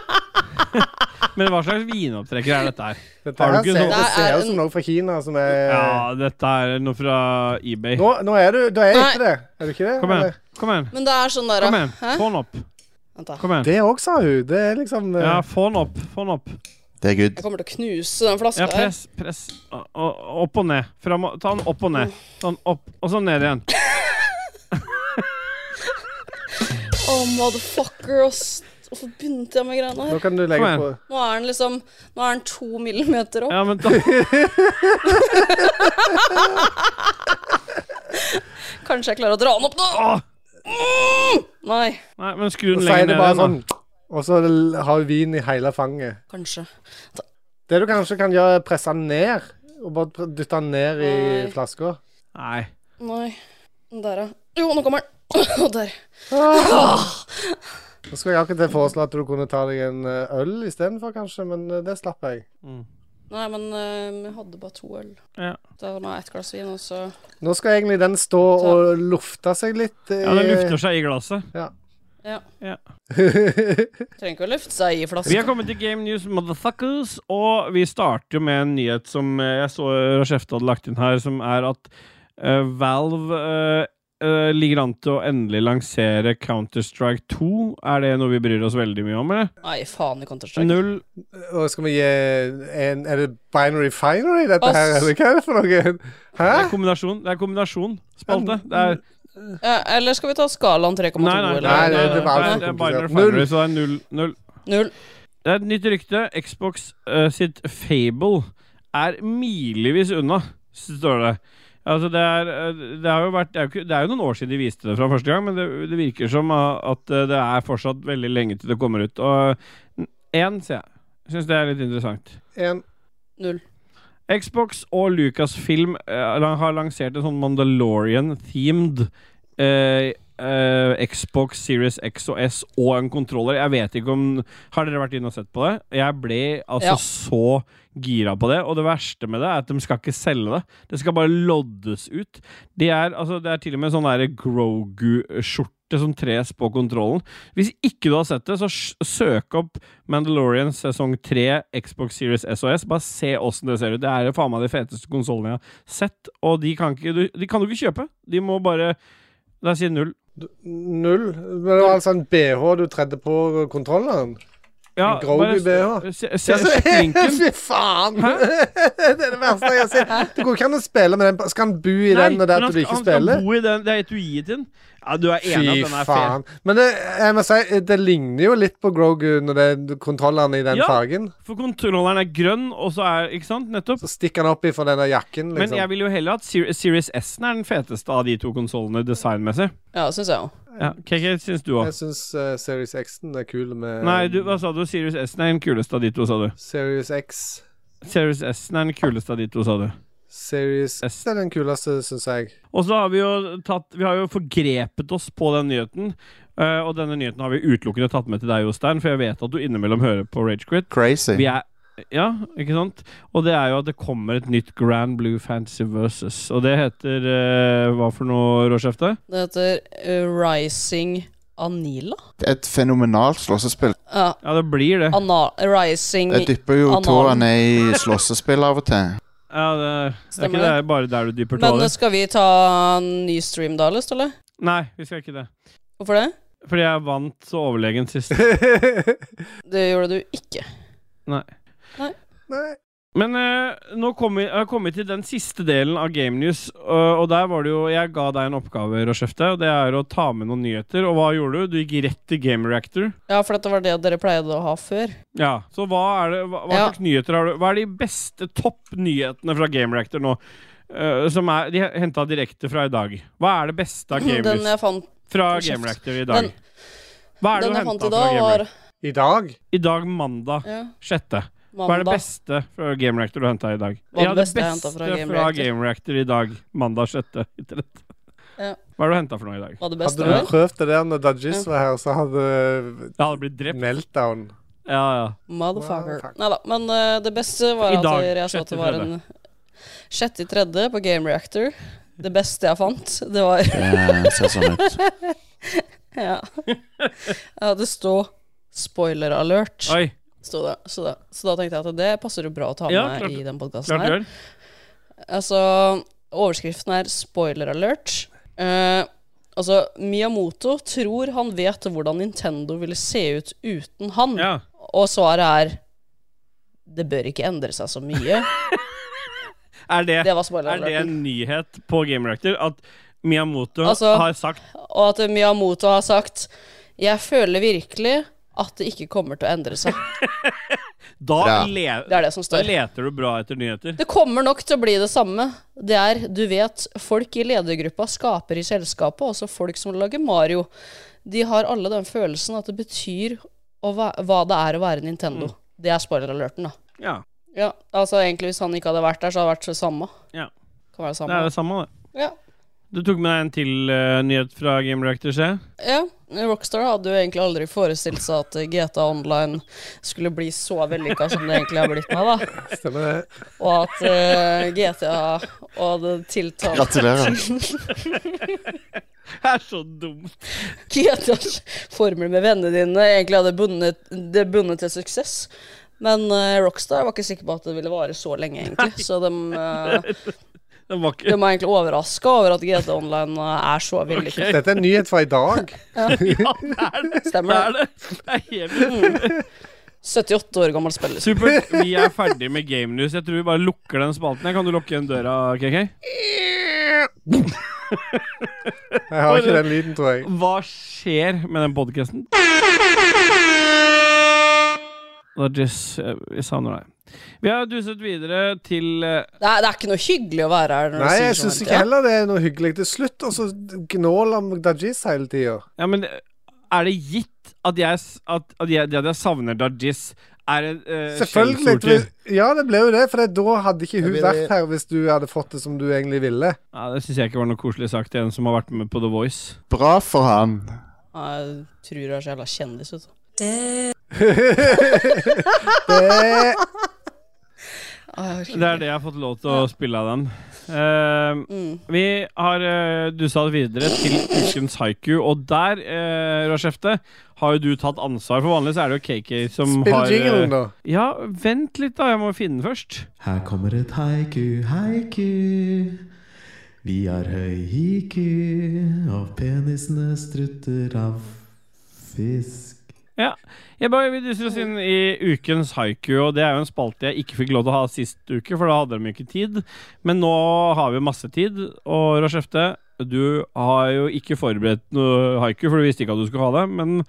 Men hva slags vinopptrekker er dette her?
Dette
Har
her
du ikke
ser,
noe-
det ser ut som noe fra Kina som er
Ja, dette er noe fra eBay.
Nå, nå er du Da er jeg
Nei.
ikke det. Er du ikke det?
Kom igjen.
eller?
Kom igjen.
Men det er sånn der
Kom igjen.
Hæ?
Få den opp.
Vent da.
Kom igjen.
Det òg, sa hun. Det er liksom eh,
Ja, få den opp. Få den opp.
Det er good.
Jeg kommer til å knuse den flaska
Ja, press, press. O- o- Opp og ned. Fram, og- ta den opp og ned. Sånn opp, og så ned igjen.
her. Oh, motherfucker, ass. Hvorfor begynte jeg med greiene her?
Nå kan du legge
Kom
på
igjen.
Nå er den liksom Nå er den to millimeter opp.
Ja, men da
Kanskje jeg klarer å dra den opp nå! Mm! Nei.
Nei, men skru
Og
den
så er
lenger
det
ned
bare
igjen,
sånn Og så l- har du vin i hele fanget.
Kanskje.
Det du kanskje kan gjøre, er presse den ned. Og bare pr- dytte den ned i
Nei.
flaska.
da. Nei.
Nei. Der, ja. Jo, nå kommer den. [COUGHS] Og der.
Nå skulle jeg akkurat til å foreslå at du kunne ta deg en eh, øl istedenfor, kanskje, men eh, det slapp jeg.
Nei, men eh, vi hadde bare to øl.
Ja.
Da hadde vi ett glass vin, og så
Nå skal egentlig den stå og lufte seg litt. eh,
Ja, den lufter seg i glasset.
Ja.
Ja.
ja.
Trenger ikke å lufte seg i
Vi har
flaska.
kommet til Game News Motherfuckers, og vi starter jo med en nyhet som eh, jeg så Rashefte hadde lagt inn her, som er at eh, Valve eh, eh, ligger an til å endelig lansere Counter-Strike 2. Er det noe vi bryr oss veldig mye om, eller?
Nei, faen i Counter-Strike.
Null.
Og skal vi gi en Er det binary finery, dette
Ass.
her, eller hva er det for noe? Hæ?
Det er kombinasjon. Det er kombinasjon. Spalte. Det er
Ja, eller skal vi ta skalaen 3,2?
Nei, nei,
eller?
nei, nei,
det var
nei,
altfor
det er
komplisert.
binary finery,
Null.
så det er null, null.
Null.
Det er et nytt rykte. Xbox eh, sitt Fable er milevis unna, står det. Altså, det er, eh, det, har jo vært, det, er jo ikke, det er jo noen år siden de viste det fra første gang, men det, det virker som eh, at eh, det er fortsatt veldig lenge til det kommer ut. Og én, sier jeg. Syns det er litt interessant.
En.
Null.
Xbox og Lucasfilm eh, la- har lansert en sånn Mandalorian-themed eh, eh, Xbox Series X og S og en kontroller. Jeg vet ikke om Har dere vært inne og sett på det? Jeg ble altså
Ja.
så gira på det, og det verste med det er at de skal ikke selge det. Det skal bare loddes ut. Det er, altså, det er til og med sånn derre Grogu-skjorte. Som tres på kontrollen. Hvis ikke du har sett det, så s- søk opp Mandalorian sesong 3, Xbox Series S og S. Bare se åssen det ser ut. Det er jo faen meg de feteste konsollene jeg har sett, og de kan, ikke, du, de kan du ikke kjøpe. De må bare La oss si null.
Null. Men det var altså en BH du tredde på kontrolleren?
Ja,
En Grogu
bare
BH?
s- se- se-
Ja, så-
sjekk linken.
Fy faen! [LAUGHS] det er det verste jeg har sett. Det går ikke an å spille med den. på- Skal han bo i den, og det
men han-
at du ikke
han skal
spiller?
bo i den, det er etuiet din. Ja, du er enig
Fy
at den er faen.
faen. Men det, jeg må si, det ligner jo litt på Grogu når det er kontrolleren i den
Ja.
fargen.
For kontrolleren er grønn, og så er Ikke sant? Nettopp.
Så stikker han opp ifra denne jakken,
Men jeg
liksom.
vil jo heller at Ser- Series S-en er den feteste av de to konsollene designmessig.
Ja, det syns jeg òg.
Ja, KK, syns du òg?
Jeg syns eh, Series X-en er kul med
Nei, du, hva sa du? Series S-en er den kuleste av de to, sa du.
Series X.
Series S-en er den kuleste av de to, sa du.
Series S er den kuleste, syns jeg.
Og så har vi jo tatt Vi har jo forgrepet oss på den nyheten. eh, og denne nyheten har vi utelukkende tatt med til deg, Jostein, for jeg vet at du innimellom hører på Ragequit.
Crazy.
Vi er ja, ikke sant? Og det er jo at det kommer et nytt Grand Blue Fantasy Versus. Og det heter eh, hva for noe, Råskjefte?
Det heter eh, Rising Anila?
Et fenomenalt slåssespill.
Ja.
ja, det blir det.
Ana Rising
Jeg dypper jo
Analen.
tåa ned i slåssespill av og til.
Ja, det, det er
Stemmer
ikke det. bare der du dypper
Men
tåa
eh,
di.
skal vi ta en ny stream da, Lyst, eller?
Nei, vi skal ikke det.
Hvorfor det?
Fordi jeg vant så overlegen sist.
Det gjorde du ikke.
Nei.
Nei.
Nei.
Men eh, nå kom vi, jeg har kommet til den siste delen av Game News, og- og der var det jo Jeg ga deg en oppgave, Roshefte, og det er å ta med noen nyheter. Og hva gjorde du? Du gikk rett til Game Reactor.
Ja, for dette var det dere pleide å ha før.
Ja, Så hva er det Hva, hva
Ja.
slags nyheter har du? Hva er de beste topp nyhetene fra Game Reactor nå? eh, som er De henta direkte fra i dag. Hva er det beste av
[LAUGHS]
Game
Den jeg
News
fant
fra
Hold kjeft.
Game Reactor i
Den-
dag? Hva er det
den
du
jeg fant
henta
i dag
fra Game
var-
Reactor?
I dag?
I dag, mandag
Ja.
6. Hva er det
Mandag.
beste fra Game Reactor du henta i dag?
Hva er det
ja,
beste jeg hentet fra Game Reactor?
Game Reactor i dag, mandag [LAUGHS] 6. i tredje.
Ja.
Hva er det du henta for noe i dag?
Hva er det
Hadde
beste
du
var?
prøvd det der når Dajis var her, så hadde
Jeg hadde blitt drept.
Meltdown.
Ja, ja.
Motherfucker. Nei da, men eh, det beste
I
var at
dag,
jeg- jeg så at det var
6.3..
en 6.3. på Game Reactor. Det beste jeg fant, det var [LAUGHS]
Det ser sånn ut.
ja. ja. Det sto 'spoiler alert'.
Oi.
Sto det. Så, da, så da tenkte jeg at det passer jo bra å ta med
Ja, klart-
i den podkasten
klart
her.
det gjør.
Altså, overskriften er 'spoiler alert'. Eh, altså, Miyamoto tror han vet hvordan Nintendo ville se ut uten han. Og svaret er det bør ikke endre seg så mye.
Er det,
Det var spoiler
[LAUGHS] er det en
alerten.
nyhet på Game Reactor at Miyamoto
Altså-
har sagt
Og at Miyamoto har sagt 'Jeg føler virkelig at det ikke kommer til å endre seg'.
Da,
Bra.
le
Det er det som
da
står.
[LAUGHS] leter du bra etter nyheter.
Det kommer nok til å bli det samme. Det er, du vet, folk i ledergruppa skaper i selskapet, også folk som lager Mario. De har alle den følelsen at det betyr å væ- hva det er å være Nintendo.
Mm.
Det er spoiler-alerten, da.
Ja.
Ja, altså egentlig hvis han ikke hadde vært der, så hadde det vært det samme.
Ja.
Kan være det
Det
samme.
er det samme, det.
Ja.
Du tok med deg en til eh, nyhet fra Game Reactor, se.
Ja, Rockstar hadde jo egentlig aldri forestilt seg at eh, GTA Online skulle bli så vellykka som det egentlig har blitt nå, da.
Stemmer det.
Og at eh, GTA og det tiltalte [LAUGHS]
Gratulerer. Det er så dumt.
GTAs formel med vennene dine egentlig hadde bundet, det bundet til suksess. Men eh, Rockstar var ikke sikker på at det ville vare så lenge, egentlig. Så de, eh,
Den var ikke
de var egentlig overraska over at GTA Online eh, er så vellykka.
Dette er en nyhet fra
[LAUGHS]
i dag.
Ja. Stemmer det.
Det er
Mm. 78 år liksom. gammel spiller.
Supert. Vi er ferdig med Game News. Jeg tror vi bare lukker den spalten. her. Kan du lukke igjen døra, KK?
Jeg har ikke den lyden, tror jeg.
Hva skjer med den podkasten? Jess, eh, vi savner deg. Vi har duset videre til eh,
Det er, det er ikke noe hyggelig å være her. Når
Nei,
du
jeg
sier
syns
sånn
ikke
hele tiden.
heller det er noe hyggelig. Til slutt og så gnåler om Dajis hele tida.
Ja, men eh, er det gitt at, jeg, s- at, at, jeg, det at jeg savner Dajis, er en eh,
Selvfølgelig.
skjellsord til-
du- Ja, det ble jo det, for det- da hadde ikke hun
blir-
vært her hvis du hadde fått det som du egentlig ville.
Ja, det syns jeg ikke var noe koselig sagt til en som har vært med på The Voice.
Bra for han.
Ja, Jeg tror du er så jævla kjendis, vet du. Å, jeg orker
Det er det jeg har fått lov til å spille av den. Eh,
Mm.
Vi har eh, dusa videre til ukens haiku, og der, uh, Rashefte, har jo du tatt ansvar. For vanlig så er det jo KK som
Spill
har eh,
jinglen, da.
Ja, vent litt, da. Jeg må finne den først.
Her kommer et haiku, haiku. Vi har høy IQ, og penisene strutter av fisk.
Ja. Jeg bare vil duser oss inn i ukens haiku, og det er jo en spalte jeg ikke fikk lov til å ha sist uke, for da hadde de ikke tid. Men nå har vi masse tid, og Rashefte, du har jo ikke forberedt noe haiku, for du visste ikke at du skulle ha det, men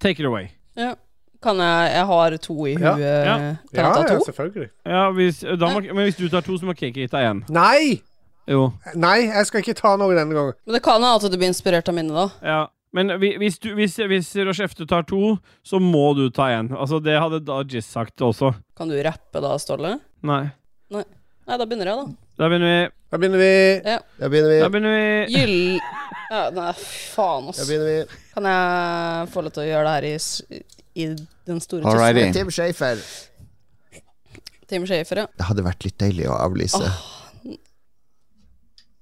take it away.
Ja. Kan jeg Jeg har to i
Ja.
huet.
Ja.
Kan jeg ta
Ja, ja,
to?
selvfølgelig.
Ja, hvis, eh, da må, men hvis du tar to, så må Kiki ta én.
Nei!
Jo.
Nei, jeg skal ikke ta noe denne gangen.
Men det kan hende at du blir inspirert av mine, da.
Ja. Men hvi- hvis, du- hvis, hvis Rashefte tar to, så må du ta én. Altså, det hadde da Jizz sagt også.
Kan du rappe da, Ståle?
Nei.
Nei. Nei, da begynner jeg, da.
Da begynner vi.
Da begynner vi.
Ja.
Da begynner vi.
Eh.
Da begynner vi.
Gyll... Ja, nei, faen, ass.
Da begynner vi.
Kan jeg få lov til å gjøre det her i, s- i den store tissen?
Alrighty. Tim Schafer.
Tim Schafer, ja.
Det hadde vært litt deilig å avlyse.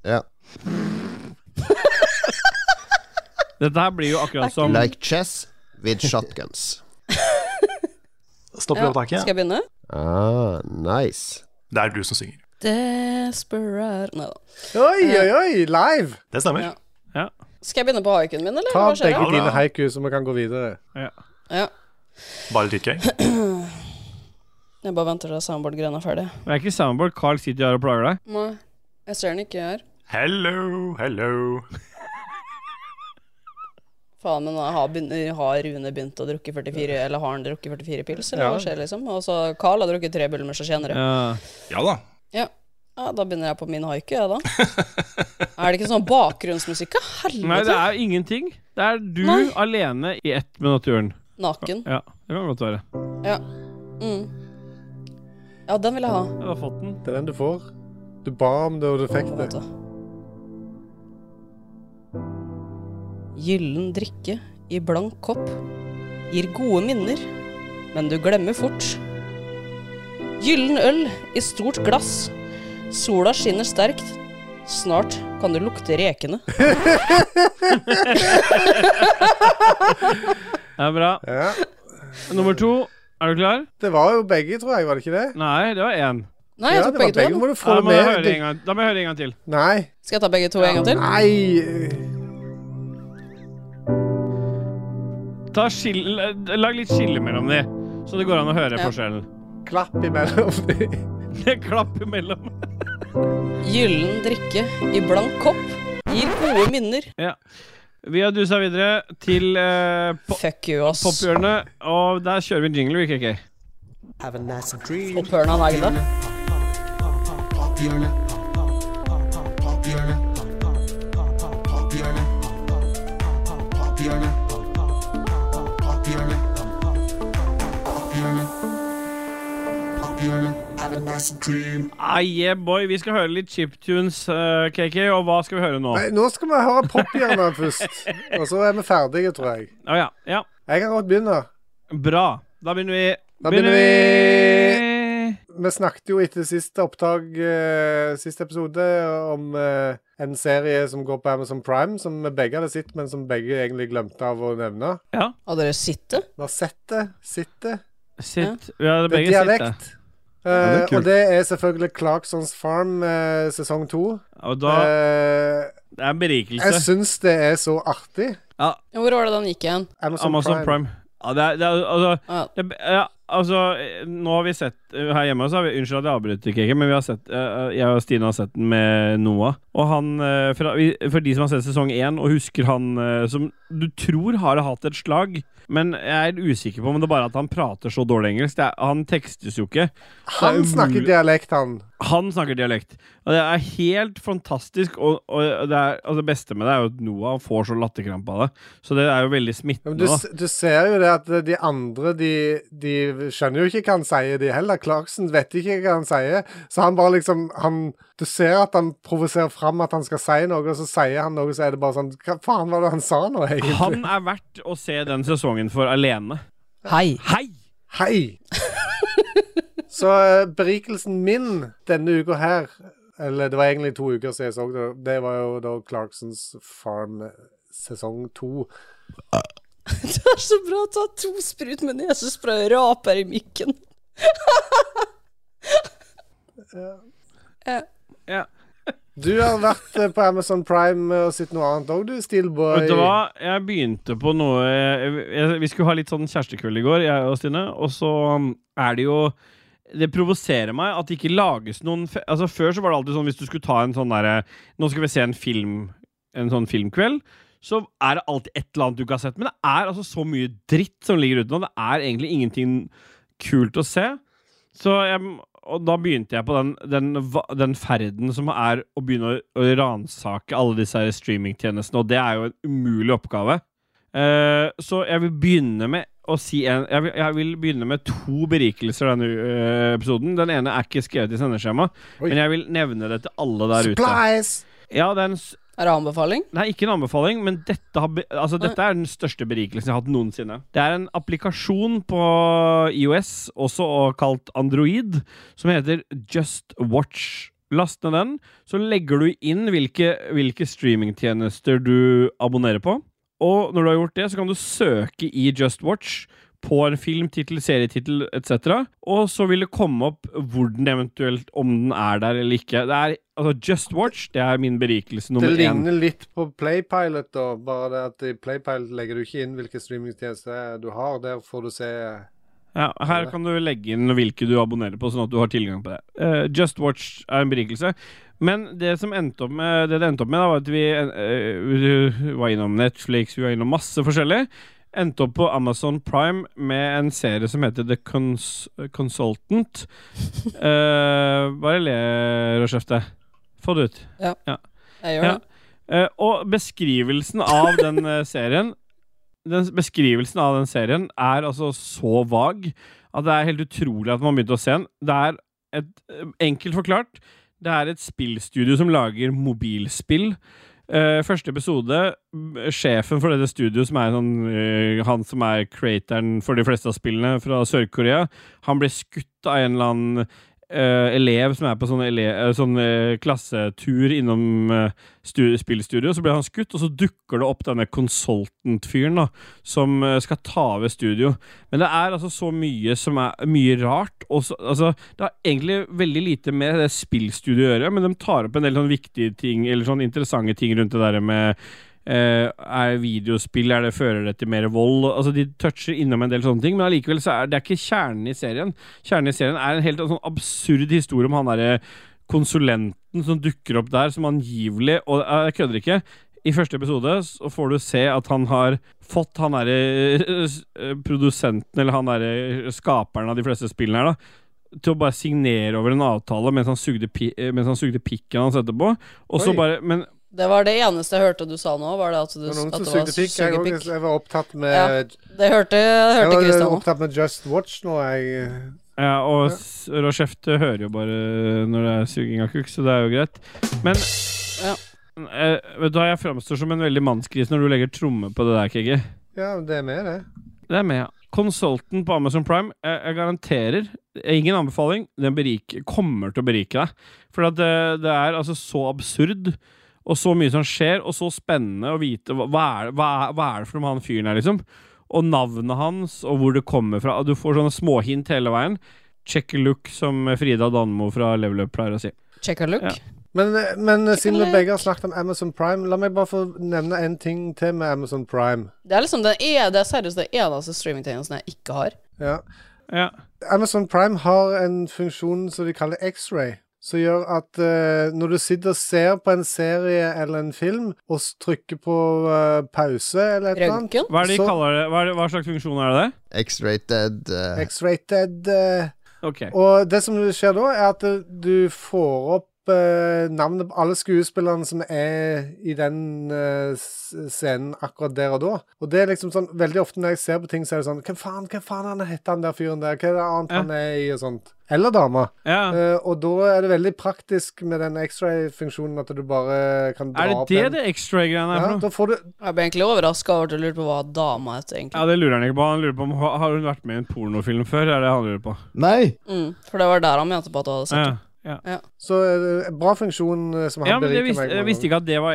Ja.
Dette her blir jo akkurat som
Like chess with shotguns.
Stopp
Ja, Skal jeg begynne?
Ah, nice.
Det er du som synger.
Desperate Nei da.
[LAUGHS] Oi, oi, oi, live!
Det stemmer.
Ja. Skal jeg begynne på haikuen min, eller?
Ta
Hva skjer
begge
da?
dine haiku, så vi kan gå videre.
Ja.
Bare litt gøy.
Jeg bare venter til soundboard-grena er ferdig.
Det er ikke soundboard. Carl sitter her og plager deg.
Nei, jeg ser den ikke her.
Hello, hello.
Faen, men har, begyn- har Rune begynt å drukke 44, eller har han drukket 44 pils, eller
Ja.
hva skjer, liksom? Og så Carl har drukket tre bulmer, så kjenner du.
Ja da.
Ja. ja, da begynner jeg på min haiku, jeg, da. er det ikke sånn bakgrunnsmusikk? Ja, helvete!
Nei, det er ingenting. Det er du
Nei.
alene i ett med naturen.
Naken.
Ja, det kan godt være.
Ja. Mm. ja, den vil jeg ha.
Jeg har fått den.
Det er den du får. Du ba om det, og du fikk det.
Gyllen drikke i blank kopp gir gode minner, men du glemmer fort. Gyllen øl i stort glass, sola skinner sterkt. Snart kan du lukte rekene.
Det er bra. Nummer to. Er du klar?
Det var jo begge, tror jeg, var det ikke det?
Nei, det var én.
Nei, jeg
Ja,
tok
det var
begge
begge,
to.
må du
da.
få
Ja, da, må
det
jeg høre
med.
det en gang. da må jeg høre det en gang til.
Nei.
Skal jeg ta begge to en gang til?
Nei!
Ta skil, lag litt skille mellom de, så det går an å høre
Ja.
forskjellen. [LAUGHS]
Klapp imellom de.
Klapp imellom.
Gyllen drikke i blank kopp gir gode minner.
[LAUGHS] Ja. Vi har dusa videre til uh,
Fuck you, ass.
pophjørnet, og der kjører vi en jingle, vi, KK.
Have a nice dream.
Og Pørn han er ikke det?
Pophjørnet. Pophjørnet. Pophjørnet. Pophjørnet. Pophjørnet. Pophjørnet. Pophjørnet. Have a nice dream.
Ah, yeah, boy. Vi skal høre litt chiptunes, eh, KK. Og hva skal vi høre nå?
Nei, nå skal vi høre pophjørnet først. Og så er vi ferdige, tror jeg.
Å ja, ja.
Jeg kan godt begynne.
Bra. Da begynner vi.
Da begynner vi. Vi snakket jo etter siste opptak, eh, siste episode, om eh, en serie som går på Amazon Prime, som vi begge hadde sett, men som begge egentlig glemte av å nevne.
Ja.
Har dere sittet?
Vi har sett det. Sitte.
Sitt. Vi har
Det er
begge
dialekt.
sittet.
Eh,
Ja, det er kult.
og det er selvfølgelig Clarksons Farm eh, sesong to.
Og da
Eh,
Det er en berikelse.
jeg syns det er så artig.
Ja,
Ja, Hvor var det den gikk igjen?
Amazon,
Amazon
Prime.
Prime. Ja, det er, det er, altså, det, er- ja, altså eh, Nå har vi sett eh, her hjemme så har vi, Unnskyld at jeg avbryter, Keke, men vi har sett, eh, jeg og Stine har sett den med Noah. Og han, eh, fra, vi- For de som har sett sesong én og husker han eh, som du tror har hatt et slag, men jeg er usikker på om det er bare at han prater så dårlig engelsk. Det er, han tekstes jo ikke. Så det
Han
er
snakker
umulig-
dialekt, han.
han snakker dialekt. Og det er helt fantastisk. Og, og det, er, altså det beste med det er jo at Noah får så latterkrampe av det. Så det er jo veldig
Men
smittende.
du,
da.
s- du ser jo det at de andre, de, de skjønner jo ikke hva han sier, de heller. Clarkson vet ikke hva han sier, så han bare liksom han, Du ser at han provoserer fram at han skal si noe, og så sier han noe, så er det bare sånn Hva faen var det han sa nå, egentlig?
Han er verdt å se den sesongen for alene.
Hei.
Hei!
Hei!
[LAUGHS]
så eh, berikelsen min denne uka her Eller det var egentlig to uker siden jeg så det. Det var jo da Clarksons Farm sesong to.
Det er så bra å ta to sprut med nesespray og raper i mikken.
Ja.
Du har vært eh, på Amazon Prime eh, og sett noe annet òg, du, Steelboy.
Vet du hva? Jeg begynte på noe jeg, jeg, Vi skulle ha litt sånn kjærestekveld i går, jeg og Stine. Og så um, er det jo Det provoserer meg at det ikke lages noen fe- Altså Før så var det alltid sånn hvis du skulle ta en sånn derre Nå skal vi se en film En sånn filmkveld. Så er det alltid et eller annet du ikke har sett. Men det er altså så mye dritt som ligger ute nå. Det er egentlig ingenting kult å se. Så jeg og da begynte jeg på den, den, va- den ferden som er å begynne å, å ransake alle disse her streamingtjenestene, og det er jo en umulig oppgave. Eh, så jeg vil begynne med å si en, jeg, vil, jeg vil begynne med to berikelser denne eh, episoden. Den ene er ikke skrevet i sendeskjema,
Oi.
men jeg vil nevne det til alle der
Supplies!
ute. Ja, det er en s-
Er det anbefaling?
Nei, ikke en anbefaling, men dette, har, be- altså, dette er den største berikelsen jeg har hatt noensinne. Det er en applikasjon på IOS, også kalt Android, som heter Just Watch. Last ned den, så legger du inn hvilke, hvilke streamingtjenester du abonnerer på. Og når du har gjort det, så kan du søke i Just Watch på en film, tittel, serietittel etc. Og så vil det komme opp hvor den eventuelt Om den er der eller ikke. Det er, altså Just Watch det er min berikelse nummer
det
én.
ligner litt på Playpilot, da. Bare det at i Playpilot legger du ikke inn hvilke streamingtjenester du har. Der får du se
Ja, her kan du legge inn hvilke du abonnerer på, sånn at du har tilgang på det. Eh, Just Watch er en berikelse. Men det som endte opp med, det det endte opp med da, var at vi, eh, vi var innom Netflix, vi var innom masse forskjellig. Endte opp på Amazon Prime med en serie som heter The Cons Consultant. Eh, bare le, Rødskjefte. Få det ut.
Ja. Jeg gjør
Ja.
det.
Eh, og beskrivelsen av den eh, serien den, Beskrivelsen av den serien er altså så vag at det er helt utrolig at man begynte å se den. Det er et, eh, enkelt forklart Det er et spillstudio som lager mobilspill. Eh, første episode m, Sjefen for dette studioet, som er sånn, eh, han som er creatoren for de fleste av spillene fra Sør-Korea, han blir skutt av en eller annen eh, elev som er på sånn, ele eh, sånn eh, klassetur innom eh, stu- spillstudio, så blir han skutt, og så dukker det opp denne consultant-fyren da, som eh, skal ta over studio. Men det er altså så mye som er mye rart. Og så, altså, det har egentlig veldig lite med det spillstudioet å gjøre, men de tar opp en del sånn viktige ting, eller sånn interessante ting rundt det der med eh, er videospill er det fører det til mer vold? Altså De toucher innom en del sånne ting, men allikevel så er det er ikke kjernen i serien. Kjernen i serien er en helt sånn absurd historie om han derre konsulenten som dukker opp der, som angivelig Og eh, jeg kødder ikke. I første episode så får du se at han har fått han derre eh, produsenten, eller han derre skaperen av de fleste spillene her, da, til å bare signere over en avtale mens han sugde, pi eh, mens han sugde pikken hans etterpå. Og så
Oi.
bare Men
Det var det eneste jeg hørte du sa nå, var det at du
Det var noen
at
som
det var
sugde pikk. Jeg,
sugepikk.
også- jeg var opptatt med
Ja, det hørte,
Jeg
hørte
var
Christian nå.
opptatt med Just Watch nå, jeg.
Ja, og s- Rochefte hører jo bare når det er suging av kukk, så det er jo greit. Men eh, vet du hva, jeg framstår som en veldig mannsgris når du legger tromme på det der, KG.
Ja, det er med, det.
Det er med, ja. Consultant på Amazon Prime, jeg, jeg garanterer Ingen anbefaling. Den beriker, kommer til å berike deg. For at det, det er altså så absurd, og så mye som skjer, og så spennende å vite hva, hva, er, hva, er- hva er det for noe med han fyren er, liksom. Og navnet hans, og hvor det kommer fra. Du får sånne småhint hele veien. Check a look, som Frida Danmo fra Level Up pleier å si.
Check a look.
Ja.
Men, men eh, siden vi
Chicken
begge har snakket om Amazon Prime, la meg bare få nevne en ting til med Amazon Prime.
Det er liksom den e- det er seriøst den eneste streamingtjenesten jeg ikke har.
Ja.
Ja.
Amazon Prime har en funksjon som de kaller X-ray, som gjør at eh, når du sitter og ser på en serie eller en film, og s- trykker på eh, pause eller et eller annet
Hva, er det de
så-
kaller det? Hva, er det, hva slags funksjon er det?
X-rated eh,
X-rated. eh,
Ok.
Og det som skjer da, er at eh, du får opp eh, navnet på alle skuespillerne som er i den eh, s- scenen akkurat der og da. Og det er liksom sånn, veldig ofte når jeg ser på ting, så er det sånn Hvem faen, hvem faen han heter han der fyren der? Hva er det annet han er i, og sånt? Eller dama. Eh, og da er det veldig praktisk med den X-ray-funksjonen at du bare kan dra
Er det
opp
det
den.
det X-ray-greiene er
Ja,
for noe?
da får du
Jeg ble egentlig overraska over at du lurte på hva dama het, egentlig.
Ja, det lurer han ikke på. Han lurer på om ha- Har hun vært med i en pornofilm før? Er det han lurer på.
Nei!
Mm, for det var der han mente på at du hadde sett
Ja.
det.
Ja.
Så eh, bra funksjon eh, som
Ja,
han
men jeg
beriker meg
visste,
med.
jeg visste ikke at det var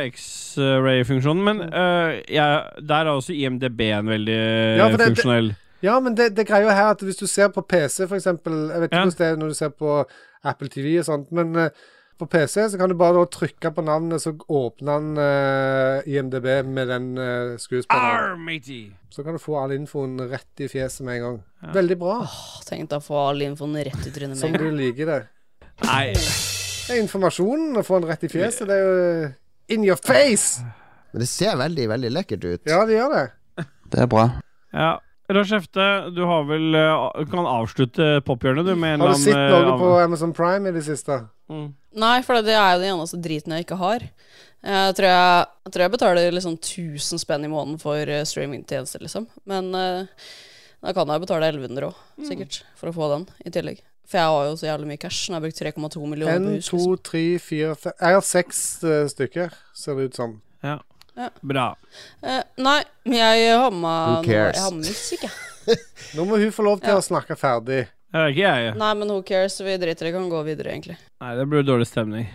X-ray-funksjonen, men
Mm.
øh, jeg, der er også IMDb en veldig
Ja, for det-
funksjonell.
Ja, men det, det greia her er at hvis du ser på PC, for eksempel Jeg vet ikke hvordan det er når du ser på Apple TV og sånt, men eh, på PC så kan du bare da trykke på navnet, så åpner han eh, IMDb med den eh, skuespilleren.
Matey.
Så kan du få all infoen rett i fjeset med en gang. Veldig bra.
Åh, Tenk deg å få all infoen rett i trynet
Som
med en
du
gang.
liker det.
Nei.
Det er informasjonen å få den rett i fjeset. Det er jo eh, in your face!
Men det ser veldig, veldig lekkert ut.
Ja, det gjør det.
Det er bra.
Ja. Rashefte, du har vel øh, kan avslutte pophjørnet, du, med en
Har du sett
øh,
noe
av-
på Amazon Prime i det siste?
Nei, for det er jo den eneste driten jeg ikke har. Jeg tror jeg, jeg, tror jeg betaler liksom 1000 spenn i måneden for eh, streamingtjenester, liksom. Men eh, da kan jeg jo betale 1100 òg,
Mm.
sikkert, for å få den i tillegg. For jeg har jo så jævlig mye cash. Nå har jeg brukt 3,2 millioner på
En,
liksom. hus.
to, tre, fire, fem Jeg har seks eh, stykker, ser det ut som.
Ja.
Ja.
Bra.
Eh, nei, men jeg har med
Who
noe-
cares?
Jeg har med musikk, jeg.
Nå må hun få lov til å snakke ferdig.
Det er ikke jeg. ja.
Nei, men who cares? Vi driter i det. Kan gå videre, egentlig.
Nei, det blir dårlig stemning.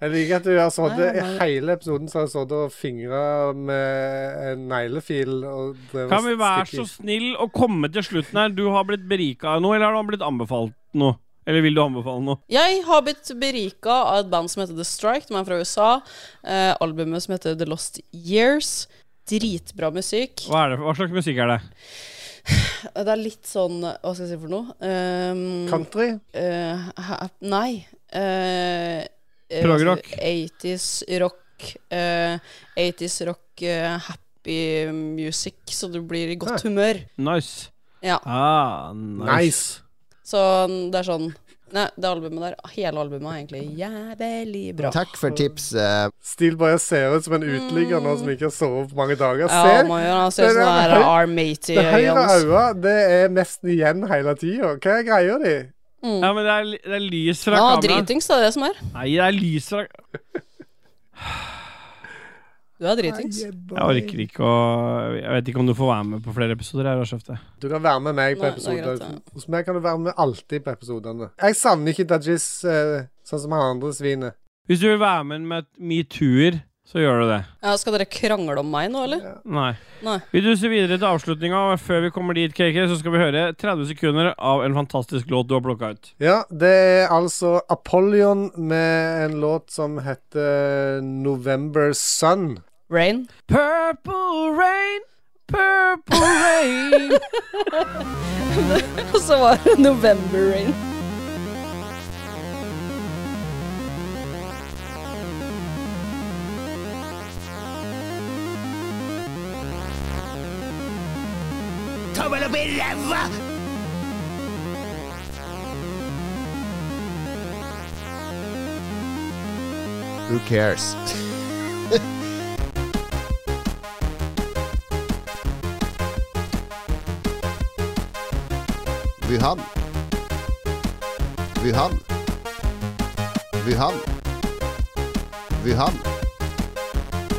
Jeg liker at du har sittet i
Nei, nei.
hele episoden så har du sittet og fingra med en neglefil og drevet
Kan vi være
stikker.
så snill å komme til slutten her? Du har blitt berika av noe, eller har du blitt anbefalt noe? Eller vil du anbefale noe?
Jeg har blitt berika av et band som heter The Strike. De er fra USA. Eh, albumet som heter The Lost Years. Dritbra musikk.
Hva, er det, hva slags musikk er det?
Det er litt sånn Hva skal jeg si for noe? Um,
Country?
eh, hæ- nei. Uh,
Progrock?
80s rock. eh, 80s rock, eh, happy music, så du blir i godt humør.
Nice.
Ja.
Ah, nice.
Så det er sånn Nei, det albumet der, hele albumet er egentlig jævlig bra.
Takk for eh, tipset.
Stil bare ser ut som en uteligger nå som ikke har sovet på mange dager.
Mm. Ja,
Se!
man gjør det. Han ser ut
Det
som
der
den der
høy-
R-matey
Det høyre
Jans.
øyet, det er nesten igjen hele tida. Hva er greia di?
Ja, men det er, det er lys fra
Ja,
kameraet.
dritings, det er det som er.
Nei, det er lys fra
Du er dritings.
Jeg orker ikke å Jeg vet ikke om du får være med på flere episoder. her, Rashefte.
Du kan være med meg på
Nei, det er greit,
episoder. Hos meg kan du være med alltid på episodene. Jeg savner ikke Dajis eh, sånn som han andre svinet.
Hvis du vil være med med et metoo-er, så gjør du det.
Ja, skal dere krangle om meg nå, eller?
Nei.
Nei.
Vi duser videre til avslutninga, og før vi kommer dit, KK, så skal vi høre 30 sekunder av en fantastisk låt du har plukka ut.
Ja, det er altså Apollyon med en låt som heter November Sun.
Rain. [LAUGHS]
Purple rain, purple rain.
Og så var det November Rain.
opp i ræva!
Who cares? Wuhan. Wuhan. Wuhan. Wuhan.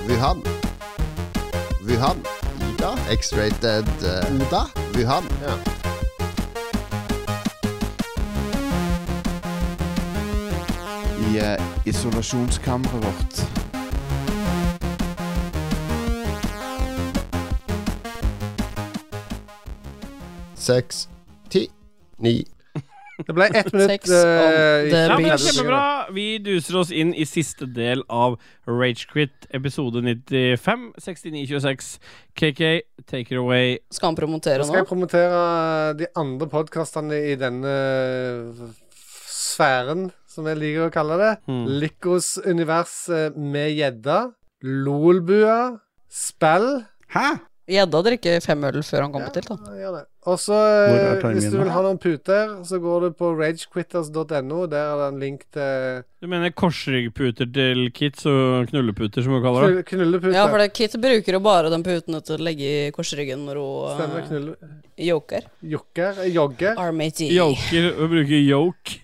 Wuhan. Wuhan. Ida. X-rated eh, Oda. Wuhan.
I eh, isolasjonskammeret vårt.
Seks, ti, ni
Det ble
[LAUGHS]
ett minutt.
Sex
eh,
on
i-
the
Ja, men
beach.
Kjempebra. Vi duser oss inn i siste del av Ragequit episode 95, 6926. KK, take it away.
Skal han promotere
Nå skal
nå?
jeg promotere de andre podkastene i denne f- sfæren, som jeg liker å kalle det.
Hmm.
Mm.
Lykkos univers eh, med gjedda. Lolbua. Spill.
Hæ?
Gjedda drikker fem øl før han kommer til, da.
Ja, gjør det. Og så,
Hvor er
eh, hvis du
terminen?
vil ha noen puter, så går du på ragequitters.no. Der er det en link til
Du mener korsryggputer til kids og knulleputer, som hun kaller det?
knull- knulleputer.
Ja, for det, Kit bruker jo bare de putene til å legge i korsryggen når hun
Stemmer,
eh,
knulle...
joker.
Jokker. Jogger.
Ah, Armatee.
Joker. Hun bruker yoke.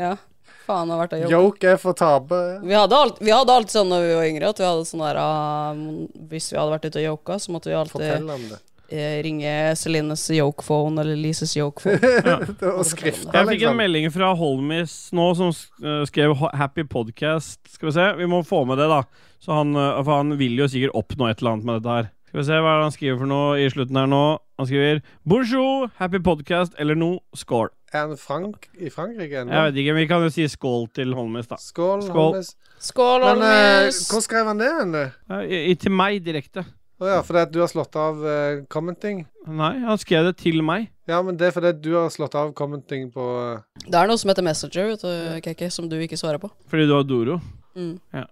Ja. Faen, har vært av joker.
Joke er for tape.
Vi hadde, alt, vi hadde alltid sånn da vi var yngre, at vi hadde sånn der um, Hvis vi hadde vært ute og joka, så måtte vi alltid
Fortell om det.
eh, ringe Celines yokephone eller Lises
[LAUGHS]
yokephone.
Og liksom. skrift.
Jeg fikk en melding fra Holmis nå som s- eh, skrev ho- 'Happy podcast'. Skal vi se, vi må få med det, da. Så han, eh, for han vil jo sikkert oppnå et eller annet med dette her. Skal vi se hva er det han skriver for noe i slutten her nå. Han skriver 'Bonjour, happy podcast' eller noe. Skål.
Er han Frank i Frankrike ennå?
Jeg vet ikke, men vi kan jo si skål til Holmis, da.
Skål,
Skål.
Hannes.
Skål,
Men eh,
Olmis!
hvor skrev han det hen? Å
Ja, i- i- til meg direkte.
ja, fordi at du har slått av eh, commenting?
Nei, han skrev det til meg.
Ja, men det er fordi at du har slått av commenting på eh,
Det er noe som heter Messenger, vet du, Kekki, som du ikke svarer på.
Fordi du har Doro.
Mm.
Ja.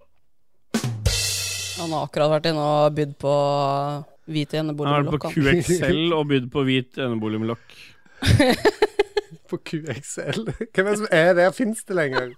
Han har akkurat vært inne og bydd på hvit
Han har vært på
eneboliglokk.
QXL og bydd på hvit enebolig med lokk.
[LAUGHS]
På QXL? [LAUGHS] Hvem er det som er der? Fins det lenger?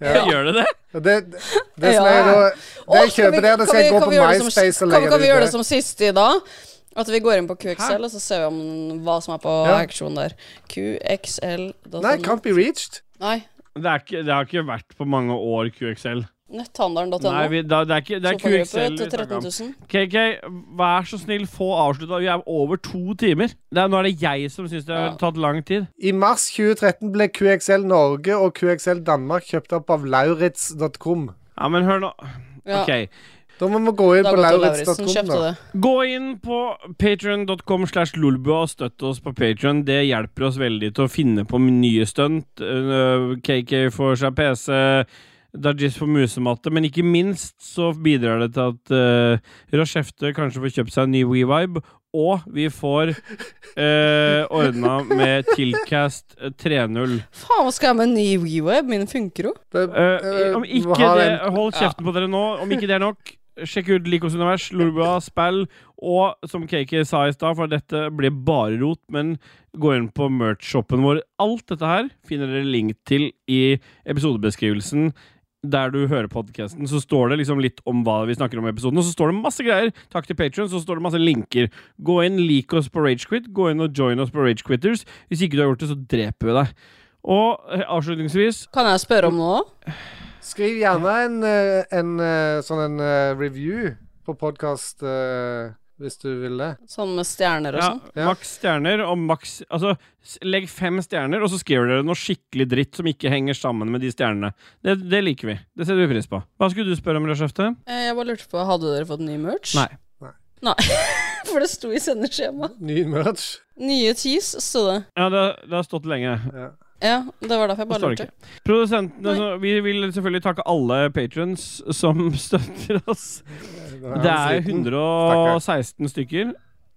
Ja. Gjør det det?
Og Det, det, det som er da Det jeg kjøper der, det skal jeg gå på MySpace og legge
Kan vi
det
gjøre det
ut.
som siste i dag? At vi går inn på QXL, og så ser vi om hva som er på
Ja.
auksjon der. QXL
Nei, can't be reached.
Nei,
Det, er ikke, det har ikke vært på mange år QXL.
netthandelen.no.
Nei, vi, da, det er ikke det er
Sofagruppe
QXL.
til
vi snakker om.
13 000.
KK, vær så snill, få avslutta. Vi er over to timer. Det er, nå er det jeg som syns det har tatt lang tid.
I mars 2013 ble QXL Norge og QXL Danmark kjøpt opp av lauritz.com.
Ja, men hør nå.
Ja.
OK.
Da må vi gå inn
Da
på
går til
lauritz.com.
Lauritzen, kjøpte
da.
det.
Gå inn på patreon.com slash lolbua og støtt oss på Patreon. Det hjelper oss veldig til å finne på nye stunt. Øh, KK får seg PC, Dajis får musematte, men ikke minst så bidrar det til at øh, Rashefte kanskje får kjøpt seg en ny WeVibe, og vi får øh, ordna med Tilcast 3.0.
Faen, hva skal jeg med en ny WeWeb? Min funker jo.
Eh, om ikke
ha
det,
den-
hold kjeften på dere nå. Om ikke det er nok, sjekk ut Likos univers, Lolbua, Spell. Og som KK sa i stad, for dette blir bare rot, men gå inn på merch-shoppen vår. Alt dette her finner dere link til i episodebeskrivelsen. Der du hører podcasten, så står det liksom litt om hva vi snakker om i episoden. Og så står det masse greier. Takk til Patreon, så står det masse linker. Gå inn, lik oss på Ragequit. Gå inn og join oss på Ragequitters. Hvis ikke du har gjort det, så dreper vi deg. Og eh, avslutningsvis
Kan jeg spørre om noe?
Skriv gjerne en, eh, en eh, sånn en eh, review på podkast hvis du vil det.
Sånn med stjerner og
Ja,
sånn?
maks stjerner og maks Altså, s- legg fem stjerner, og så skriver dere noe skikkelig dritt som ikke henger sammen med de stjernene. Det, det liker vi. Det setter vi pris på. Hva skulle du spørre om, Rødskjefte?
Eh, Jeg bare lurte på, hadde dere fått ny merch?
Nei.
Nei, [LAUGHS] for det sto i sendeskjemaet.
Ny merch.
Nye tees, sto det.
Ja, det, det har stått lenge.
Ja.
Ja, det var derfor jeg
Det
bare
står
lurte.
det ikke. Produsentene så, Vi vil selvfølgelig takke alle patrons som [LAUGHS] støtter oss. Det er 116 stykker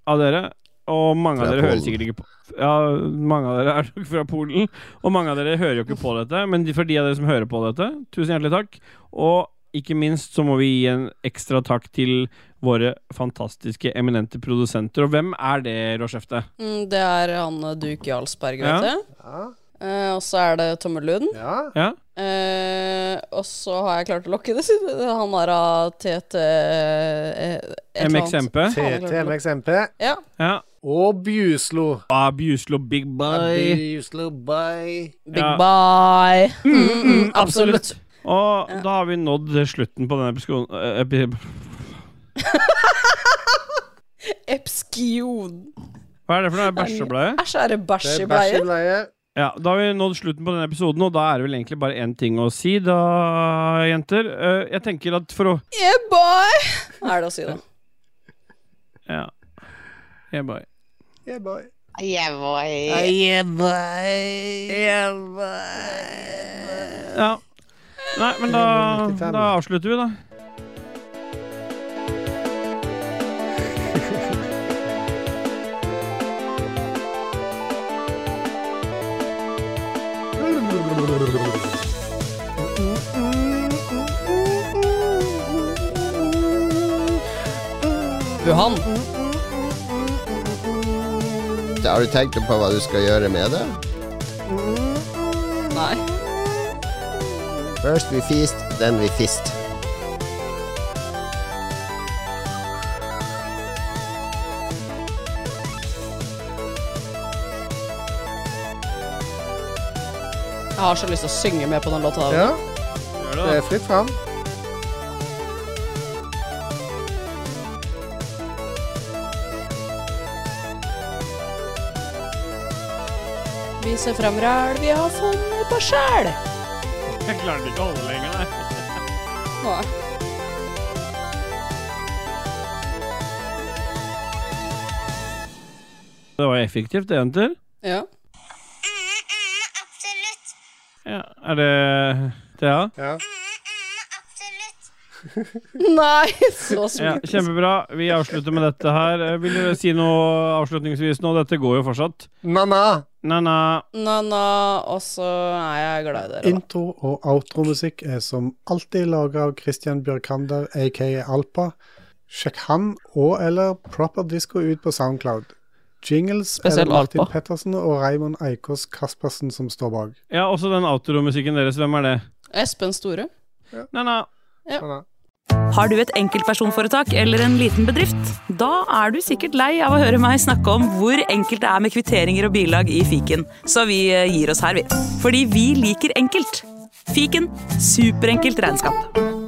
av dere, og mange av
Fra
dere hører
Polen.
sikkert ikke på Ja, mange av dere er nok fra Polen, og mange av dere hører jo ikke på dette, men de- for de av dere som hører på dette, tusen hjertelig takk. Og ikke minst så må vi gi en ekstra takk til våre fantastiske, eminente produsenter. Og hvem er det, Råskjefte?
Mm, det er han eh, Duke Jarlsberg,
Ja.
vet du. Eh, og så er det Tommeluden.
Ja.
Eh, og så har jeg klart å lokke det siden [LAUGHS] han er av TT eh, et eller annet.
MXMP.
Han har klart å lokke-
TTMXMP.
Ja.
Og Bjuslo.
Ah, Bjuslo Big Bye.
Bjuslo, bye.
Big bye. Mm, mm, mm, absolutt.
Og da har vi nådd slutten på denne episkoden eh, epi-
Epskion.
Hva er det for noe? Bæsjebleie?
Æsj, er det bæsj i bleie?
Ja, da har vi nådd slutten på denne episoden, og da er det vel egentlig bare én ting å si, da, jenter. Eh, jeg tenker at for å
Yeah, boy! Er det å si, da.
Ja. Yeah, boy.
Yeah, boy.
Yeah, boy.
Yeah,
boy.
Yeah,
Ja. Nei, men da, da avslutter vi, da.
Wuhan.
Har du tenkt på hva du skal gjøre med det?
Nei.
First we feast, then we fist.
Jeg har så lyst til å synge med på den låta. der.
Ja. Det er fritt fram.
Vi ser fram ræl vi har funnet på sjæl.
Jeg klarte ikke å holde lenger, nei.
Nei.
Det var effektivt, det, jenter.
Ja.
Ja, er det Thea?
Ja.
[LAUGHS] Nei, så
Ja,
sweet.
kjempebra. Vi avslutter med dette her. Eh, Vil dere si noe avslutningsvis nå? Dette går jo fortsatt.
Na-na.
Na-na.
Na-na, og så er jeg glad i dere. da.
Intro- og outromusikk er som alltid laga av Christian Bjørkander, aka Alpa. Sjekk han og eller Proper Disco ut på Soundcloud. Jingles er
Spesielt
det Martin
Alpa.
Pettersen og Raymond Eikås Kaspersen som står bak.
Ja, også den outromusikken deres. Hvem er det?
Espen Store.
Na-na.
Ja.
Har du et enkeltpersonforetak eller en liten bedrift? Da er du sikkert lei av å høre meg snakke om hvor enkelt det er med kvitteringer og bilag i fiken, så vi eh, gir oss her, vi. Fordi vi liker enkelt. Fiken superenkelt regnskap.